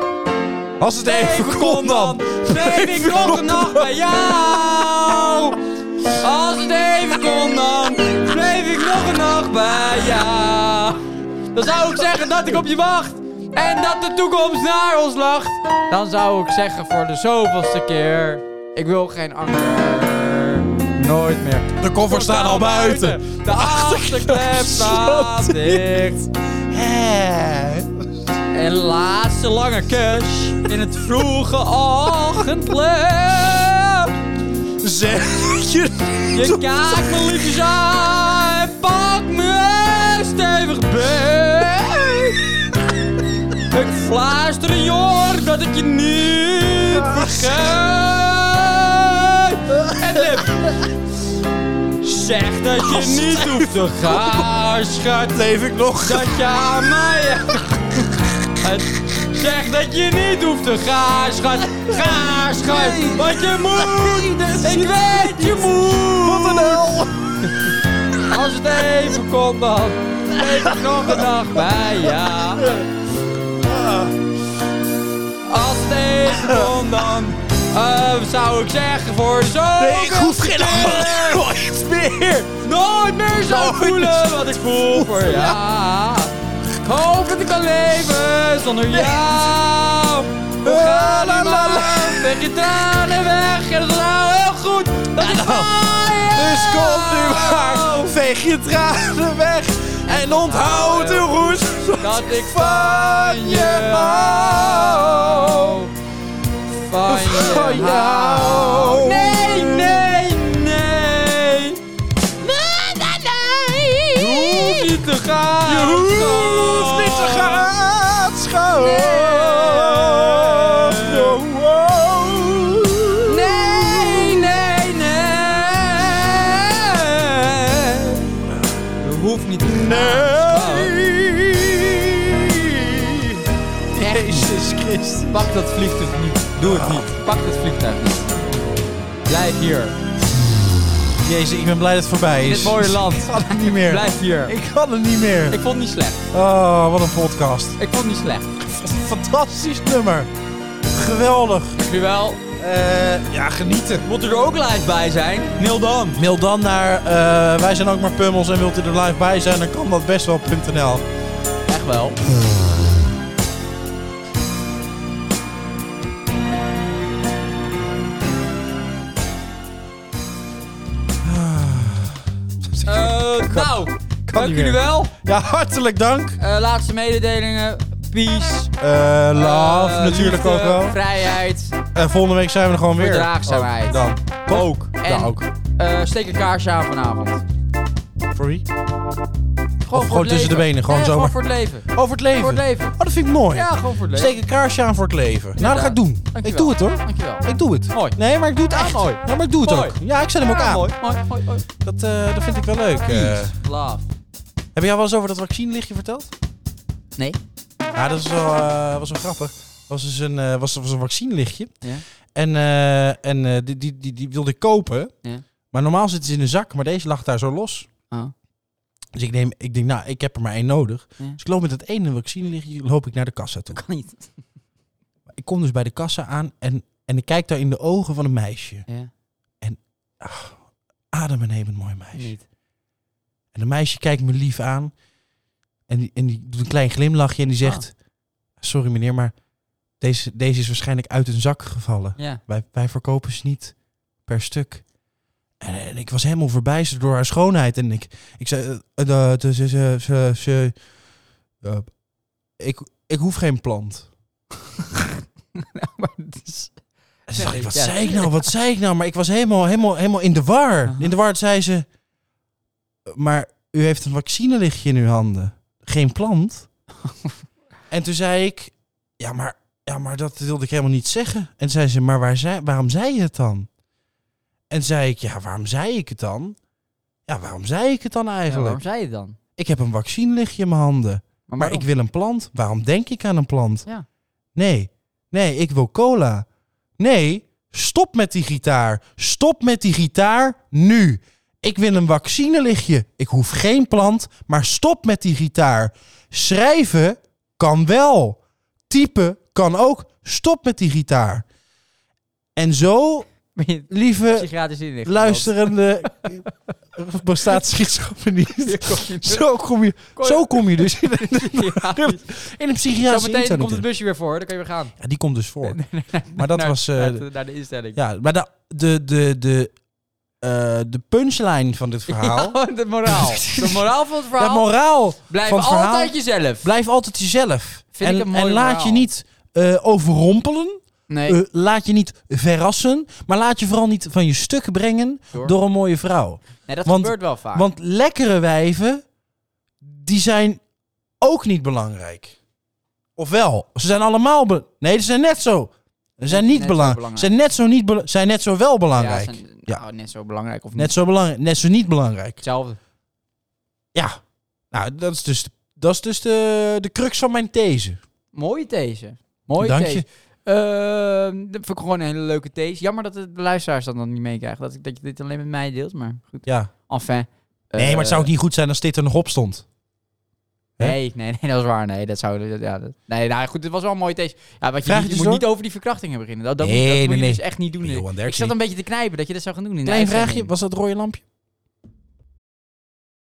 [SPEAKER 1] Als het even kon dan.
[SPEAKER 2] Bleef ik nog een nacht bij jou. Als het even kon dan. Bleef ik nog een nacht bij jou. Dan zou ik zeggen dat ik op je wacht. En dat de toekomst naar ons lacht. Dan zou ik zeggen voor de zoveelste keer. Ik wil geen ander. Nooit meer.
[SPEAKER 1] De koffers staan al buiten.
[SPEAKER 2] De achterklep staat dicht.
[SPEAKER 1] Eh,
[SPEAKER 2] En laatste lange kus in het vroege ochtendlicht.
[SPEAKER 1] Zeg je
[SPEAKER 2] Je kijkt me liefjes aan, pak me stevig beet. Ik fluister in je oor dat ik je niet vergeet. En lip. zegt dat je niet hoeft te gaan. Schat,
[SPEAKER 1] Leef ik nog?
[SPEAKER 2] dat je aan mij... Het zegt dat je niet hoeft te gaan, schat. Ga, schat, wat je moet. Ik weet, je moet. Wat een hel. Als het even kon dan, bleef ik nog een dag bij ja. Als het even kon dan, eh, zou ik zeggen voor zo.
[SPEAKER 1] Nee, ik hoef geen Nooit meer.
[SPEAKER 2] Nooit meer zo
[SPEAKER 1] Nooit meer
[SPEAKER 2] voelen wat ik voel voor jou. Ik hoop dat ik kan leven zonder jou. We gaan
[SPEAKER 1] Oh, La, la, la, la.
[SPEAKER 2] maar weg je tranen weg. En het is nou heel goed dat ik bij je
[SPEAKER 1] nou. Dus kom nu maar, veeg je tranen weg en onthoud de roes.
[SPEAKER 2] Dat ik van je hou.
[SPEAKER 1] Van
[SPEAKER 2] Van je
[SPEAKER 1] jou.
[SPEAKER 2] hou. Nee, nee, nee. Je hoeft niet te gaan.
[SPEAKER 1] Je hoeft niet te gaan schuil. Oh,
[SPEAKER 2] Nee, nee, nee. Je hoeft niet te gaan.
[SPEAKER 1] Jezus Christus.
[SPEAKER 2] Pak dat vliegtuig niet. Doe het niet. Pak dat vliegtuig niet. Blijf hier.
[SPEAKER 1] Jezus, ik ben blij dat het voorbij is.
[SPEAKER 2] dit mooie land.
[SPEAKER 1] Ik kan het niet meer.
[SPEAKER 2] Blijf hier. Ik,
[SPEAKER 1] Ik kan het niet meer.
[SPEAKER 2] vond het niet slecht.
[SPEAKER 1] Oh, wat een podcast.
[SPEAKER 2] Ik vond het niet slecht.
[SPEAKER 1] Fantastisch nummer. Geweldig.
[SPEAKER 2] Nu wel.
[SPEAKER 1] Eh, ja, genieten.
[SPEAKER 2] Moet er ook live bij zijn? Nil dan.
[SPEAKER 1] Mail dan naar eh, wij zijn ook maar pummels en wilt u er live bij zijn, dan kan dat best wel.nl.
[SPEAKER 2] Echt
[SPEAKER 1] Ah.
[SPEAKER 2] wel. Eh, Eh, nou, dank
[SPEAKER 1] niet
[SPEAKER 2] jullie
[SPEAKER 1] meer.
[SPEAKER 2] wel.
[SPEAKER 1] Ja, hartelijk dank.
[SPEAKER 2] Eh, laatste mededelingen. Peace.
[SPEAKER 1] Eh, love
[SPEAKER 2] Eh,
[SPEAKER 1] natuurlijk
[SPEAKER 2] liefde,
[SPEAKER 1] ook wel.
[SPEAKER 2] Vrijheid.
[SPEAKER 1] En volgende week zijn we er gewoon weer.
[SPEAKER 2] Verdraagzaamheid.
[SPEAKER 1] Ook Dan. Toch? Ook.
[SPEAKER 2] En-
[SPEAKER 1] Ja, ook.
[SPEAKER 2] Eh, steek een kaarsje aan vanavond. Gewoon
[SPEAKER 1] Voor wie?
[SPEAKER 2] voor
[SPEAKER 1] gewoon
[SPEAKER 2] het
[SPEAKER 1] tussen de
[SPEAKER 2] leven.
[SPEAKER 1] benen, gewoon
[SPEAKER 2] Nee,
[SPEAKER 1] zomaar.
[SPEAKER 2] voor het leven.
[SPEAKER 1] Over het leven.
[SPEAKER 2] Voor het leven.
[SPEAKER 1] Oh, dat vind ik mooi.
[SPEAKER 2] Ja, gewoon voor het leven.
[SPEAKER 1] Steek een kaarsje aan voor het leven. Nou, dat ga ik doen.
[SPEAKER 2] Dankjewel.
[SPEAKER 1] Ik doe het hoor.
[SPEAKER 2] Dankjewel.
[SPEAKER 1] Ik doe het.
[SPEAKER 2] Mooi.
[SPEAKER 1] Nee, maar ik doe het
[SPEAKER 2] Ja,
[SPEAKER 1] echt.
[SPEAKER 2] mooi.
[SPEAKER 1] Ja, maar ik doe het
[SPEAKER 2] Mooi.
[SPEAKER 1] ook. Ja, ik zet hem ook
[SPEAKER 2] Ja,
[SPEAKER 1] aan.
[SPEAKER 2] mooi, mooi, mooi, mooi.
[SPEAKER 1] Dat, eh, dat vind ik wel leuk. eh.
[SPEAKER 2] Love.
[SPEAKER 1] heb jij wel eens over dat vaccinlichtje verteld?
[SPEAKER 2] Nee.
[SPEAKER 1] Ja, dat is wel, eh, was wel grappig. Was dus een, eh, was, was een vaccinlichtje.
[SPEAKER 2] Ja.
[SPEAKER 1] En, eh, en eh, die, die, die, die wilde ik kopen.
[SPEAKER 2] Ja.
[SPEAKER 1] Maar normaal zit ze in een zak, maar deze lag daar zo los.
[SPEAKER 2] Oh.
[SPEAKER 1] Dus ik, neem, ik denk, nou, ik heb er maar één nodig.
[SPEAKER 2] Ja.
[SPEAKER 1] Dus ik loop met dat ene vaccinlichtje loop ik naar de kassa toe.
[SPEAKER 2] Kan niet.
[SPEAKER 1] Ik kom dus bij de kassa aan en, en ik kijk daar in de ogen van een meisje.
[SPEAKER 2] Ja.
[SPEAKER 1] Adembenemend mooi meisje.
[SPEAKER 2] Niet.
[SPEAKER 1] En een meisje kijkt me lief aan. En die, en die doet een klein glimlachje en die zegt... Sorry meneer, maar deze, deze is waarschijnlijk uit een zak gevallen.
[SPEAKER 2] Ja.
[SPEAKER 1] Wij, wij verkopen ze niet per stuk. En, en ik was helemaal verbijsterd door haar schoonheid. En ik, ik zei... eh, eh, eh, ze, ze, ze, ze, ze- eh, ik, ik hoef geen plant.
[SPEAKER 2] maar het is...
[SPEAKER 1] En toen dacht ik, wat
[SPEAKER 2] Ja.
[SPEAKER 1] zei ik nou? Wat zei ik nou? Maar ik was helemaal, helemaal, helemaal in de war.
[SPEAKER 2] Aha.
[SPEAKER 1] In de war zei ze... Maar u heeft een vaccinelichtje in uw handen. Geen plant. en toen zei ik... Ja maar, ja, maar dat wilde ik helemaal niet zeggen. En toen zei ze, maar waar zei, waarom zei je het dan? En toen zei ik, ja, waarom zei ik het dan? Ja, waarom zei ik het dan
[SPEAKER 2] Ja,
[SPEAKER 1] eigenlijk?
[SPEAKER 2] waarom zei je het dan?
[SPEAKER 1] ik heb een vaccinelichtje in mijn handen.
[SPEAKER 2] Maar,
[SPEAKER 1] Maar ik wil een plant. Waarom denk ik aan een plant?
[SPEAKER 2] Ja.
[SPEAKER 1] Nee, nee, ik wil cola. Nee, stop met die gitaar. Stop met die gitaar nu. Ik wil een vaccinelichtje. Ik hoef geen plant, maar stop met die gitaar. Schrijven kan wel. Typen kan ook. Stop met die gitaar. En zo,
[SPEAKER 2] Ben je
[SPEAKER 1] lieve
[SPEAKER 2] psychiatrisch in
[SPEAKER 1] luisterende... bestaat schizofrenie. Zo kom je,
[SPEAKER 2] Kon-
[SPEAKER 1] zo kom je dus in de
[SPEAKER 2] Psychiatrisch.
[SPEAKER 1] in een psychiatrische
[SPEAKER 2] Zometeen
[SPEAKER 1] instelling
[SPEAKER 2] komt het
[SPEAKER 1] terecht.
[SPEAKER 2] busje weer voor. Dan kan je weer gaan.
[SPEAKER 1] Ja, die komt dus voor. Maar dat
[SPEAKER 2] Naar-
[SPEAKER 1] was... eh,
[SPEAKER 2] naar,
[SPEAKER 1] de-
[SPEAKER 2] de- naar de instelling.
[SPEAKER 1] ja, maar de, de, de, de, eh, de punchline van dit verhaal...
[SPEAKER 2] Ja, Oh, de moraal. De moraal van het
[SPEAKER 1] De
[SPEAKER 2] verhaal.
[SPEAKER 1] moraal
[SPEAKER 2] Blijf
[SPEAKER 1] van het verhaal...
[SPEAKER 2] altijd jezelf.
[SPEAKER 1] Blijf altijd jezelf.
[SPEAKER 2] Vind
[SPEAKER 1] en
[SPEAKER 2] ik een mooi
[SPEAKER 1] en laat
[SPEAKER 2] verhaal.
[SPEAKER 1] je niet eh, overrompelen.
[SPEAKER 2] nee.
[SPEAKER 1] eh, laat je niet verrassen. Maar laat je vooral niet van je stuk brengen
[SPEAKER 2] Door.
[SPEAKER 1] door, een mooie vrouw.
[SPEAKER 2] nee, dat
[SPEAKER 1] want-
[SPEAKER 2] gebeurt wel vaak.
[SPEAKER 1] Want lekkere wijven, die zijn ook niet belangrijk. Of wel? Ze zijn allemaal... be- nee, ze zijn net zo. Ze zijn
[SPEAKER 2] Net-
[SPEAKER 1] niet
[SPEAKER 2] net zo
[SPEAKER 1] belangrijk.
[SPEAKER 2] belangrijk.
[SPEAKER 1] Ze zijn net zo, niet bela- zijn net zo wel
[SPEAKER 2] Ja,
[SPEAKER 1] belangrijk.
[SPEAKER 2] zijn-
[SPEAKER 1] Ja.
[SPEAKER 2] Nou, net zo belangrijk of
[SPEAKER 1] Net
[SPEAKER 2] niet.
[SPEAKER 1] zo belangrijk. Net zo niet belangrijk.
[SPEAKER 2] Hetzelfde.
[SPEAKER 1] Ja. Nou, dat is dus, dat is dus de, de crux van mijn these.
[SPEAKER 2] Mooie these. Mooie
[SPEAKER 1] Dank
[SPEAKER 2] these.
[SPEAKER 1] je.
[SPEAKER 2] Ehm, dat vind ik gewoon een hele leuke these. Jammer dat de luisteraars dat dan niet meekrijgen. Dat, ik- dat je dit alleen met mij deelt, maar goed.
[SPEAKER 1] Ja.
[SPEAKER 2] Enfin.
[SPEAKER 1] Nee, maar het
[SPEAKER 2] Eh,
[SPEAKER 1] zou ook niet goed zijn als dit er nog op stond. hè?
[SPEAKER 2] Nee, nee, nee, dat is waar. Nee, dat zou... dat- ja, dat- nee, nou goed, dit was wel een mooie these. Ja, wat je,
[SPEAKER 1] Vraag
[SPEAKER 2] niet- je
[SPEAKER 1] eens
[SPEAKER 2] moet
[SPEAKER 1] door.
[SPEAKER 2] niet over die verkrachtingen beginnen. Dat, dat,
[SPEAKER 1] Nee,
[SPEAKER 2] moet, dat moet
[SPEAKER 1] nee,
[SPEAKER 2] je
[SPEAKER 1] nee.
[SPEAKER 2] dus echt niet doen.
[SPEAKER 1] Johan
[SPEAKER 2] ik
[SPEAKER 1] Derksen.
[SPEAKER 2] zat een beetje te knijpen dat je dat zou gaan doen. In de
[SPEAKER 1] Klein vraagje,
[SPEAKER 2] uitzending.
[SPEAKER 1] was dat rode lampje?